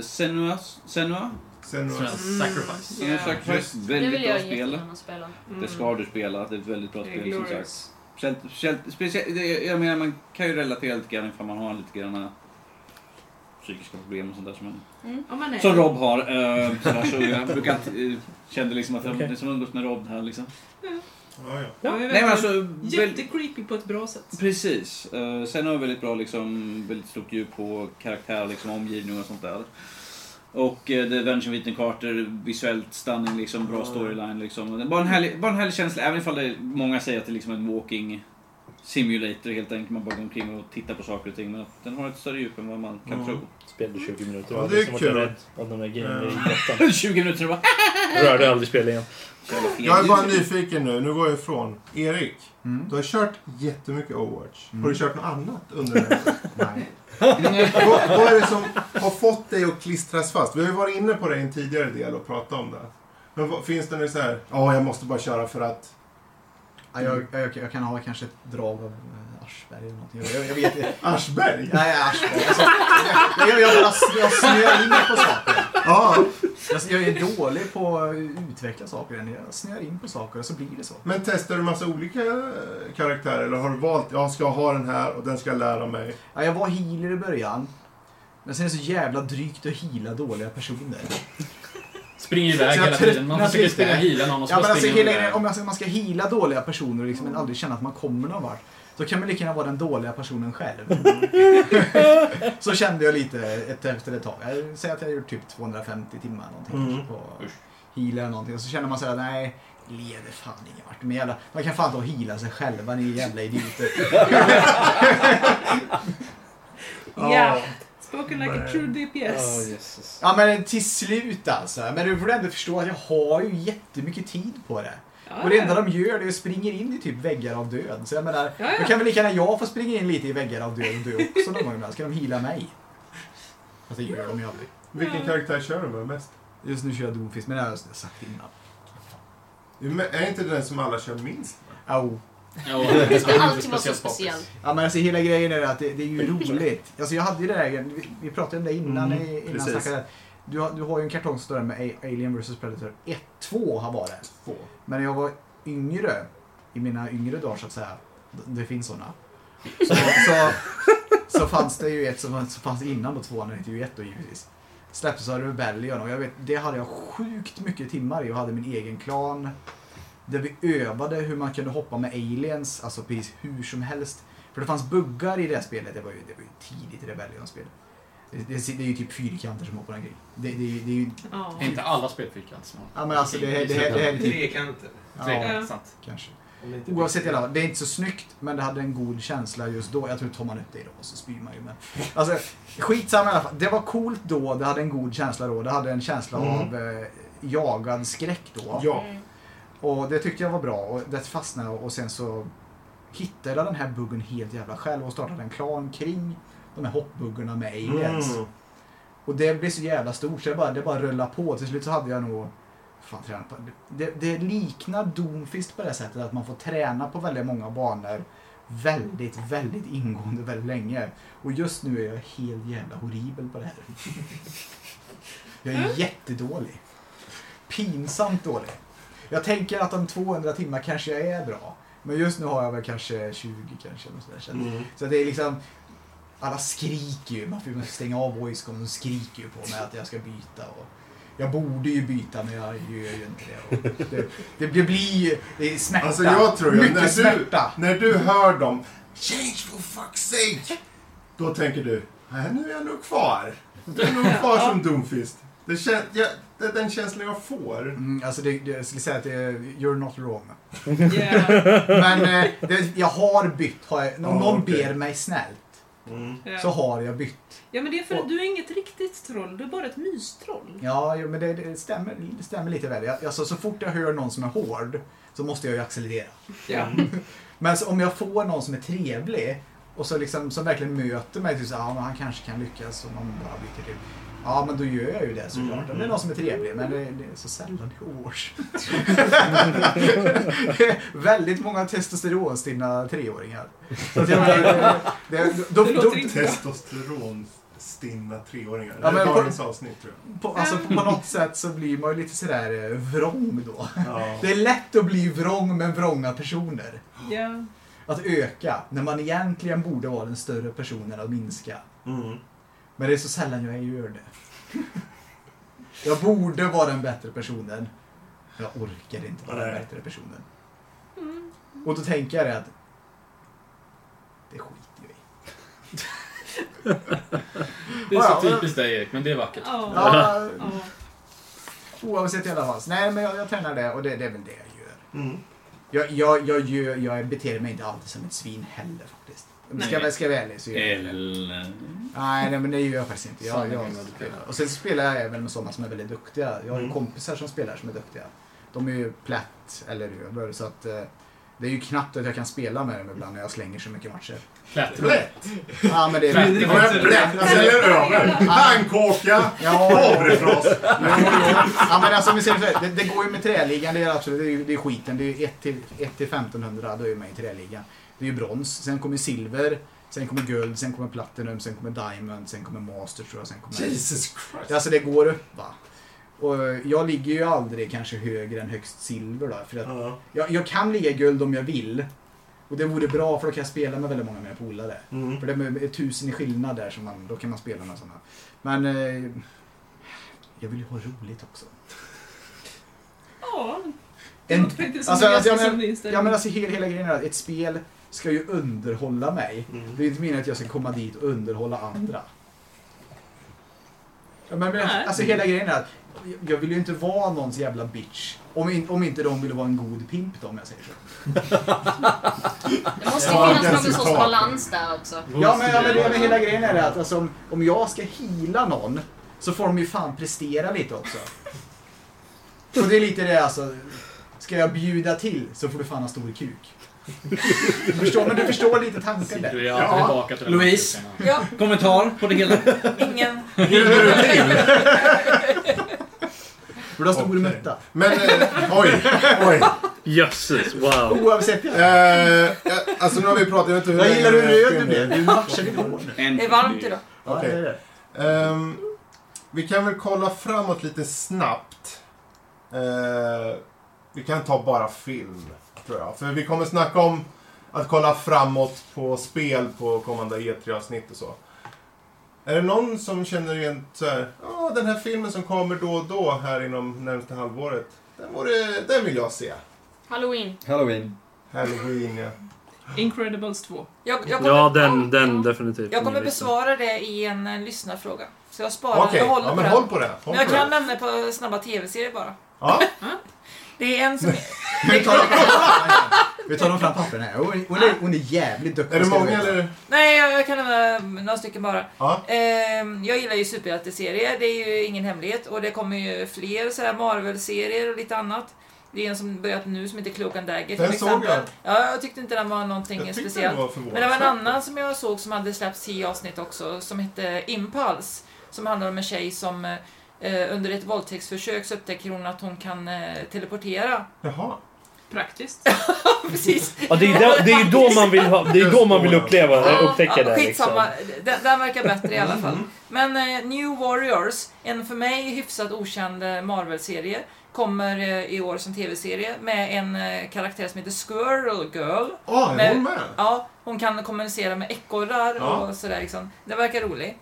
Senua, Senua? Senua. Senua Sacrifice. Senua Ja. Sacrifice. Just. Mm. Det Väldigt vill bra jag spel. jättegärna spela. Mm. Det ska du spela. Det är ett väldigt bra Det är spel som glorious. sagt. Speciellt, speciellt, speciellt, det- jag menar, man kan ju relatera lite grann ifall man har lite grann eh, psykiska problem och sånt där som man Mm. Om man är... Som Rob har. eh, sådär, så jag brukar, uh, kände liksom att jag Okej. liksom umgås med Rob här liksom. Ja, ja. Ja, det är Nej, men alltså, verkligen väl- Jättecreepy på ett bra sätt. Precis. Eh, sen har jag väldigt bra, liksom, väldigt stort djup på karaktär, liksom, omgivning och sånt där. Och eh, The Adventure of Ethan Carter, visuellt stunning, liksom, bra storyline. Liksom. Och det- Bara, en härlig, bara en härlig känsla, även ifall det, många säger att det är liksom en walking simulator helt enkelt. Man bara går omkring och tittar på saker och ting. Men att den har ett större djup än vad man kan Mm. tro. Spelade 20 minuter. Ja, Jag det hade är som varit kul. rädd Av de där grejerna i Mm. 20 minuter och bara... Jag Rörde aldrig spelet igen. Jag är bara nyfiken nu. Nu går jag ifrån. Erik, du har kört jättemycket Overwatch. Har du kört något annat under den här Nej. vad, vad är det som har fått dig att klistras fast? Vi har ju varit inne på det i en tidigare del och pratat om det. Men vad, finns det nu så här, ja, jag måste bara köra för att... Ja, jag, jag, jag kan ha kanske ett drag av eh, Aschberg eller någonting. Jag, jag vet inte. Aschberg? Nej, Aschberg. Alltså, jag, jag, jag bara jag snöar in på saker. Ja, jag, jag är dålig på att utveckla saker. Jag snöar in på saker och så blir det så. Men testar du massa olika eh, karaktärer eller har du valt, jag ska ha den här och den ska jag lära mig? Ja, jag var healer i början. Men sen är det så jävla drygt att heala dåliga personer. Springer iväg Så jag hela tiden. Man tröttnar försöker på det. springa och heala någon och så ja, bara men alltså, springer hela man grejen, iväg. Om man ska- man ska heala dåliga personer och liksom aldrig känna att man kommer någon vart. Då kan man lika gärna vara den dåliga personen själv. så kände jag lite ett, efter ett tag. Jag säger att jag har gjort typ 250 timmar någonting Mm. kanske på heala eller någonting. Och så känner man såhär, nej. det Leder fan ingen vart. Men jävla, man kan fan ta och heala sig själva, ni jävla idioter. Ja. Spoken like a true DPS. Ja men till slut alltså. Men du får ändå förstå att jag har ju jättemycket tid på det. Ja, och det ja. enda de gör det är att springer in i typ väggar av död. Så jag menar, Ja, ja. då kan väl lika gärna jag få springa in lite i väggar av död och dö också någon gång ibland. Ska de hila mig? Fast det gör de ju aldrig. Vilken karaktär kör du med mest? Just nu kör jag Doomfist, men det har jag sagt innan. Men är inte det den som alla kör minst? Au. Ja, Det ska alltid vara så speciellt. Ja men alltså hela grejen är att det, det är ju roligt. Alltså jag hade ju det där, vi, vi pratade om det innan. Mm, i- innan precis. jag snackade. du, har, du har ju en kartong som står där med A- Alien vs Predator 1, 2 har varit. Två. Men när jag var yngre, i mina yngre dagar så att säga, d- det finns sådana. Så, så, så fanns det ju ett som som fanns innan då tvåan, den hette ju ett då givetvis. Släpptes av Rebellion och jag vet, det hade jag sjukt mycket timmar i. Jag hade min egen klan. Där vi övade hur man kunde hoppa med aliens, alltså precis hur som helst. För det fanns buggar i det här spelet. Det var ju, det var ju tidigt Rebellion-spel. Det, det, det är ju typ fyrkanter som hoppar omkring. Det, det, det, är ju... Ja. Inte alla spelfyrkant som Ja men alltså det, det, det, det här är typ... Trekanter. Ja, Tre, sant. kanske. Om det inte blir- Oavsett i alla fall, det är inte så snyggt men det hade en god känsla just då. Jag tror tar man upp det idag så spyr man ju men. Alltså skitsamma i alla fall. Det var coolt då, det hade en god känsla då. Det hade en känsla av eh, jagad skräck då. Ja. Och det tyckte jag var bra och det fastnade jag och sen så hittade jag den här buggen helt jävla själv och startade en klan kring de här hoppbuggarna med aliens. Mm. Och det blev så jävla stort så det bara, det bara rullade på. Till slut så hade jag nog... Fan, träna på. Det, det liknar Doomfist på det sättet att man får träna på väldigt många banor väldigt, väldigt ingående väldigt länge. Och just nu är jag helt jävla horribel på det här. Jag är jättedålig. Pinsamt dålig. Jag tänker att om 200 timmar kanske jag är bra. Men just nu har jag väl kanske 20 kanske. Eller sådär. Så att- Mm. Så att det är liksom... Alla skriker ju. Man får ju stänga av voicecom. De skriker ju på mig att jag ska byta. Och jag borde ju byta men jag gör ju inte det. Och det, det, det blir ju det är smärta. Alltså jag tror ju, Mycket när du, smärta. när du hör dem Change for fuck's sake! Då tänker du, nej nu är jag nog kvar. Du är nog kvar som Doomfist. Det kän, jag, det är den känslan jag får. Mm, alltså det, det, jag skulle säga att det, är- you're not wrong. Yeah. Men eh, det, jag har bytt. Har jag, om Ja, någon okej. Mm. ber mig snällt Ja. så har jag bytt. ja, men det är för att du är inget riktigt troll. Du är bara ett mystroll. Ja, jo, men det, det, stämmer, det stämmer lite väl. Jag, alltså, så fort jag hör någon som är hård så måste jag ju accelerera. Ja. Mm. Men så, om jag får någon som är trevlig och så liksom, som verkligen möter mig, typ så, ja, men han kanske kan lyckas om man bara byter till. Ja, men då gör jag ju det såklart. Mm. Om det är någon som är trevlig, men det, det är så sällan det är års. Det är Väldigt många testosteronstinna treåringar. Så att jag, Alltså, det, det, då, Det då, låter inte bra. Testosteronstinna treåringar. Ja, det är men- dagens avsnitt tror jag. på, alltså, på något sätt så blir man ju lite sådär eh, vrång då. Ja. Det är lätt att bli vrång med vrånga personer. Ja. Att öka, när man egentligen borde vara den större personen att minska. Mm. Men det är så sällan jag gör det. Jag borde vara den bättre personen. Jag orkar inte vara den Nej. bättre personen. Och då tänker jag det att det skiter jag i. Det är så Ja, ja. typiskt dig Erik, men det är vackert. Ja. Ja, Ja. oavsett i alla fall. Nej, men jag, jag tränar det och det, det är väl det jag gör. Mm. Jag, jag, jag, gör, jag beter mig inte alltid som ett svin heller faktiskt. Om jag ska, Nej. jag ska vara ärlig så gör jag det. Eller... Nej, nej, men det gör jag faktiskt inte. Jag, Sanningen jag är väldigt spelar. Och sen spelar jag även med sådana som är väldigt duktiga. Jag har ju Mm. kompisar som spelar som är duktiga. De är ju plätt eller över, så att eh, det är ju knappt att jag kan spela med dem ibland när jag slänger så mycket matcher. Klättrar. Blätt! Ja, men det är Det var blätt! Alltså eller över! Pannkaka! Ja, Havrefras! ja, men alltså, om vi ser det, så här, det, det går ju med träligan, det är, absolut, det är, ju- det är skiten. Det är ju 1 till, 1 till 1500, då är man i träligan. Det är ju brons. Sen kommer silver. Sen kommer guld, sen kommer platinum, sen kommer diamond, sen kommer master tror jag. Sen kommer... Jesus Christ. Alltså det går upp va. Och eh, jag ligger ju aldrig kanske högre än högst silver då. För att jag, jag kan ligga i guld om jag vill. Och det vore bra för då kan jag spela med väldigt många av mina polare. Mm. För det är tusen i skillnad där, som man, då kan man spela med sådana. Men eh, jag vill ju ha roligt också. Ja. Det En, låter faktiskt som alltså, en alltså, ganska jag, sund men, inställning. jag menar, alltså, hela, hela grejen är att ett spel ska ju underhålla mig. Det är inte meningen att jag ska komma dit och underhålla andra. Ja, men, men, Nej. alltså hela grejen är att jag- jag vill ju inte vara någons jävla bitch. Om, in, om inte de vill vara en god pimp då, om jag säger så. Det måste Ja, ju den finnas någon sorts citat. balans där också. Ja men, ja, men, det, men hela grejen är det att alltså, om, om jag ska hila någon så får de ju fan prestera lite också. Och det är lite det alltså. Ska jag bjuda till så får du fan ha stor kuk. Du förstår, men du förstår lite tanken där. Du är alltid tillbaka till den här Louise, kyrkan, ja. kommentar på det hela? Ingen. För du har stor mutta. Men, eh, oj, oj. Jösses, wow. Oavsett. Eh, ja, alltså nu har vi pratat, jag vet inte hur Jag gillar hur röd du spelar. blev. Du matchar din hår nu. Det är varmt idag. Okej. Ehm, vi kan väl kolla framåt lite snabbt. Eh, vi kan ta bara film, tror jag. För vi kommer snacka om att kolla framåt på spel på kommande E3-avsnitt och så. Är det någon som känner igen så här, ja den här filmen som kommer då och då här inom närmaste halvåret. Den, vore, den vill jag se. Halloween. Halloween. Halloween, ja. Incredibles 2. Jag, jag kommer, Ja, den, den definitivt. jag kommer Min lista. besvara det i en eh, lyssnarfråga. Så jag sparar Okej, jag håller ja, men den. håll på det, men håll jag på kan det. nämna på snabba tv-serier bara. Mm. Ja. Det är en som... Vi tar dem fram, vi tar dem fram papperna här. Hon, hon, är, hon är jävligt duktig. Är det ska du många veta. eller? Nej, jag, jag kan nämna några stycken bara. Ja. Ehm, jag gillar ju superhjälteserier, det är ju ingen hemlighet. Och det kommer ju fler sådär Marvel-serier och lite annat. Det är en som börjat nu som heter Cloak and Dagger Den såg jag. Ja, jag tyckte inte den var någonting Jag tyckte den speciellt. var förvånansvärt Men det var en annan som jag såg som hade släppts i avsnitt också, som hette Impulse. Som handlar om en tjej som eh, under ett våldtäktsförsök så upptäcker hon att hon kan eh, teleportera. Jaha. Praktiskt. Precis. Ja, det, är då, det är ju då man vill, ha, det är då man vill uppleva det, upptäcka det. Liksom. Skitsamma, den, den verkar bättre i alla fall. Mm. Men eh, New Warriors, en för mig hyfsat okänd eh, Marvel-serie, kommer eh, i år som tv-serie med en eh, karaktär som heter Squirrel Girl. Ah, är hon med? Ja, hon kan kommunicera med ekorrar Ja. och sådär liksom. Det verkar rolig.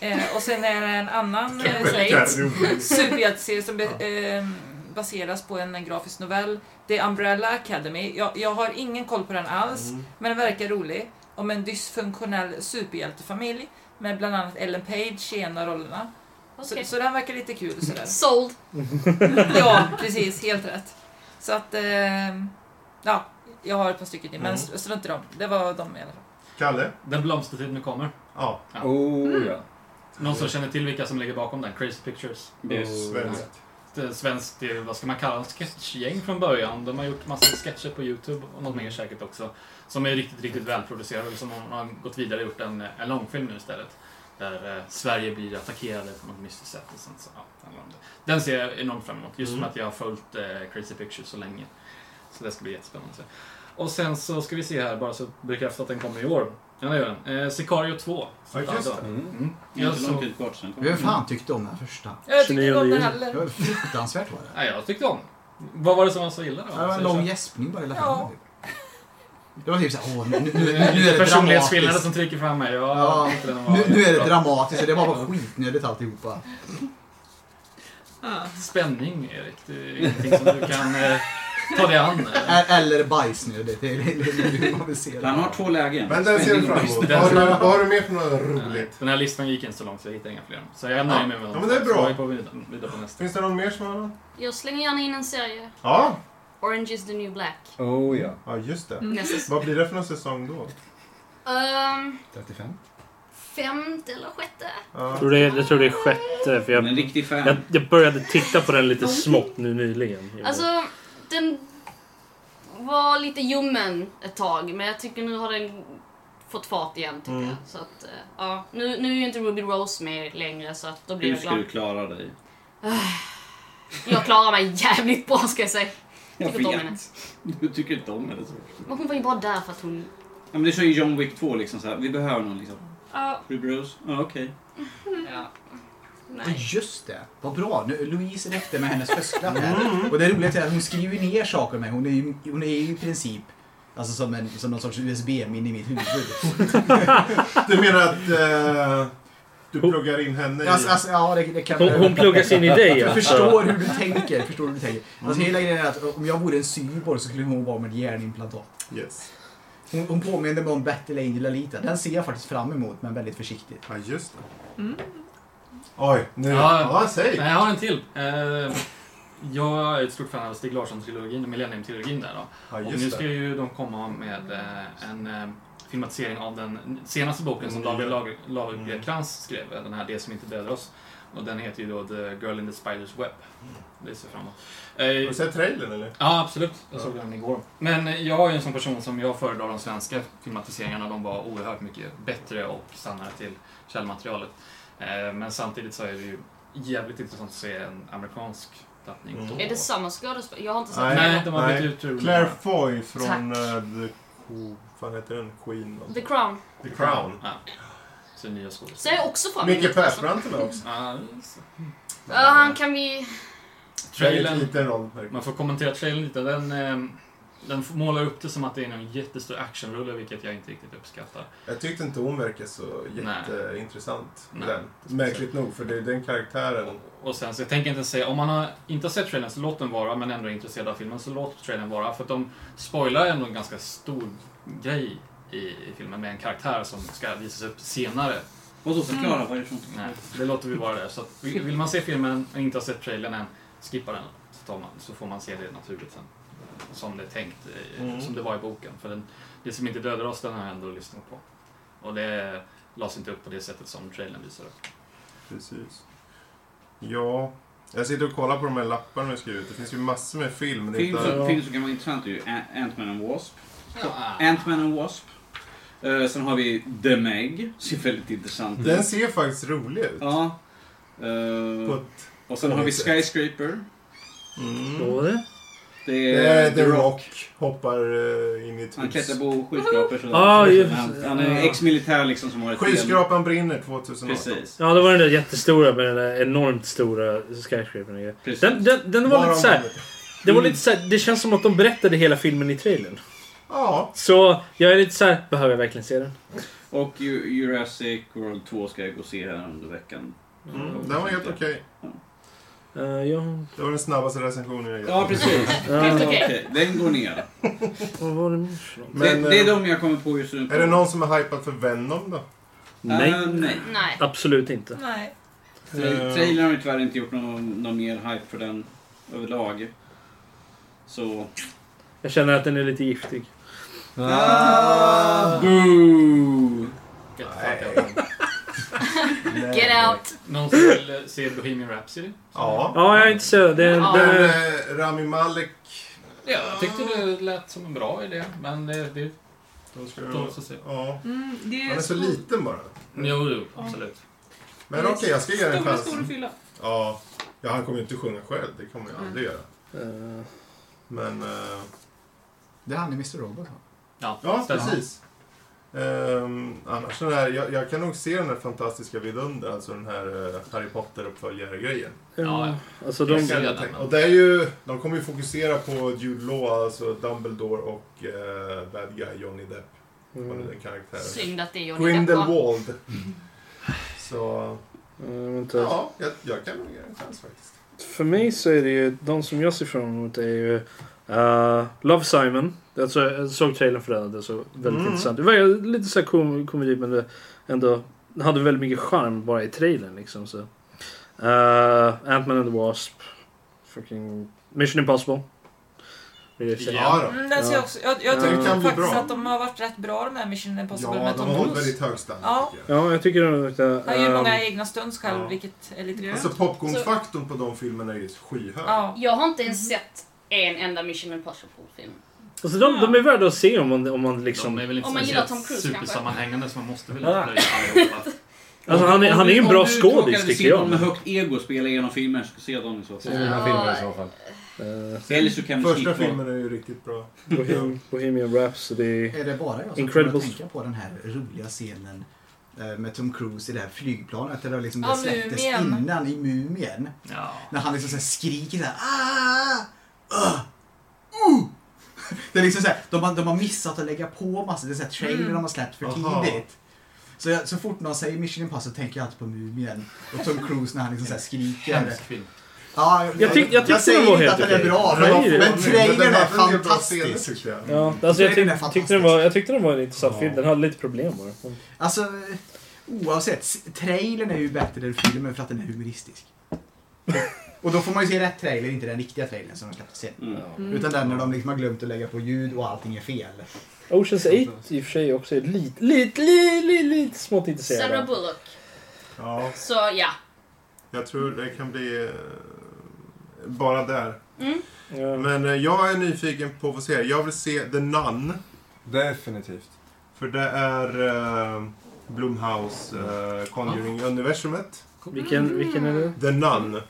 Eh, och sen är det en annan eh, Det tjej, verkar rolig. superhjälteserie som be, eh, baseras på en grafisk novell. Det är Umbrella Academy. Jag, jag har ingen koll på den alls, Mm. men den verkar rolig. Om en dysfunktionell superhjältefamilj med bland annat Ellen Page i en av rollerna. Okej. Så, så den verkar lite kul. Sådär. Sold. ja, precis. Helt rätt. Så att... Eh, ja, jag har ett par stycken till, men Mm. mm. strunt i dem. Det var de i alla fall. Kalle? Den blomstertid nu kommer. Ja. Oh ja. Någon som känner till vilka som ligger bakom den? Crazy Pictures. Yes. Svenskt. Ett svenskt, eh, vad ska man kalla dem, sketchgäng från början. De har gjort massa sketcher på Youtube och något mer säkert också. Som är riktigt, riktigt välproducerade. Som har har gått vidare och gjort en, eh, en långfilm nu istället. Där eh, Sverige blir attackerade på något mystiskt sätt. Och sånt, så, ja, det handlar om det. Den ser jag enormt fram emot. Just Mm. med att jag har följt eh, Crazy Pictures så länge. Så det ska bli jättespännande. att se. Och sen så ska vi se här, bara så bekräfta att den kommer i år. Ja, det gör den. Eh, Sicario 2. Ja, just det. Mm. Det är Jag inte lång såg tid kvar sen. Vem fan tyckte om den första? Jag tyckte inte om 29 den juli. Det heller. var fruktansvärt var det. Nej, jag tyckte om den. Vad var det som var så illa då? Ja, Det var en Så lång jag- gäspning bara hela Ja. filmen. typ. Det var typ såhär, åh, nu, nu, nu är det Personlighetsskillnader dramatiskt. som trycker fram mig. Jag Ja, tyckte den var nu, nu är det jättebra. dramatiskt och det var bara skitnödigt alltihopa. Spänning, Erik. Det är ingenting som du kan eh, ta dig an. Ä- Eller bajsnödigt, det är det är hur man vill se Han har det. två lägen. Men den ser vi Spänning fram och emot. brist. Vad har du- vad har du mer för något roligt? Den här listan gick inte så långt så jag hittade inga fler. Så jag är nöjd med mig. Ja, men det är bra. Så vi går vidare, vidare på nästa. Finns det någon mer som har något? Jag slänger gärna in en serie. Ja. Orange is the new black. Oh ja. Ja, just det. Nästa säsong. Vad blir det för någon säsong då? Ehm, 35. femte eller sjätte? Jag Ja. tror det är, jag tror det är sjätte, för Men En jag, riktig fan. jag, jag började titta på den Mm. lite smått nu Mm. nyligen. Alltså, den var lite ljummen ett tag, men jag tycker nu har den fått fart igen. Tycker Mm. jag. Så att, eh, ja. nu, nu är ju inte Ruby Rose med längre, så att då blir Hur jag ska glad. du klara dig? Jag klarar mig jävligt bra ska jag säga. Jag Tycker inte om henne. vet. Du tycker inte om henne så. Men hon var ju bara där för att hon men det kör ju John Wick 2 liksom så här. Vi behöver någon liksom. Ja. Fru Bruce? Ja, okej. Ja, just det. Vad bra. Nu, Louise räckte med hennes höstklapp Mm. här. Och det roliga är att hon skriver ner saker med. Hon är ju, hon är ju i princip alltså som, en, som någon sorts USB-minne i mitt huvud. Du menar att eh, du pluggar in henne i... Alltså, alltså, ja, det, det kan Hon- hon pluggas in i dig, Jag alltså. Mm. förstår hur du tänker. Förstår hur du tänker. Alltså, hela grejen är att om jag vore en cyborg så skulle hon vara med ett hjärnimplantat. Yes. Hon, hon påminner mig om Battle Angel Alita. Den ser jag faktiskt fram emot, men väldigt försiktigt. Ja, just det. Mm. Oj, nu- Ja, ja, säg. Nej, jag har en till. Eh, jag är ett stort fan av Stig Larsson-trilogin, Millennium-trilogin där då. Ja, och just det. nu ska ju de komma med eh, en eh, filmatisering av den senaste boken Mm. som Lager, Lager, Lagercrantz skrev, eh, den här Det som inte dödar oss. Och den heter ju då The Girl in the Spider's Web. Det ser jag fram emot. Har Mm. du sett trailern eller? Ja, absolut. Jag Ja. såg den igår. Men eh, jag är ju en sån person som jag föredrar de svenska filmatiseringarna. De var oerhört mycket bättre och sannare till källmaterialet. Eh, Men samtidigt så är det ju jävligt intressant att se en amerikansk tappning. Mm. Är det samma skådespelare? Jag har inte sett Nej, den. de har Nej. bytt ut Ruben. Claire Foy från Tack. eh, The... Qu- Vad heter den? Queen? The Crown. The Crown. Ja. Så nya skådespelare. Ser jag också Mm. fram emot. Micke Persbrandt är med också. Ja, Ja, han kan vi... Trailern, Väldigt liten roll. man får kommentera trailern lite. Den, eh, den målar upp det som att det är en jättestor actionrulle, vilket jag inte riktigt uppskattar. Jag tyckte inte hon verkade så jätteintressant. i Den. Märkligt nog, för det är den karaktären. Och sen, så jag tänker inte säga, om man har, inte har sett trailern så låt den vara, men ändå är intresserad av filmen så låt trailern vara. För att de spoilar ändå en ganska stor grej i, i filmen med en karaktär som ska visas upp senare. Mm. Och så förklara vad det är för någonting. Nej, det låter vi vara där. Så att, vill vill man se filmen men inte har sett trailern än, skippa den. Så, tar man, så får man se det naturligt sen. Som det är tänkt, eh, Mm. som det var i boken. För den, det som inte dödar oss, den har jag ändå lyssnat på. Och det lades inte upp på det sättet som trailern visar upp. Precis. Ja. Jag sitter och kollar på de här lapparna jag har skrivit. Det finns ju massor med film. Det Film heter- som, film som kan vara intressant är ju Ant- Ant-Man and Wasp. Ja. Ant-Man and Wasp. Eh, sen har vi The Meg. Ser väldigt intressant ut. Den ser faktiskt rolig ut. Ja. Eh, På ett- och sen har vi på ett sätt. Skyscraper. Mm. Vad var det? Det Det är är The Rock hoppar eh, in i ett Han hus. klättrar på skyskrapor. så- Ah, så- just- han, han är ex-militär liksom som har ett Skyskrapan brinner 2018. Precis. Ja, det var den där jättestora med den där enormt stora skyscrapan. och grejer. Den, den, den var Bara lite såhär... om- Det var lite såhär, det känns som att de berättade hela filmen i trailern. Ja. Så jag är lite såhär, behöver jag verkligen se den? Och Ju- Jurassic World 2 ska jag gå och se här under veckan. Mm, den var helt okej. Eh, Det var den snabbaste recensionen jag gjort. Ja, precis. Helt okej. Den går ner. Vad var det mer Men, det, det är eh, de jag kommer på just nu. Är det någon som är hypad för Venom då? Nej. Eh, nej. Nej. Absolut inte. Nej. Eh. Tra- trailern har ju tyvärr inte gjort någon, någon mer hype för den överlag. Så... Jag känner att den är lite giftig. Ah. Boo! Get, Get out. Någon som vill eh, se Bohemian Rhapsody? Ja. Ja, jag är inte så... Det, Men, ja. det, eh, Rami Malek. Ja, jag tyckte det lät som en bra idé, men det... det låt oss se. Ja. Mm, det är Han är så stor- liten bara. Jo, jo, absolut. Men okej, jag ska ge den Mm. Stora, chansen. stora fylla. Ja. ja, han kommer ju inte sjunga själv. Det kommer jag aldrig göra. Men... eh, Mm. Det är han i Mr. Robot. va? Ja, Ja, stämmer. precis. Ehm, annars den här, jag, jag kan nog se den här fantastiska vidunder, alltså den här eh, Harry Potter-uppföljare-grejen. Ehm, Ja, alltså de- Jag kan Jag tänka- ser den, och det är ju, de kommer ju fokusera på Jude Law, alltså Dumbledore och eh, bad guy Johnny Depp. Mm. Vad nu den karaktären. Synd att det är Johnny Depp, Grindelwald. Så... vänta. Ja, jag, jag kan nog ge den en chans faktiskt. För mig så är det ju, de som jag ser fram emot är ju eh, Love Simon. Alltså, jag såg trailern för den, det såg väldigt Mm. intressant Det var ju lite så här kom, komedi men det ändå, den hade väldigt mycket charm bara i trailern liksom. Så. Eh, Ant-Man and the Wasp. Fucking Mission Impossible. Det är ju- Ja då. Mm, den ser jag också, jag, jag Ja. tycker Det kan bli faktiskt bra. att de har varit rätt bra de här Mission Impossible Ja, med de Tom har hållit Cruise. väldigt hög standard, Ja, Ja, jag tycker den luktar... han gör Ehm, många egna stunts själv, ja. vilket är lite Alltså popcornfaktorn på de filmerna är ju skyhög. Ja. Jag har inte ens sett en enda Mission Impossible-film. Alltså de, de är värda att se om man, om man liksom... De är väl inte Om man så gillar helt Tom Cruise, kanske. supersammanhängande så man måste väl Ah. inte plöja allihopa. Alltså han är, Om han är du- ju en om bra du råkade skådis se tycker jag. någon med högt ego spela igenom filmer så ska se dem i så fall. Eh, Se mina filmer i så fall. Eh, Eller så kan vi Första skippa- filmen är ju riktigt bra. Bohem- Bohemian Rhapsody. Är det bara jag som Incredibles. kommer att tänka på den här roliga scenen eh, med Tom Cruise i det här flygplanet? Där det liksom Ja, det släpptes Mumien. innan i Mumien. När han liksom så här skriker så här. Ah! Ah! Uh! Det är liksom så här, de, har, de har missat att lägga på massor. Det är så här trailer Mm. de har släppt för Aha. tidigt. Så, jag, så fort någon säger Mission Impossible tänker jag alltid på Mumien. Och Tom Cruise när han liksom så här skriker. Hemsk film. Ja, Jag tyck- jag tyckte säger den var inte helt att den är okej. bra, Nej, men, det- men trailern den är hade en del bra fantastisk. scener, tyckte Ja, alltså jag, Trailern Mm. tyck, är tyckte den var, jag tyckte den var en intressant film. Den hade lite problem bara. Mm. Alltså, oavsett. s- Trailern är ju bättre än filmen för att den är humoristisk. och då får man ju se rätt trailer, inte den riktiga trailern som de släppte sen. Mm. Utan den när de liksom har glömt att lägga på ljud och allting är fel. Oceans 8 i och för sig också är lite, lite, lite, lite, lite smått intresserad Sarah av. Bullock. Ja, Så ja. jag tror det kan bli eh, bara där. Mm. Men eh, jag är nyfiken på att få se. Jag vill se The Nun. Definitivt. För det är eh, Blumhouse eh, Conjuring-universumet. Vilken- vilken är det? The Nun.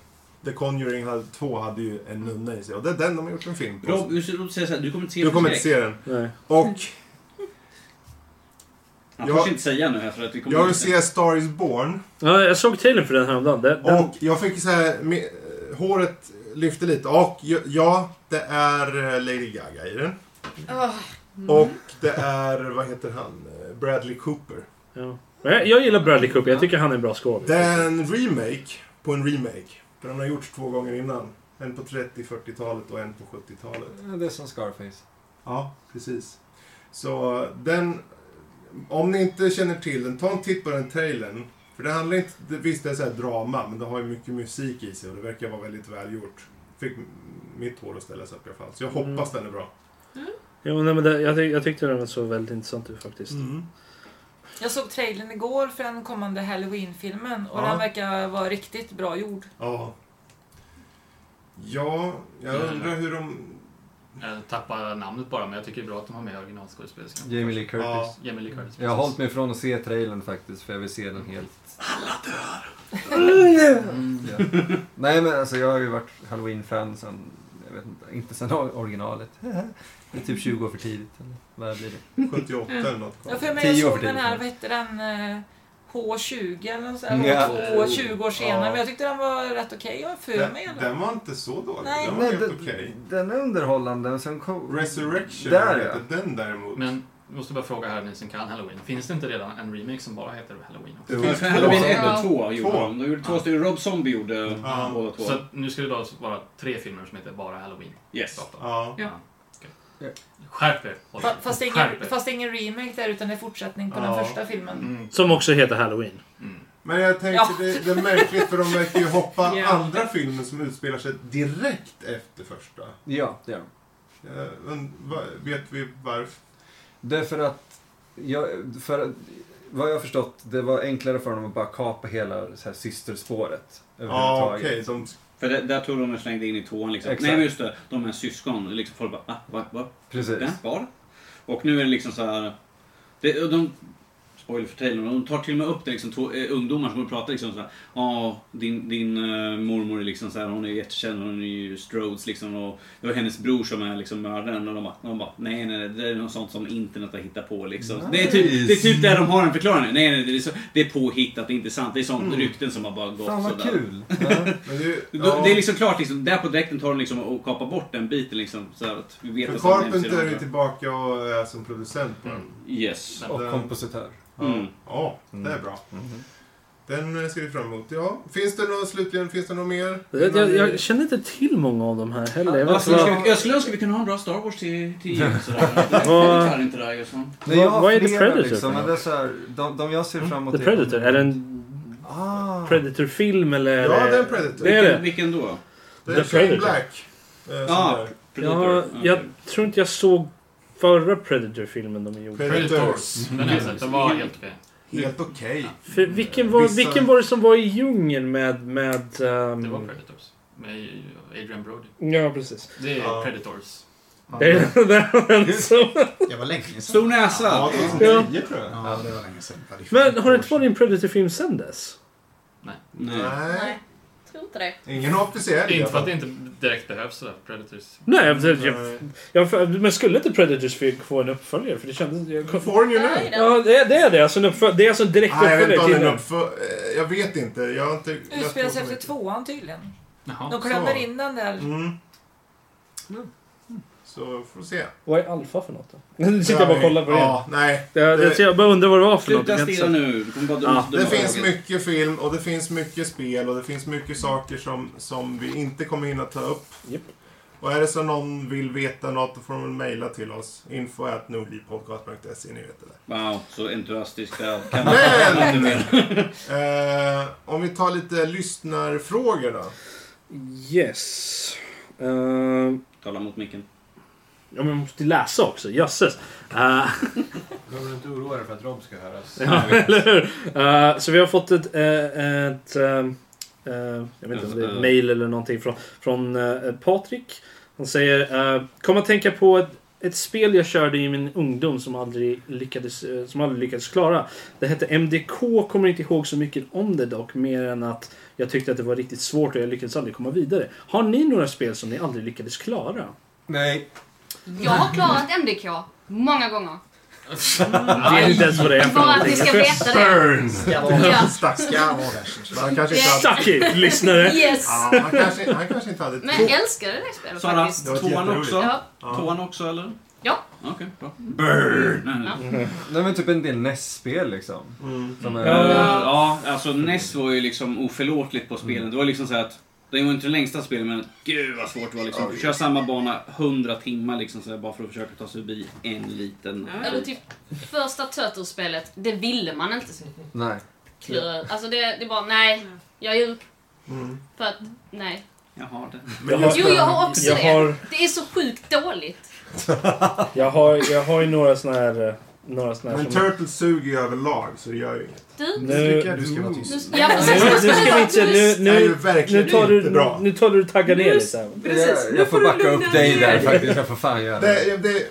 The Conjuring hade- 2 hade ju en nunna i sig och det är den de har gjort en film på. Rob, du säger såhär, du kommer inte se Du den kommer inte se direkt. den. Och... Han får inte säga nu här för att vi kommer jag vill inte- se Star is Born. Ja, jag såg trailern för den häromdagen. Den, den, Och jag fick så här, med, håret lyfte lite. Och ju- ja, det är eh, Lady Gaga i den. Ah. Och det är, vad heter han, Eh, Bradley Cooper. Ja. Men Jag, jag gillar Bradley Cooper. Jag tycker han är en bra skådis. Det är en remake på en remake. För den har gjorts två gånger innan. En på 30-40-talet och en på 70-talet. Det är som Scarface. Ja, precis. Så den... Om ni inte känner till den, ta en titt på den trailern. För det handlar inte... det- Visst, det är så här drama, men det har ju mycket musik i sig och det verkar vara väldigt välgjort. Fick m- mitt hår att ställa sig upp i alla fall. Så jag Mm. hoppas den är bra. Jo, nej, men det, jag, tyck- jag tyckte den såg väldigt intressant ut faktiskt. Jag såg trailern igår för den kommande Halloween-filmen och Ja. den verkar vara riktigt bra gjord. Ja. Ja, jag undrar hur de... Jag tappar namnet bara, men jag tycker det är bra att de har med originalskådespelerskan. Jamie Lee Curtis. Jamie Lee Curtis. Jag har hållit mig från att se trailern faktiskt, för jag vill se den helt... Mm, ja. Nej men alltså jag har ju varit Halloween-fan sen, jag vet inte, inte sen or- originalet. Det är typ 20 år för tidigt. Eller? Vad blir det? 78 eller något. Ja, för mig, Mm. jag 10 år såg för den tidigt. här, vad hette den? eh, H20 eller något sånt. Ja. H2, 20 år senare. Ja. Men jag tyckte den var rätt okej okay, för mig. Den, Eller? den var inte så dålig. Nej. Den var Nej, helt den- okej. Den är underhållande. men Sen kom... Resurrection, Där vad ja. heter den däremot? Men jag måste bara fråga här ni som kan Halloween. Finns det inte redan en remake som bara heter Halloween? också? Det finns Halloween 1 och 2 gjorde de. De gjorde två stycken. Rob Zombie gjorde båda två. Så att nu ska det då alltså vara tre filmer som heter bara Halloween? Yes. Ja. okej. Skärp er! Fa- Fast, Skärp er. ingen, fast ingen remake där utan det är fortsättning på Ja. Mm. den första filmen. Som också heter Halloween. Men jag tänkte, Ja. det, det är märkligt för de verkar ju hoppa Ja. andra filmer som utspelar sig direkt efter första. Ja, det är de. Eh, men va- Vet vi varför? Därför att, jag, för, att- vad jag har förstått, det var enklare för dem att bara kapa hela så här, systerspåret. Ah, överhuvudtaget. För det, där tog de och slängde in i tvåan liksom. Exakt. Nej men just det, de här syskon. Liksom folk bara, ah, va, va? Precis. Den var? Och nu är det liksom så här. Det, och de, spoiler för trailern, de tar till och med upp det liksom, två eh, ungdomar som pratar liksom så här. Ja, din, din eh, mormor är liksom så här, hon är jättekänd, hon är ju Strodes liksom och det var hennes bror som är liksom mördaren och de bara, de bara nej nej nej, det är något sånt som internet har hittat på liksom. Det, är typ, det är typ där de har en förklaring. Nej nej, det är, så, det är påhittat, det är inte sant. Det är sånt Mm. rykten som har bara gått Fan, vad sådär. kul. Då- ja. Det är liksom klart, liksom, där på direkten tar de liksom och kapar bort den biten liksom. Så här, att vi vet För vad som händer Carpenter är sedan. ju tillbaka och är som producent på Mm. den. Yes. Och Den- kompositör. Ja, Mm. ja det är Mm. bra. Mhm. Den eh, ser vi fram emot. Ja, finns det något slutligen? Finns det något mer? Jag, jag, jag känner inte till många av de här heller. Jag vet Alltså, inte ska vad- vi, jag skulle önska vi kunde ha en bra Star Wars till, till jul. Sådär. Vad- Tar inte det här just nu. Nej, jag har Vad är The flera, Predator för Liksom, men något? Mm, det är så här, de, de jag ser fram emot The är- Predator? Är det en Ah. Predator-film eller? Ja, är det är en Predator. Det är det. Vilken- vilken då? The Det är Shane Predator. Black. eh, som Ja, är- Ja, jag tror inte jag såg förra Predator-filmen de gjorde. Predators. Mm. Den har jag sett, den var helt okej. Helt okej. För vilken, var, Vissa- vilken var det som var i djungeln med... med ehm, Det var Predators. Med Adrian Brody. Ja, precis. Det är Ja. Predators. Det är den som... Jag var länge sedan. Stor näsa! Ja, Ja. det var länge sedan. Ja, det var länge sedan. Men har det inte varit en Predator-film sen dess? Nej. Nej. Nej. tror inte det. Ingen officiell i alla Inte för fall. att det inte direkt behövs sådär, Predators. Nej, jag, jag, jag, men skulle inte Predators fick få en uppföljare? För det kändes... Jag, Får den ju nu. Ja, det, det är det. Alltså en uppföljare. Det är alltså en direkt Nej, jag vet inte uppföljare om till den den. uppför... eh, Jag vet inte. Jag har inte... jag tror Utspelar sig så efter mycket. tvåan tydligen. Jaha. De klämmer så. in den där. Mm. Så får vi se. Vad är alfa för något då? Nu sitter jag bara och kollar på det. Ja, nej. Jag, jag, Det- jag bara undrar vad det var för något. Sluta Jag kan inte stirra säga. nu. Du kommer bara Ja. döma- döma Det finns ögat. mycket film och det finns mycket spel och det finns mycket saker som, som vi inte kommer hinna ta upp. Japp. Och är det så någon vill veta något, då får de väl mejla till oss. Info at nordlivpodcast.se, ni vet det där. Wow, så entusiastisk jag kan Men- inte mer. Eh, om vi tar lite lyssnarfrågor då. Yes. Ehm, Tala mot micken. ja, men jag måste läsa också. Jösses. Eh, Behöver du inte oroa dig för att Rob ska höras? ja, eller hur? Eh, så vi har fått ett... eh, ett ehm, eh, jag vet inte om det är ett mejl eller någonting från, från eh, Patrik. Han säger... eh, kom att tänka på ett, ett spel jag körde i min ungdom som aldrig lyckades, eh, som aldrig lyckades klara. Det hette MDK, kommer inte ihåg så mycket om det dock, mer än att jag tyckte att det var riktigt svårt och jag lyckades aldrig komma vidare. Har ni några spel som ni aldrig lyckades klara? Nej. Jag har klarat MDK många gånger. Det är inte ens vad det är för Bara att ni någonting. ska veta det. Ska Ja. Men Han kanske inte hade... Suck it, lyssnare! Yes! Ja, han, kanske, han kanske inte hade Men två. jag älskade det spelet Sara, faktiskt. Det var ett tvåan jätteroligt. också? Ja. Tvåan också eller? Ja. Okej, bra. Burn! Nej, nej. Nej men typ en del NES-spel liksom. Mm. Som är... Eh, Ja. Ja, alltså NES var ju liksom oförlåtligt på spelen. Det var liksom så här att det var inte det längsta spelet men gud vad svårt det var liksom. Köra samma bana hundra timmar liksom så här, bara för att försöka ta sig förbi en liten... Eller typ första Turtles-spelet, det ville man inte så Nej. klura ut. Alltså det, det bara, nej. Jag ger upp. För att, nej. Jag har det. Jag Jo, jag har också jag det. har- Det är så sjukt dåligt. Jag har, jag har ju några såna här... eh, Några såna här Men som... Turtles suger ju överlag, så det gör ju inget. Du, nu, Nu, Du ska vara tyst. ja, nu, precis, nu man skulle ska vi vara inte... Nu, tyst. Det är ju nu, nu, verkligen tar du, inte bra. nu tar du tagga ner lite. här. Precis, Jag, nu jag får får du backa lugna upp dig ner där dig. faktiskt. Jag får fan göra det. Det, det,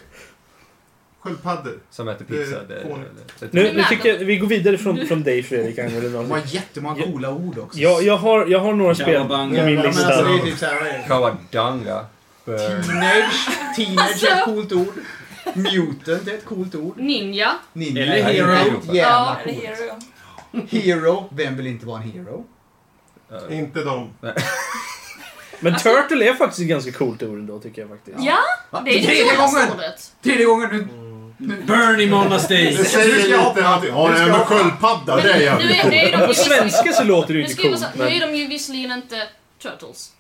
sköldpaddor. Som äter pizza. Det, fånigt. det, Nu, nu tycker jag, vi går vidare från, från dig Fredrik. angående De dem. har jättemånga coola ord också. Jag, jag, har, jag har några spel på min Ja, men alltså, det lista. är typ eh. såhär... Kawadanga. Burn. Teenage, teenage är ett Alltså. coolt ord. Mutant är ett coolt ord. Ninja. Ninja Eller är hero. ett Ja, Jävla Eller coolt. Hero. Hero. Vem vill inte vara en hero? Eh, Inte de. Men Turtle är faktiskt ett ganska coolt ord ändå tycker jag faktiskt. Ja, Va? det är Tredje det coolaste gången! ordet. Tredje gången du... Burn i Det Monastery! säger lite att... Ja, nej, men sköldpadda, Men det är nu jävligt är, nu coolt. är de ju På svenska så låter det ju nu inte ska jag bara coolt. säga, nu är Men de ju visserligen inte Turtles.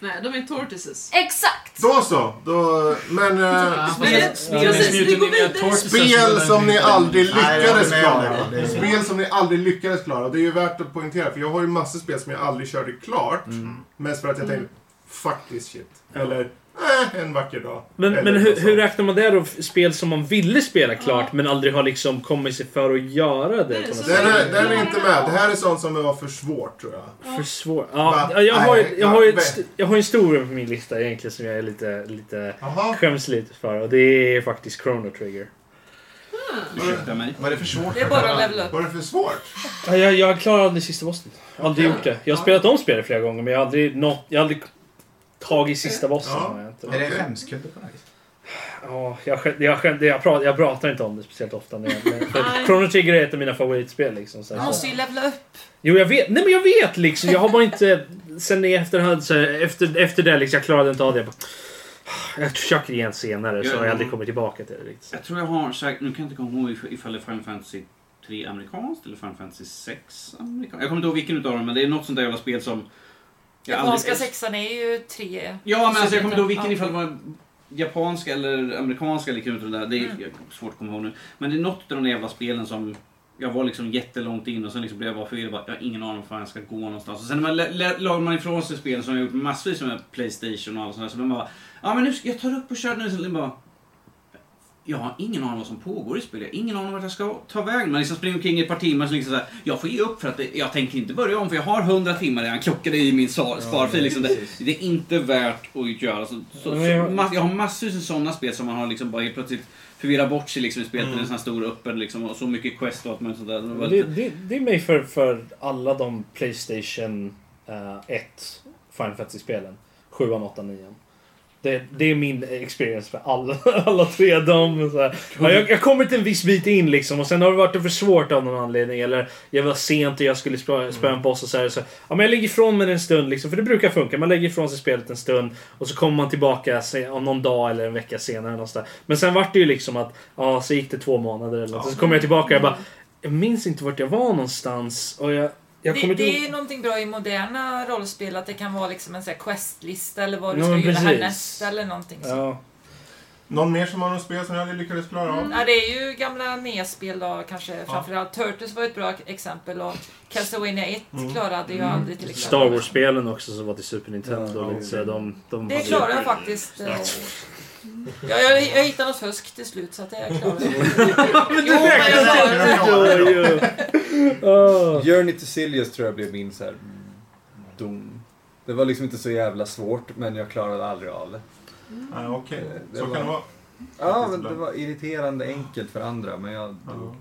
Nej, de är tortoises. Exakt! Då så. Då, men eh, Precis, vi går vidare. spel som ni aldrig Nej, jag lyckades håller med om det. klara. Det är- Spel som ni aldrig lyckades klara. Det är ju värt att poängtera, för jag har ju massor spel som jag aldrig körde klart. Mm. Mest för att jag tänkte, fuck this shit. Eller, eh, en vacker dag. men, Eller men hur, något sånt. hur räknar man det då? Spel som man ville spela klart men aldrig har liksom kommit sig för att göra det. på något så- sätt. Den är, den är inte med. Det här är sånt som var för svårt, tror jag. För svår. Va? Ja, jag- jag, har, Nej, jag, har ju ett, va? st- jag har en stor på min lista egentligen som jag är lite, lite Jaha. skäms lite för. Och det är faktiskt Chrono Trigger. Ursäkta mig. Vad är det för svårt? Mm. Det är bara att levela upp. Var det för svårt? Ja, Jag, jag klarar aldrig sista bossen. Aldrig gjort det. Jag har spelat om spelet flera gånger men jag har aldrig, nått, jag har aldrig tagit sista bossen. Ja. Har jag, Är inte. det en skämskudde på något vis? Ja, jag, skäm- jag, skäm- jag, pratar, jag pratar inte om det speciellt ofta. När jag, men, för Nej. Chrono Trigger är ett av mina favoritspel. Liksom, så, Man här, så. måste ju levela upp. Jo, jag vet. Nej, men jag vet liksom. Jag har bara inte... Sen i efterhand, så, efter, efter det, liksom, jag klarade inte av det. Jag, bara, "Ah, jag försöker igen senare, så har jag aldrig kommit tillbaka till det. Liksom. Jag tror jag har säkert, nu kan jag inte komma ihåg if- ifall det är Final Fantasy 3 amerikanskt eller Final Fantasy 6 amerikanskt. Jag kommer inte ihåg vilken utav dem men det är något sånt där jävla spel som... jag aldrig- Japanska sexan är ju tre. Ja men alltså jag kommer inte ihåg vilken Ja. ifall det var japanska eller amerikanska eller utav det där. Det är Mm. jag- svårt att komma ihåg nu. Men det är något av de där jävla spelen som jag var liksom jättelångt in och sen liksom blev jag bara förvirrad. Bara, Jag har ingen aning om fan jag ska gå någonstans. Och sen när man lä- lä- la man ifrån sig spel som jag gjort massvis med Playstation och allt sånt där. Så man bara, ja men nu ska jag tar upp och kör nu. Så det bara, jag har ingen aning vad som pågår i spelet. Jag har ingen aning vart jag ska ta vägen. Man liksom springer omkring i ett par timmar så liksom så här, jag får ge upp för att det, jag tänker inte börja om för jag har 100 timmar redan klockade i min sa- sparfil. liksom det, det är inte värt att göra. Så, så, Ja, så, men jag- mass, jag har massvis av sådana spel som man har liksom bara helt plötsligt förvirrat bort sig liksom i spelet. Mm. En sån här stor öppen liksom och så mycket quest och allt möjligt sånt där. Det var Det, lite- det, det är mig för, för alla de Playstation eh, ett Final Fantasy-spelen. Sjuan, åttan, nian. Det, det är min experience för alla, alla tre. De, så här. Ja, jag, jag kommer till en viss bit in liksom och sen har det varit för svårt av någon anledning. Eller jag var sent och jag skulle spö- spöa en boss och så här. Så, ja, men jag lägger ifrån mig det en stund liksom. För det brukar funka. Man lägger ifrån sig spelet en stund och så kommer man tillbaka se- om någon dag eller en vecka senare. Någonstans. Men sen vart det ju liksom att, ja så gick det två månader eller något. Så kommer jag tillbaka och jag Mm. bara, jag minns inte vart jag var någonstans. Och jag, jag Det, kommer det inte är ju någonting bra i moderna rollspel att det kan vara liksom en sån här questlista eller vad du Ja, ska men göra precis. härnäst eller någonting sånt. Ja. Någon mer som har något spel som jag aldrig lyckades klara av? Mm. Ja, det är ju gamla NES-spel då kanske framförallt. Turtles var ett bra exempel och Castlevania 1 Mm. klarade jag aldrig till exempel. Star Wars-spelen också som var till Super Nintendo. Ja, lite så här, de, de Det hade ju- klarade jag faktiskt. eh, Ja, jag, jag hittade något fusk till slut så att jag klarade det. Men Jo, men jag klarade det. Ah. Journey to Silius tror jag blev min så här dom. Det var liksom inte så jävla svårt, men jag klarade aldrig av det. Mm. Ah, okej. Eh, Så kan det vara. Ja, men det var irriterande enkelt för andra, men jag dog.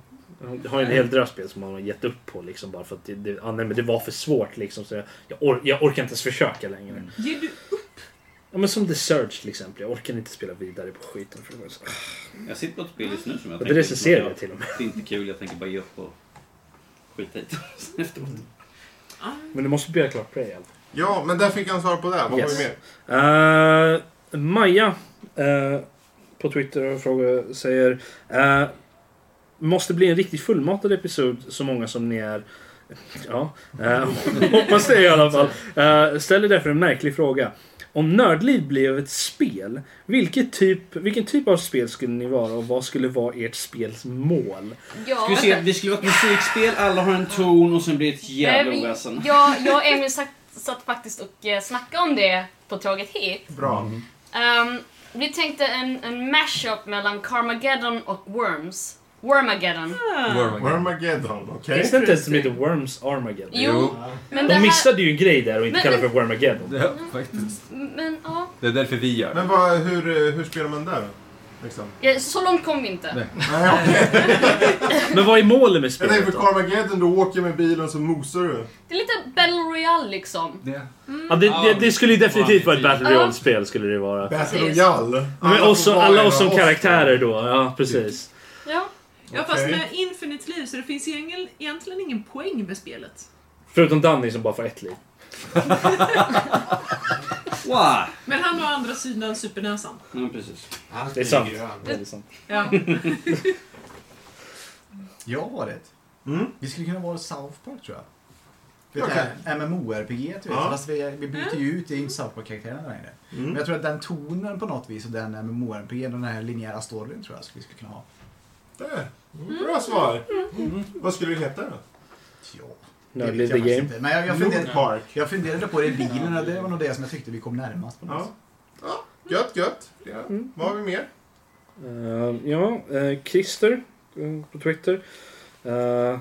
Jag har en hel drös spel som man har gett upp på liksom bara för att det, det, ah, nej, men det var för svårt liksom. Så jag, jag, or, jag orkar inte ens försöka längre. Ger du Ja, men som The Search till exempel. Jag orkar inte spela vidare på skiten. För det var så... Jag sitter på ett spel just nu som jag Och det recenserar jag till och med. Det är inte kul, jag tänker bara ge upp och skita i det sen efteråt. Mm. Men du måste spela klart Prey alltså. i alla fall. Ja, men där fick han svar på det. Vad har vi mer? mer? Eh, Maja eh, på Twitter frågar, säger eh, Måste bli en riktigt fullmatad episod så många som ni är. Ja, eh, hoppas det i alla fall. Eh, ställer därför en märklig fråga. Om Nördliv blev ett spel, vilket typ, vilken typ av spel skulle ni vara och vad skulle vara ert spels mål? Ja, Ska vi se, vänta. vi skulle vara ett musikspel, alla har en ton och sen blir det ett jävla Nej, Eh, vi- oväsen. Jag, jag och Emil satt, satt faktiskt och eh, snackade om det på tåget hit. Bra. Ehm, vi tänkte en, en mashup mellan Carmageddon och Worms. Wormageddon. Ah. Wormageddon, okej. Finns det inte ens som heter Worms Armageddon? Jo, Jo. men det De här- missade ju en grej där och inte Men- kallade för Wormageddon. Ja, faktiskt. Men ja, Det är därför vi gör Men vad, hur, eh, hur spelar man där? Liksom. ja, så långt kom vi inte. Men vad är målet med Jag spelet tänker då? för Carmageddon, då åker jag med bilen så mosar du. Det är lite Battle Royale liksom. Ja, det, det, det skulle ju definitivt vara ett Battle Ja. Royale-spel skulle det vara. Battle Royale? Men Alla också, får vara alla en oss som av oss. karaktärer då. Ja, precis. Ja. Ja, fast Okej. med infinite liv så det finns egentligen- egentligen ingen poäng med spelet. Förutom Danny som bara får ett liv. wow. Men han har andra sidan supernäsan. Ja, precis. Det är sant. grön. Det är sant. Ja. Jag har ett. Vi skulle kunna vara South Park tror jag. Du vet Okej. det här MMORPG, du vet. Ja. Fast vi, vi byter ju ut, det är inte South Park-karaktärerna längre. Mm. Men jag tror att den tonen på något vis och den MMORPG, den här linjära storyn tror jag att vi skulle kunna ha. Där. Bra svar. Vad skulle det heta då? Det vet Nördliv the jag faktiskt game. inte. Men jag, jag, Nord funderade, Park. jag funderade på det i bilen och det var nog det som jag tyckte vi kom närmast på något Ja. sätt. ja. Gött, gött. Ja. Vad har vi mer? Eh, ja, eh, Christer eh, på Twitter. Eh, eh,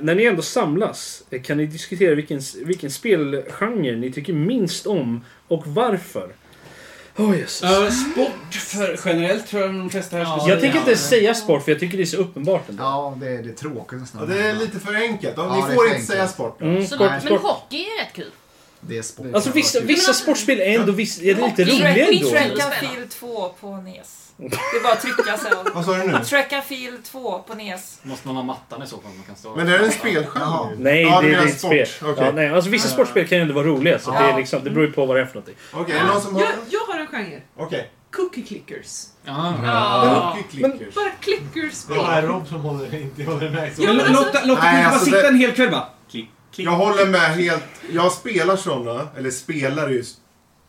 när ni ändå samlas, eh, kan ni diskutera vilken, vilken spelgenre ni tycker minst om och varför? Oh, Jesus. Eh, sport för generellt tror jag de flesta här skulle jag tänker inte säga sport för jag tycker det är så uppenbart ändå. Ja, det, det är tråkigt nästan. Ja, det är lite för enkelt. Ja, Ni det är får för inte säga enkelt. sport. Mm, Så, sport, men sport. hockey är rätt kul. Det är sport. Alltså vissa, vissa sportspel är ändå viss, är det lite roliga Track ändå. and Field 2 på NES. Det är bara att trycka sen. Vad sa du nu? Track and Field 2 på NES. Måste man ha mattan i så fall? om Man kan stå Men det är en spelgenre. Nej, Ja, du det, det menar är ett spel. sport. Okej. Ja, nej, alltså, vissa sportspel kan ju ändå vara roliga, så Ja. det, är liksom, det beror ju på vad det är för någonting. Okej, är det någon som har... Jag, jag har en genre. Okej. Cookie clickers. Okay. Klickers. Bara Det är clickerspel. Rob som håller, inte håller med. Ja, men alltså- Lotta, Lotta Nej, kan inte bara alltså sitta det- en hel kväll bara... Klick, klick. Jag håller med helt. Jag spelar såna, eller spelar just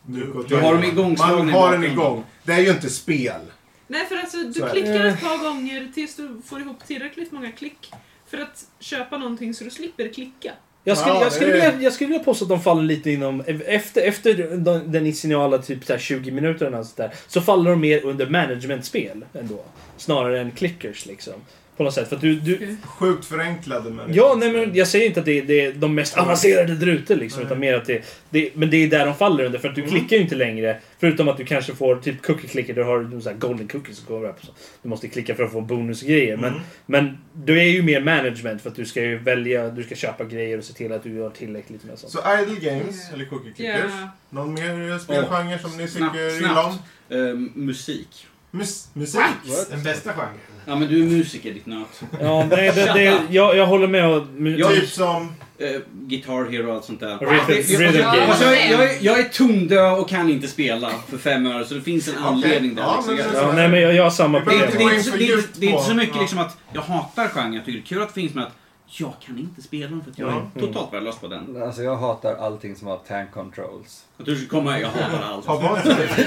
nu. Du har dem igångslagna Man i har den bakgrunden. igång. Det är ju inte spel. Nej, för alltså Så du är det. klickar ett Eh. par gånger tills du får ihop tillräckligt många klick för att köpa någonting så du slipper klicka. Jag skulle, Ja, jag, skulle det är- vilja, jag skulle vilja påstå att de faller lite inom... Efter, efter de- den insinuala typ så här 20 minuterna och sådär, så faller de mer under managementspel ändå. Snarare än clickers liksom. På något sätt. För att du, du, Sjukt förenklade men... Ja, nej, men jag säger inte att det är, det är de mest avancerade där ute. Liksom, utan mer att det, det, men det är där de faller under. För att du Mm. klickar ju inte längre. Förutom att du kanske får typ cookie clicker. Du har du så här golden cookies. som kommer upp, så Du måste klicka för att få bonusgrejer. Mm. Men, men du är ju mer management. För att du ska ju välja, du ska köpa grejer och se till att du gör tillräckligt med sånt. Så Idle Games, eller Cookie Clickers. Ja. Någon mer spelgenre som ni Snabbt, tycker snabbt. illa om? Ehm, musik. Mus musik? What? Den bästa genren. Ja, men du är musiker, ditt nöt. Ja, nej, det, det, jag, jag håller med. Och, Jag- Typ som... Eh, Guitar Hero och allt sånt där. Rhythm- Det- det- rhythm jag, game. alltså, jag, jag, är- jag är tondöv och kan inte spela för fem öre, så det finns en anledning där. Ja, liksom. men- Jag- ja, nej, men jag, jag har samma det, är problem. inte, det, är gå in inte, så- för det, är inte, djupt det är inte på. så mycket Ja. liksom att jag hatar genren. Jag tycker det är kul att det finns, men att jag kan inte spela den för att jag Mm. är totalt värdelös på den. Alltså jag hatar allting som har tank controls. Att du skulle komma jag hatar allt. Ja, vad är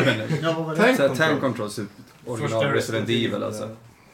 Tank Så här, tank control. controls, typ original Resident Evil alltså.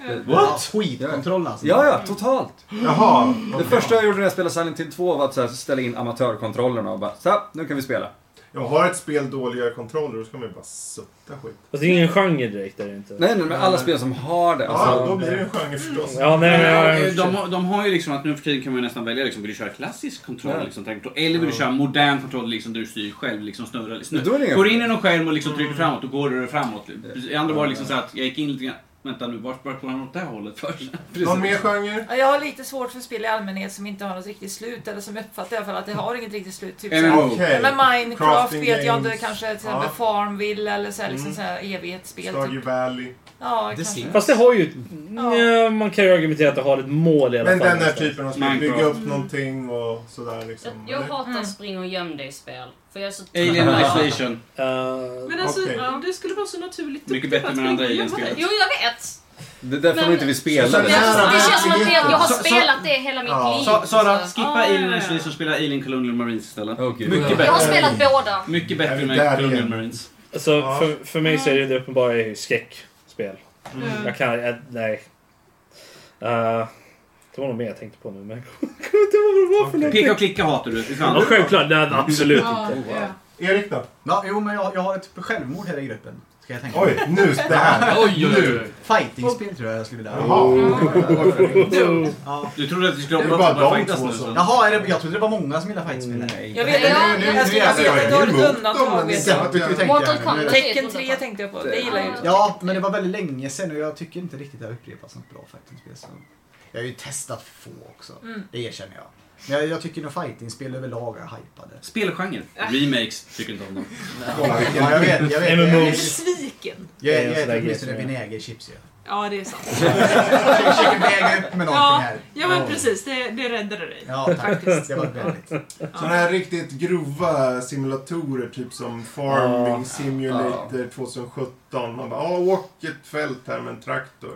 Det- What? Skitkontroll alltså. Ja, ja, totalt. Jaha. Det första jag gjorde när jag spelade Silent Hill 2 var att så här, ställa in amatörkontrollerna och bara så, nu kan vi spela. Jag har ett spel dåliga kontroller, då ska man ju bara sutta skit. Fast det är ingen genre direkt. Är det inte. Nej, nej, men alla spel som har det. Ja, Alltså, då blir det en genre förstås. Ja, nej, nej, Ja, nej, eh, de, har- de har ju liksom att nu för tiden kan man ju nästan välja liksom, vill du köra klassisk kontroll Ja. liksom, tank control, eller vill du köra modern kontroll liksom, där du styr själv, liksom, snurrar. Liksom. Men då är det inga går in i någon skärm och liksom, trycker framåt och går det framåt. I andra var det liksom så här att jag gick in lite grann, vänta nu, vart vart går han åt det här hållet för? Någon mer genre? Ja, Jag har lite svårt för spel i allmänhet som inte har något riktigt slut, eller som jag uppfattar i alla fall att det har inget riktigt slut. Typ så här- MMO. Okej. Men Minecraft Crafting vet jag inte, games. kanske till exempel Ja. Farmville eller så här, liksom Mm. så här evighetsspel. Stardew Typ. Valley. Ja, Det kanske. ser- Fast det har ju... Ja. Ja, man kan ju argumentera att det har ett mål i alla Men fall. den här någonstans. typen av spel. Minecraft. Bygga upp någonting och sådär liksom. Jag, jag Eller- hatar Mm. spring och göm dig-spel. För jag är så trött Alien på det. Isolation. Eh, Men alltså, Okej. du skulle vara så naturligt duktig Mycket bättre på att med andra springa alien-spel. gömma dig. Jo, jag vet! det är därför Men- de inte vill spela Det det. känns som att det, jag har Så- så- spelat det hela mitt Ja. liv. liksom. Sa- Sara, så- skippa Ah, ja, Alien ja. Isolation och spela Alien Colonial Marines istället. Åh, gud. Mycket Jag har bättre. spelat båda. Mycket Är bättre vi med där Colonial igen? Marines. Alltså, Ja. för, för mig så är det ju det uppenbara är ju skräckspel. Mm. Jag kan... Jag, nej. Eh, det var nog mer jag tänkte på nu, men jag kommer inte ihåg vad det var för någonting. Peka och klicka hatar du, fy Ja, fan. självklart. Nej, absolut Ja, inte. ja. Erik då? Ja, jo, men jag, jag har ett självmord här i gruppen. Ska jag tänka. Oj, nu det här. Oj, oj, oj. Fightingspel tror jag jag skulle vilja ha. Jaha. Ja. Du trodde att du skulle Det är hoppas bara att bara de fightas två nu. som- så. Jaha, är det, jag trodde det var många som gillar fightspel. här. Nej. Jag vet inte, Ja, jag, jag, jag, jag- jag vet är att jag emot har ett dem, undantag. men vet det- jag. Ja, du kan ju tänka Mortal här nu. Kombat. Tecken 3 tänkte jag på, det gillar jag ju. Ja, men det var väldigt länge sedan och jag tycker inte riktigt det har upprepats något bra fightingspel. Så. Jag har ju testat få också, Mm. det erkänner jag. Men jag, jag tycker nog fightingspel överlag är hypade. Spelgenre. Remakes, tycker inte om dem. Ja, jag vet, jag vet. Jag är MMOs. besviken. Jag, jag, Det är en jag sån där grej äter åtminstone som jag- vinägerchips ju. Ja, det är sant. Jag försöker väga upp med någonting Ja, här. ja men precis. Det, det räddade dig. Ja, tack. Faktiskt. Det var väldigt. Sådana här riktigt grova simulatorer, typ som Farming Simulator 2017. Man bara, ja, åk ett fält här med en traktor.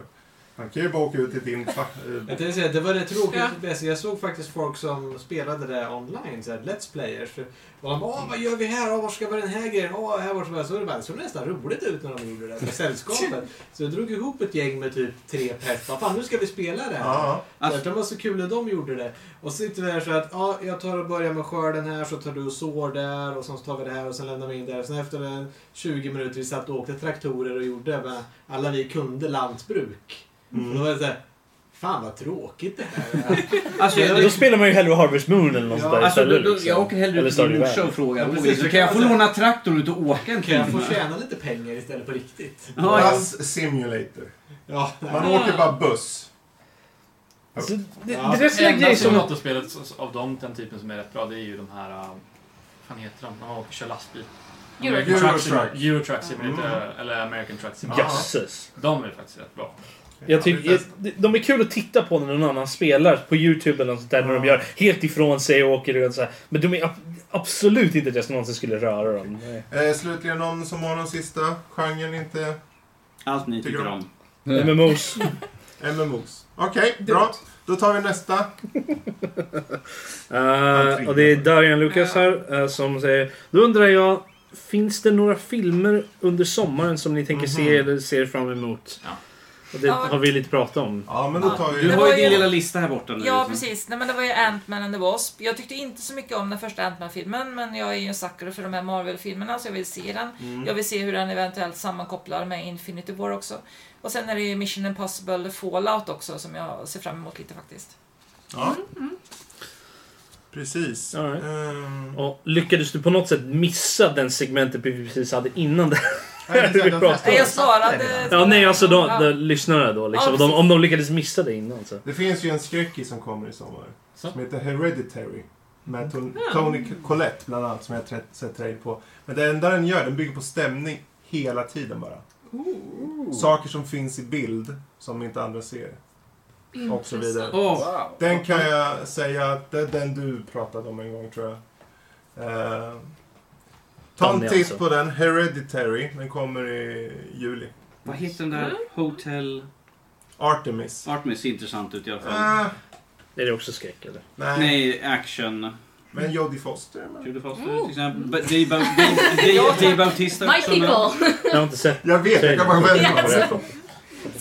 Man kan ju bara åka ut till din... fa- eh, Jag tänkte säga, det var rätt tråkigt. Ja. Ja. Jag såg faktiskt folk som spelade det online, så här, Let's Players. För- Och de bara, Åh, vad gör vi här? Åh, var ska vi den här grejen? Åh, här var ska vi den här?" Så det bara- det såg nästan roligt ut när de gjorde det, med sällskapet. Så jag drog ihop ett gäng med typ tre pers. Vad fan, nu ska vi spela det här. Ja, Så att det var så kul när de gjorde det. Och så sitter vi här så att ja, jag tar och börjar med skörden här så tar du och sår där och sen så tar vi det här och sen lämnar vi in där. Sen efter en 20 minuter vi satt och åkte traktorer och gjorde vad alla vi kunde lantbruk. Och då var det så här, fan vad tråkigt det här är. Alltså, Då spelar man ju hellre Harvest Moon eller något sånt där Alltså, då, istället. då, liksom. jag åker hellre Eller ut till Stardew min morsa Valley. och frågar. Ja, "Oj, precis, så det kan kan jag få jag Alltså- säga. låna traktorn ut och åka en Kan jag få timme?" tjäna lite pengar istället på riktigt? Ja, ja. Bus Simulator. Ja, Man åker bara buss. Alltså, det, det, Ja. det är sådana Enda grejer som... simulatorspelet s- av dem, den typen som är rätt bra, det är ju de här... äh, Vad fan heter de? När man åker och kör lastbil. American Euro Mm. Truck Simulator- Truck. Euro Truck Simulator, eller American Truck Simulator. Jösses. De är faktiskt rätt bra. Jag tycker, jag, de är kul att titta på när någon annan spelar på YouTube eller något sånt där. När de gör helt ifrån sig och åker runt så här. Men de är ab- absolut inte att jag någonsin skulle röra dem. Nej. Eh, slutligen någon som har någon sista genren inte... Allt ni Tycker tycker om. om. MMOs. MMOs. Okej, bra. Då tar vi nästa. Eh, och det är Darian Lucas här eh, som säger Då undrar jag, Mhm. finns det några filmer under sommaren som ni tänker se eller ser fram emot? Ja. Och det Ja. har vi lite pratat om. Ja, men Du Det har var ju din ju- lilla lista här borta nu. Ja, liksom. precis. Nej, men det var ju Ant-Man and the Wasp. Jag tyckte inte så mycket om den första Ant-Man-filmen, men jag är ju en sucker för de här Marvel-filmerna, så jag vill se den. Mm. Jag vill se hur den eventuellt sammankopplar med Infinity War också. Och sen är det ju Mission Impossible Fallout också, som jag ser fram emot lite faktiskt. Ja. Mm, Precis. Ehm. Och lyckades du på något sätt missa den segmentet vi precis hade innan det Nej, det är vi de pratade om? Jag svarade... Ja, nej, alltså de, de, Ja. lyssnarna då. Liksom, Ja, de, precis. om de lyckades missa det innan så. Det finns ju en skräckis som kommer i sommar. Som heter Hereditary. Med Ton- Tony Collette bland annat som jag har sett trail på. Men det enda den gör, den bygger på stämning hela tiden bara. Saker som finns i bild som inte andra ser. Och så vidare. Intressant. Åh, wow. Den kan jag säga att det är den du pratade om en gång tror jag. Eh, ta en Tony, titt alltså. på den. Hereditary. Den kommer i juli. Vad heter den där Hotel... Artemis. Artemis ser intressant ut i alla fall. Ah. Är det också skräck eller? Nej. Nej, action. Men Jodie Foster? Men... Jodie Foster till exempel. Ba- Dave Bau- Dave- Dave- Dave Bautista My också med. people. Jag har inte sett Jag vet, jag kan bara välja på det.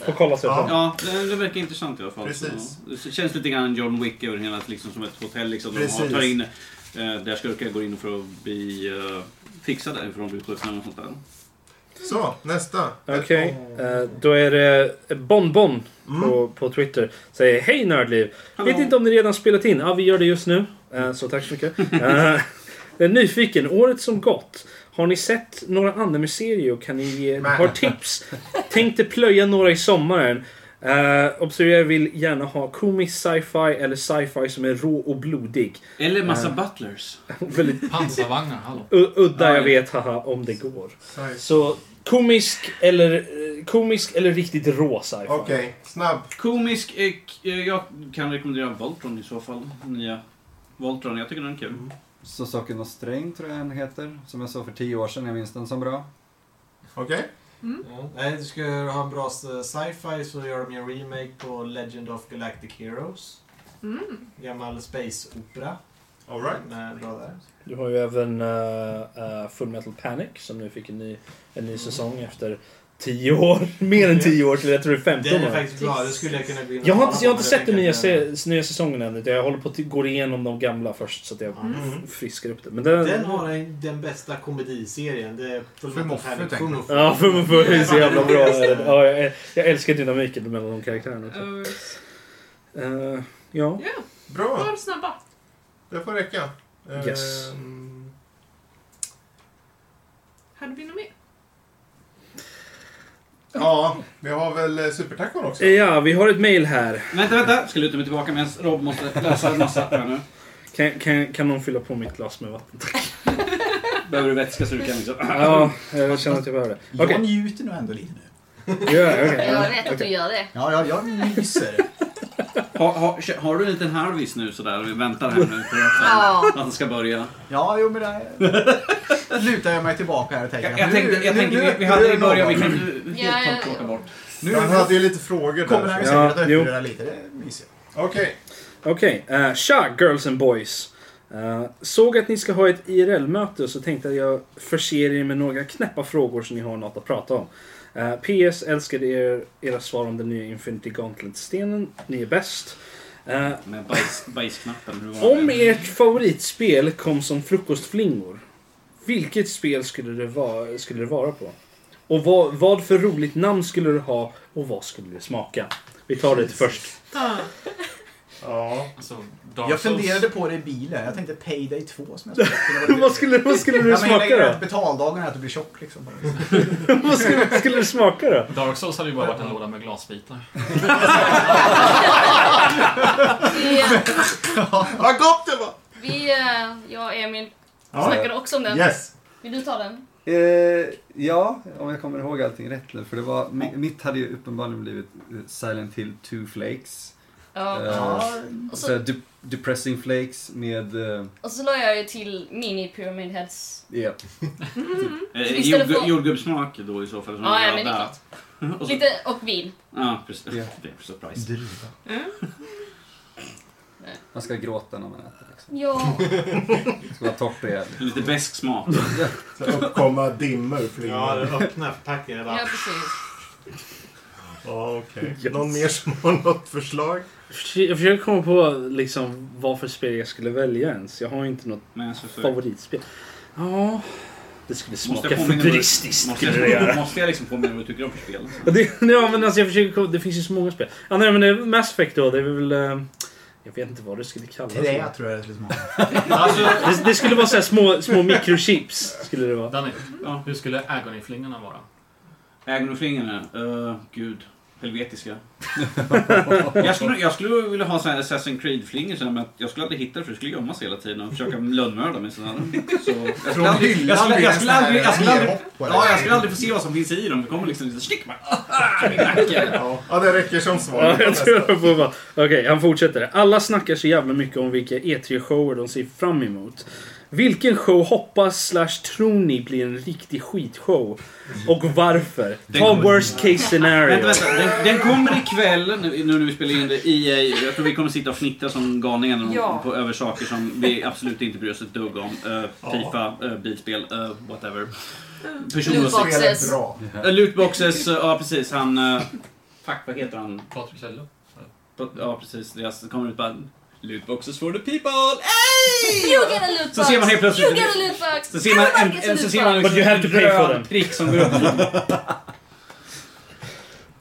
Får kolla så jag Ja, det, det verkar intressant i alla fall. Alltså. Precis. Ja. Det känns lite grann John Wick över hela, liksom som ett hotell. Liksom, de har, Precis. tar in eh, där skurkar går in för att bli eh, fixade ifrån att bli skjutna eller något sånt där. Så, nästa. Okej, eh, då är det Bonbon på, på Twitter. Säger Hej Nördliv! Hallå. Vet inte om ni redan spelat in? Ja, vi gör det just nu. Eh, så tack så mycket. Eh, jag är nyfiken. Året som gått. Har ni sett några anime-serier och kan ni ge Nej. har tips? Tänkte plöja några i sommaren. Uh, Observera, jag vill gärna ha komisk sci-fi eller sci-fi som är rå och blodig. Eller massa Eh, butlers. väldigt- Pansarvagnar, hallå. U- Udda jag vet, haha, om det går. Så komisk eller, eh, komisk eller riktigt rå sci-fi. snabb. Komisk. eh, k- eh, Jag kan rekommendera Voltron i så fall. Nya Voltron. Jag tycker den är kul. Mm. Så saken och sträng tror jag den heter. Som jag såg för tio år sedan, jag minns den som bra. Okej. Ja. Nej, du ska ha en bra eh, sci-fi så gör de ju en remake på Legend of Galactic Heroes. Mm. Gammal space-opera. All right. Den är bra där. Du har ju även eh, eh, Full Metal Panic som nu fick en ny, en ny säsong efter 10 år. Mer än 10 år till jag tror det är 15 år. Den är faktiskt bra, det skulle jag kunna gå in och Jag har tala inte, jag har om, inte men sett jag den nya, tänker se, nya säsongen än. utan Jag håller på att gå igenom de gamla först så att jag Mm. f- friskar upp det. Men den, Den, den har en, den bästa komediserien. Det är Full Metal Full Panic. Metal Full Panic. Metal Ja, Full Metal Panic är så jävla bra. Panic. Ja, jag, jag älskar dynamiken mellan de karaktärerna. också. Eh, ja. Ja, Bra. var snabba. Det får räcka. Eh, Yes. Hade vi något mer? Ja, vi har väl eh, supertacon också? ja, vi har ett mail här. Vänta, vänta! Ska luta mig tillbaka medan Rob måste läsa en massa här nu. Kan, kan, kan någon fylla på mitt glas med vatten? Behöver du vätska så du kan liksom... ja, jag känner att jag behöver det. Jag Okej. njuter nog ändå lite nu. Gör jag? Okej. Jag vet att du Okej. gör det. Ja, ja jag myser. Har, har, har du en liten harvis nu sådär? Vi väntar här nu på att, Ja. att den ska börja. Ja, jo men där lutar jag mig tillbaka här och tänker. Jag, jag nu- tänkte, jag nu- tänkte nu- vi, vi hade i nu- början, vi kan ju Ja, ja, helt ja. klart plocka bort. Nu Han hade ju lite frågor kommer där. han ju Ja, säkert att jo. öppna lite. Det är mysigt. Okej. Okej, eh, tja girls and boys. Eh, såg att ni ska ha ett IRL-möte så tänkte att jag förser er med några knäppa frågor så ni har något att prata om. Eh, PS älskade er, era svar om den nya Infinity Gauntlet-stenen. Ni är bäst. Eh, Med bajs, bajsknappen. hur var det? om ert favoritspel kom som frukostflingor, vilket spel skulle det, va- skulle det vara på? Och vad, vad för roligt namn skulle det ha och vad skulle det smaka? Vi tar det först. Ja. Alltså, Dark Jag funderade Souls. på det i bilen. Jag tänkte Payday 2 som jag skulle vad, skulle, vad skulle det Ja, men jag smaka lägger då? rätt betaldagen är att du blir tjock liksom. Vad skulle, skulle det smaka då? Dark Souls hade ju bara varit en låda med glasbitar. Vi, eh, Vad gott det var! vi, eh, jag och Emil Ja. snackade också om den. Yes. Vill du ta den? Eh, ja, om jag kommer ihåg allting rätt nu. För det var, mi- mitt hade ju uppenbarligen blivit eh, Silent Hill 2 Flakes. Ja. Eh, Och så här så, de- depressing Flakes med... Eh, och så la jag ju till mini Pyramid Heads. ja. Så Eh, istället jordgu- för- Jordgubbssmak då i så fall. som Ja, ja, var men det är där. klart. Och så- Lite, och vin. Ja, precis. Ja. Det är surprise. Man ska gråta när man äter. Liksom. Ja. Det ska vara torrt och jävligt. Lite besk smak. Så uppkomma dimmor flingor. Ja, öppna förpackningen. Ja, bara- precis. Ja, okej. Någon mer som har något förslag? Jag försöker komma på liksom vad för spel jag skulle välja ens. Jag har inte något favoritspel. Ja, det skulle smaka påminna dig- futuristiskt. Måste skulle det göra. jag, måste jag liksom påminna dig vad du tycker om för spel? Ja, Det, ja, men alltså jag försöker komma, det finns ju så många spel. Ja, nej, men det är Mass Effect då, det är väl... eh, Jag vet inte vad det skulle kallas. Trä tror jag det skulle smaka. Alltså- det, det skulle vara så här små, små mikrochips. Skulle det vara. Danny, hur skulle Agony-flingorna vara? Agnew-flingorna? Uh, gud. Helvetiska. jag, skulle, jag skulle vilja ha såna här Assassin's Creed-flingor så här, men jag skulle aldrig hitta det för det skulle gömma sig hela tiden och försöka lönnmörda mig. Sådana. Så jag Från skulle aldrig... hyllan Jag skulle, blir det jag skulle en sån här aldrig... Jag skulle aldrig... nerhopp på det. Ja, jag skulle aldrig få se vad som finns i dem. Det kommer liksom lite stick bara. Ah, min nacke. Ja, det räcker som svar. Ja, jag tror jag får bara... Okej, han fortsätter. Alla snackar så jävla mycket om vilka E3-shower de ser fram emot. Vilken show hoppas slash tror ni blir en riktig skitshow? Och varför? Ta kommer- worst case scenario. Vänta, vänta. Den, den kommer ikväll, nu, nu när vi spelar in det, i... E Jag tror vi kommer sitta och fnittra som galningar när de- Ja. på, över saker som vi absolut inte bryr oss ett dugg om. Eh, Ja. Fifa, eh, bilspel, eh, whatever. Mm. Lootboxes. Bra. Eh, Lootboxes, eh, ja precis. Han... eh, Fuck, vad heter han? Patrik Kjellö? Pa- Ja precis, deras kommer ut bara... Lootboxes for the people! Ey! You get a loot box! Så ser man helt plötsligt- You get a loot box! Så ser man Everybody en, gets a en, så loot ser man box. liksom But you have to en pay for röd them. prick som går upp.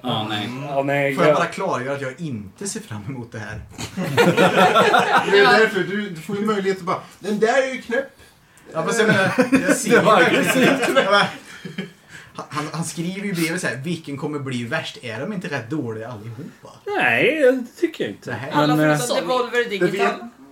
Ja, nej. Ja, nej, Får jag jag, bara klargöra att jag inte ser fram emot det här. Det är därför du, du får ju möjlighet att bara Den där är ju knäpp. Ja, fast jag menar, jag ser Det ju var verkligen... aggressivt. Ja, men- Han- Han, han skriver ju i brevet så här, vilken kommer bli värst? Är de inte rätt dåliga allihopa? nej, det tycker jag inte. Nej. Alla Men, eh, förutom Devolver Digital.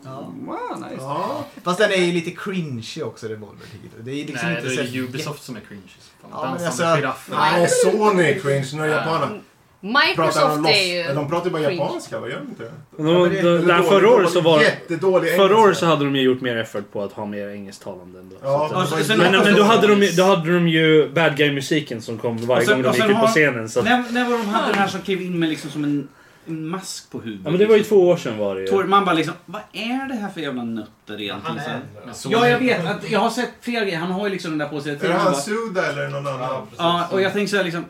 Ja. Wow, nice. Ja. Fast den är ju lite cringy också, Revolver Digital. Det är liksom Nej, inte det är så- ju Ubisoft som är cringe. Fan, Ja, men Dansande alltså- giraffer. Nej, och Sony är cringe. Nu är Ja. japanerna. Pratar de Microsoft är loss? ju... De pratar ju bara cringe. japanska, vad gör de inte? De, de, de, där förra året så var Jättedålig Förra året så engelska. hade de ju gjort mer effort på att ha mer engelsktalande ändå. Ja, Så att- eh, det var ju sen- men, men då, hade de, ju- då jättedålig. hade de ju bad guy-musiken som kom varje Och sen- gång de och gick sen ut på har- scenen. Så att, När, när var de hade den här som klev in med liksom som en, en mask på huvudet? ja, men det var ju liksom. två år sedan var det ju. Tor- Man bara liksom, vad är det här för jävla nötter egentligen? Så här. Men så- Ja, jag vet. Att jag har sett flera grejer. Han har ju liksom den där på sig. Är det Jag han bara- Suda eller någon annan? Ja, och jag tänker såhär liksom.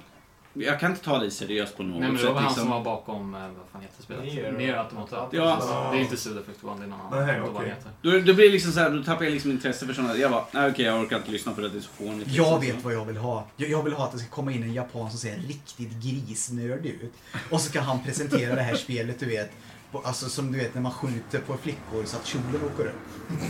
Jag kan inte ta dig seriöst på något Nej, men det sätt. var han liksom. som var bakom, eh, vad fan heter Nier. spelet? Nier Automata. Ja. Det är inte Sud Effect One, det är någon annan. Nej, Jag vet inte vad okej. den heter. då, då blir det liksom såhär, då tappar jag liksom intresse för sådana. Jag bara, nej okej jag orkar inte lyssna på det, det är så fånigt. Jag liksom. vet vad jag vill ha. Jag, jag vill ha att det ska komma in en japan som ser riktigt grisnördig ut. Och så ska han presentera det här spelet, du vet. på- Alltså som du vet när man skjuter på flickor så att kjolen åker upp.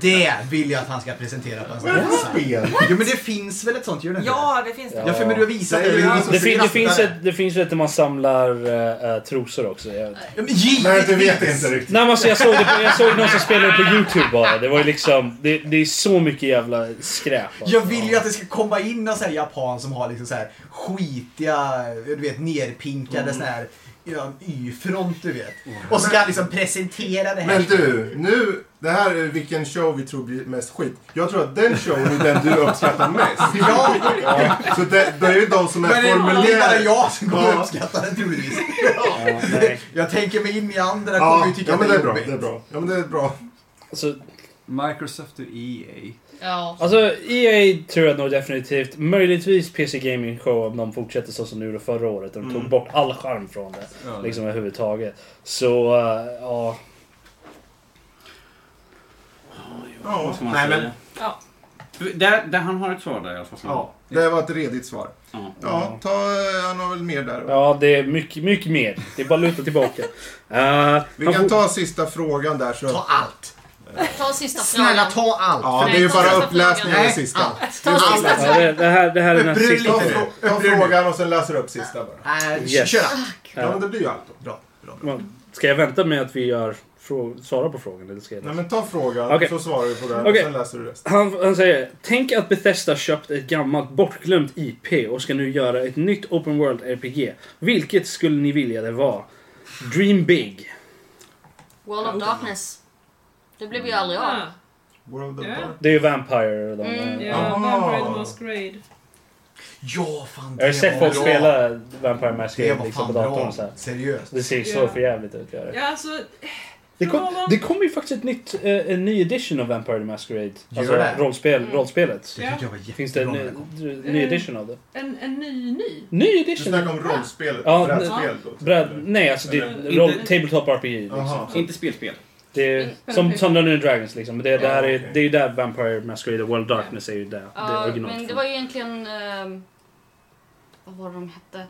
Det vill jag att han ska presentera på en sån Vad är det här för design. spel? Jo men det finns väl ett sånt, gör det inte? Ja, det finns det. Ja, för men du har visat Det är det. ju han alltså som Det, fin, det, skrattar. finns ett, det finns ju ett där man samlar eh, eh, trosor också. Jag, Ja, men givetvis! Nej, du vet inte riktigt. nej, men alltså, jag, såg det på, jag såg någon som spelade på YouTube bara. Det var ju liksom... Det, det är så mycket jävla skräp. Alltså. Jag vill ju att det ska komma in någon sån här japan som har liksom så här skitiga, du vet nerpinkade Mm. sån här ja, Y-front du vet. Och så ska han liksom presentera det här. Men du, nu, det här är vilken show vi tror blir mest skit. Jag tror att den showen är den du uppskattar mest. Ja, Ja. Så det, det är ju de som är men det är bara formulerade. jag som kommer Ja. uppskatta den troligtvis. Ja, nej. Jag tänker mig in i andra kommer Ja, ju tycka ja, att men det är bra. jobbigt. Det är bra. Ja, men det är bra. Alltså, Microsoft och E EA. Ja. Alltså EA tror jag nog definitivt. Möjligtvis PC Gaming Show om de fortsätter så som nu då förra året. De tog bort all charm från det. Ja, Liksom överhuvudtaget. Så eh, ja. Ja. Vad ska man Nej, säga? men- Ja. Där, där han har ett svar där i alla fall. Ja. Det var ett redigt svar. Ja. Ja, ta, eh, han har väl mer där. Ja, det är mycket, mycket mer. Det är bara luta tillbaka. Eh, Vi kan han får- ta sista frågan där. Så. Ta allt. Ta sista frågan. Snälla ta allt. Ja, det är ju bara uppläsningen i sista. Ta sista Ja, det, det, här, det här är den här Upprörd sista. Ta, lite Äh, då. ta frågan och sen läser upp sista bara. Nej, Yes. kör Ja, men det blir ju allt då. Bra, bra. bra. Man- Ska jag vänta med att vi gör, frå- svarar på frågan? Eller ska jag Nej, men ta frågan Okej. så svarar du på den Okej. och sen läser du resten. Han, han säger Tänk att Bethesda köpt ett gammalt bortglömt IP och ska nu göra ett nytt Open World RPG. Vilket skulle ni vilja det var? Dream big. World of Darkness. Det blev ju aldrig av. Ah, World of Ja. Dark. Det är ju Vampire. De, Mm. eh, Mm, ja, Ah. Vampire the Masquerade. Ja, fan det Jag har ju sett var folk bra. spela Vampire Det Masquerade var liksom fan på datorn. och Så bra. här. Seriöst. Det ser ju så Ja. för jävligt ut. Gör det. Ja, alltså... Det, kom, det kommer ju faktiskt ett nytt, eh, en ny edition av Vampire the Masquerade. Gör Alltså det? rollspel, Mm. rollspelet. Det tyckte jag var Finns det en jättebra ny, kom. ny edition av det? En, en ny, ny. Ny edition! Du snackar om rollspelet, brädspel då, typ, Bräd, nej, alltså det Eller? är roll, Inte- tabletop RPG. Liksom. Jaha. Inte spelspel. Det är, som, som Dungeons and Dragons liksom. Men Det, det, här är, det är ju där Vampire Masquerade World Darkness är ju där. det liksom. är Ja, originalt. men det var ju egentligen... ehm, vad var det de hette?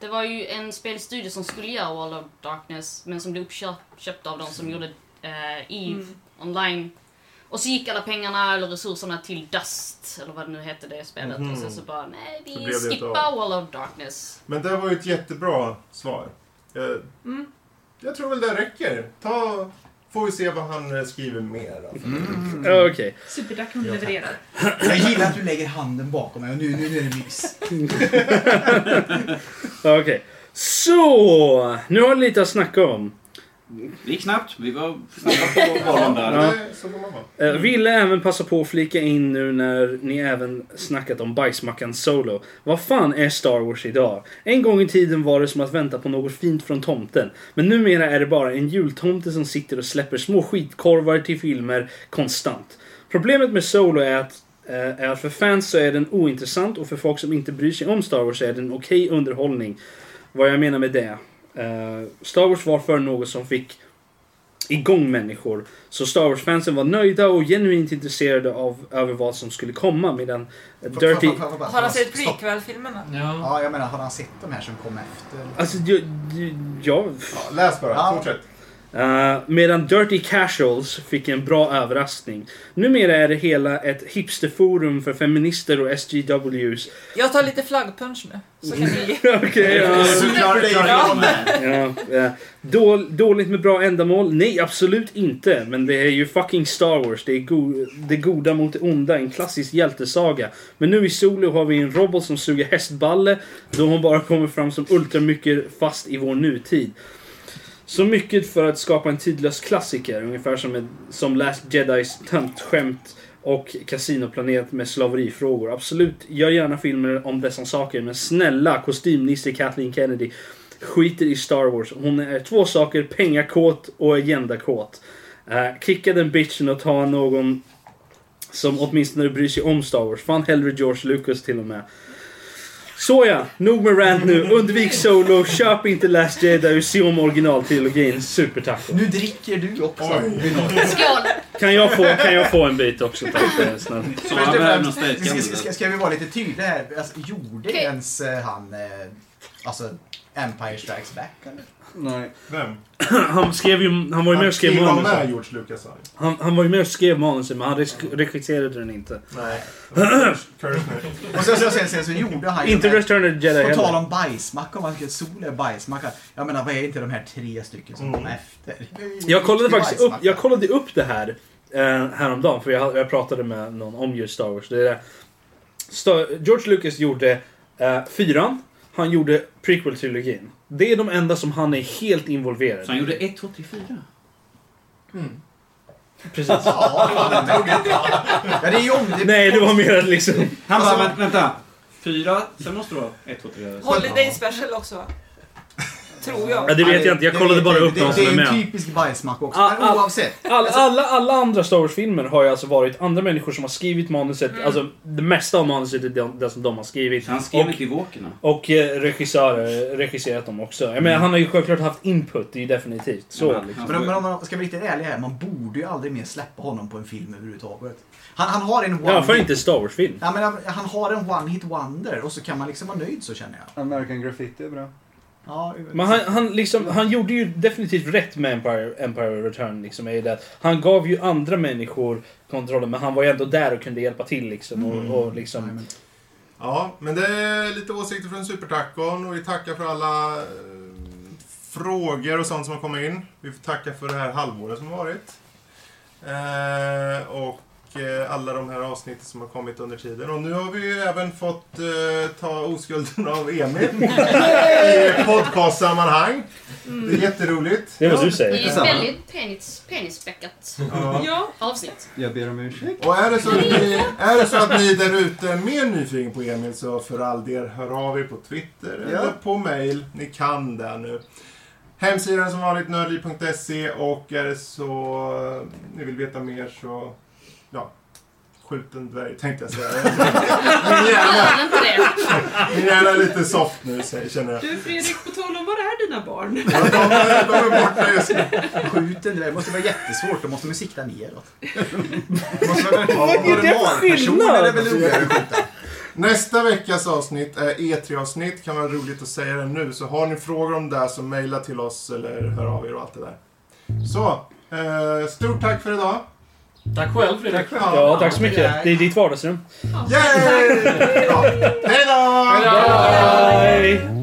Det var ju en spelstudio som skulle göra World of Darkness men som blev uppköpt av de som gjorde eh, EVE Mm. online. Och så gick alla pengarna eller resurserna till Dust, eller vad det nu hette det spelet. Mhm. Och sen så bara, nej Så vi blev det inte skippar av. World of Darkness. Men det var ju ett jättebra svar. Jag, Mm. jag tror väl det räcker. Ta, får vi se vad han eh, skriver mer. då. Ja, Mm. Okej. Superdack hon levererar. Jag gillar att du lägger handen bakom mig och nu, nu, nu är det mys. Ja, Okej. Så! Nu har ni lite att snacka om. Det gick snabbt. Vi var snabba på bollen där. Nej, så får man vara. Eh, Ville även passa på att flika in nu när ni även snackat om bajsmackan Solo. Vad fan är Star Wars idag? En gång i tiden var det som att vänta på något fint från tomten. Men numera är det bara en jultomte som sitter och släpper små skitkorvar till filmer konstant. Problemet med Solo är att eh, är att för fans så är den ointressant och för folk som inte bryr sig om Star Wars så är den okej underhållning. Vad jag menar med det. eh, Star Wars var för något som fick igång människor. Så Star Wars-fansen var nöjda och genuint intresserade av över vad som skulle komma medan eh, Dirty... Har han sett prequel-filmerna? Ja, jag menar, har han sett de här som kom efter? Alltså, jag... jag läs bara. Ja. Fortsätt. Eh, medan Dirty Casuals fick en bra överraskning. Numera är det hela ett hipsterforum för feminister och SGWs. Jag tar lite flaggpunch nu. Så kan ni... Okej, ja. Du klarar dig bra. Ja, ja. Då, dåligt med bra ändamål? Nej, absolut inte. Men det är ju fucking Star Wars. Det är go det goda mot det onda. En klassisk hjältesaga. Men nu i Solo har vi en robot som suger hästballe då hon bara kommer fram som ultra mycket fast i vår nutid. Så mycket för att skapa en tidlös klassiker. Ungefär som, en, som Last Jedis tantskämt och Casinoplanet med slaverifrågor. Absolut, gör gärna filmer om dessa saker. Men snälla, kostymnisse Kathleen Kennedy skiter i Star Wars. Hon är två saker, pengakåt och agendakåt. Uh, kicka den bitchen och ta någon som åtminstone bryr sig om Star Wars. Fan hellre George Lucas till och med. Såja, nog med rant nu. Undvik Solo, köp inte Last Jedi och se om originaltrilogin. Supertack. Nu dricker du också. Skål! Kan jag få, kan jag få en bit också tack eh, snälla? Så Först och han behöver någon främst, stärkande. ska, ska, ska, ska vi vara lite tydliga här? Alltså, gjorde Okej. ens eh, han eh, alltså Empire Strikes Back? Eller? Nej. Vem? Han, skrev ju, han var ju med och skrev Han var med manuset. George Lucas. sa han. Han, han var ju med och skrev manuset men han res- regisserade den inte. Nej. Kirshner. Och sen, sen, sen, sen så gjorde han ju Inte de här- Return of the Jedi På tal heller. om bajsmacka, om man tycker att sol är bajsmacka. Jag menar, vad är inte de här tre stycken som kom Mm. efter? Jag kollade Det är faktiskt upp, bajsmacka. jag kollade upp det här eh, häromdagen för jag, jag pratade med någon om just Star Wars. Det är, det. Sta- George Lucas gjorde eh, fyran, han gjorde prequel-trilogin. Det är de enda som han är helt involverad Så han gjorde 1, 2, 3, 4. Precis. Ja, det var den tugget. Ja, det är ju om... Det Nej, det var mer att liksom... Han bara, vänta, vänta. Fyra, sen måste det vara 1, 2, 3. Holiday special också va? Tror jag. Ja, det vet jag inte, jag kollade vet bara jag upp inte. de Det som det är är ju en med. typisk bajsmacka också. Alltså, Ah, Men ah. oavsett. Alla, alla, alla andra Star Wars-filmer har ju alltså varit andra människor som har skrivit manuset. Alltså det mesta av manuset är det, det som de har skrivit. Han skrev Och- inte i Walkerna. Och eh, regissörer, regisserat dem också. Jag menar, han har ju självklart haft input, det är ju definitivt. Så. Mm. Ja, men- liksom- Men om, men om man ska vara riktigt ärlig här, man borde ju aldrig mer släppa honom på en film överhuvudtaget. Han, han har en I alla one... fall inte Star Wars-film. Ja, men han, han har en one hit wonder och så kan man liksom vara nöjd så känner jag. American Graffiti är bra. Ja, Men han, han, liksom, han gjorde ju definitivt rätt med Empire, Empire Return. Liksom, är ju det. att Han gav ju andra människor kontrollen, men han var ju ändå där och kunde hjälpa till. Liksom, Mm. och, och, Nej, liksom. men- Ja, men det är lite åsikter från Supertacon och vi tackar för alla eh, frågor och sånt som har kommit in. Vi får tacka för det här halvåret som har varit. Eh, och eh, alla de här avsnitten som har kommit under tiden. Och nu har vi ju även fått eh, ta oskulden av Emil i podcastsammanhang. Det är jätteroligt. Det är vad du säger. Det är ett samma. väldigt penis, penisspäckat Ja. Ja, avsnitt. Jag ber om ursäkt. Och är det så att ni, är det så att ni där ute är mer nyfiken på Emil så för all del hör av er på Twitter eller på mail. Ni kan det nu. Hemsidan som vanligt, nördliv.se och är det så eh, ni vill veta mer så, ja, skjut en dvärg tänkte jag säga. Min Gör inte det. Min hjärna är lite soft nu säger- känner jag. Du Fredrik, på tal om var är dina barn? Skjut den där. Det måste vara jättesvårt. Då måste man sikta neråt. Vad är det för Personer är väl roligare att skjuta. Nästa veckas avsnitt är E3-avsnitt. Kan vara roligt att säga det nu. Så har ni frågor om det här så mejla till oss eller hör av er och allt det där. Så, eh, stort tack för idag. Tack själv Fredrik. Tack själv. Ja, tack så mycket. Det är ditt vardagsrum. Yay! Ja. Hej då! Bye!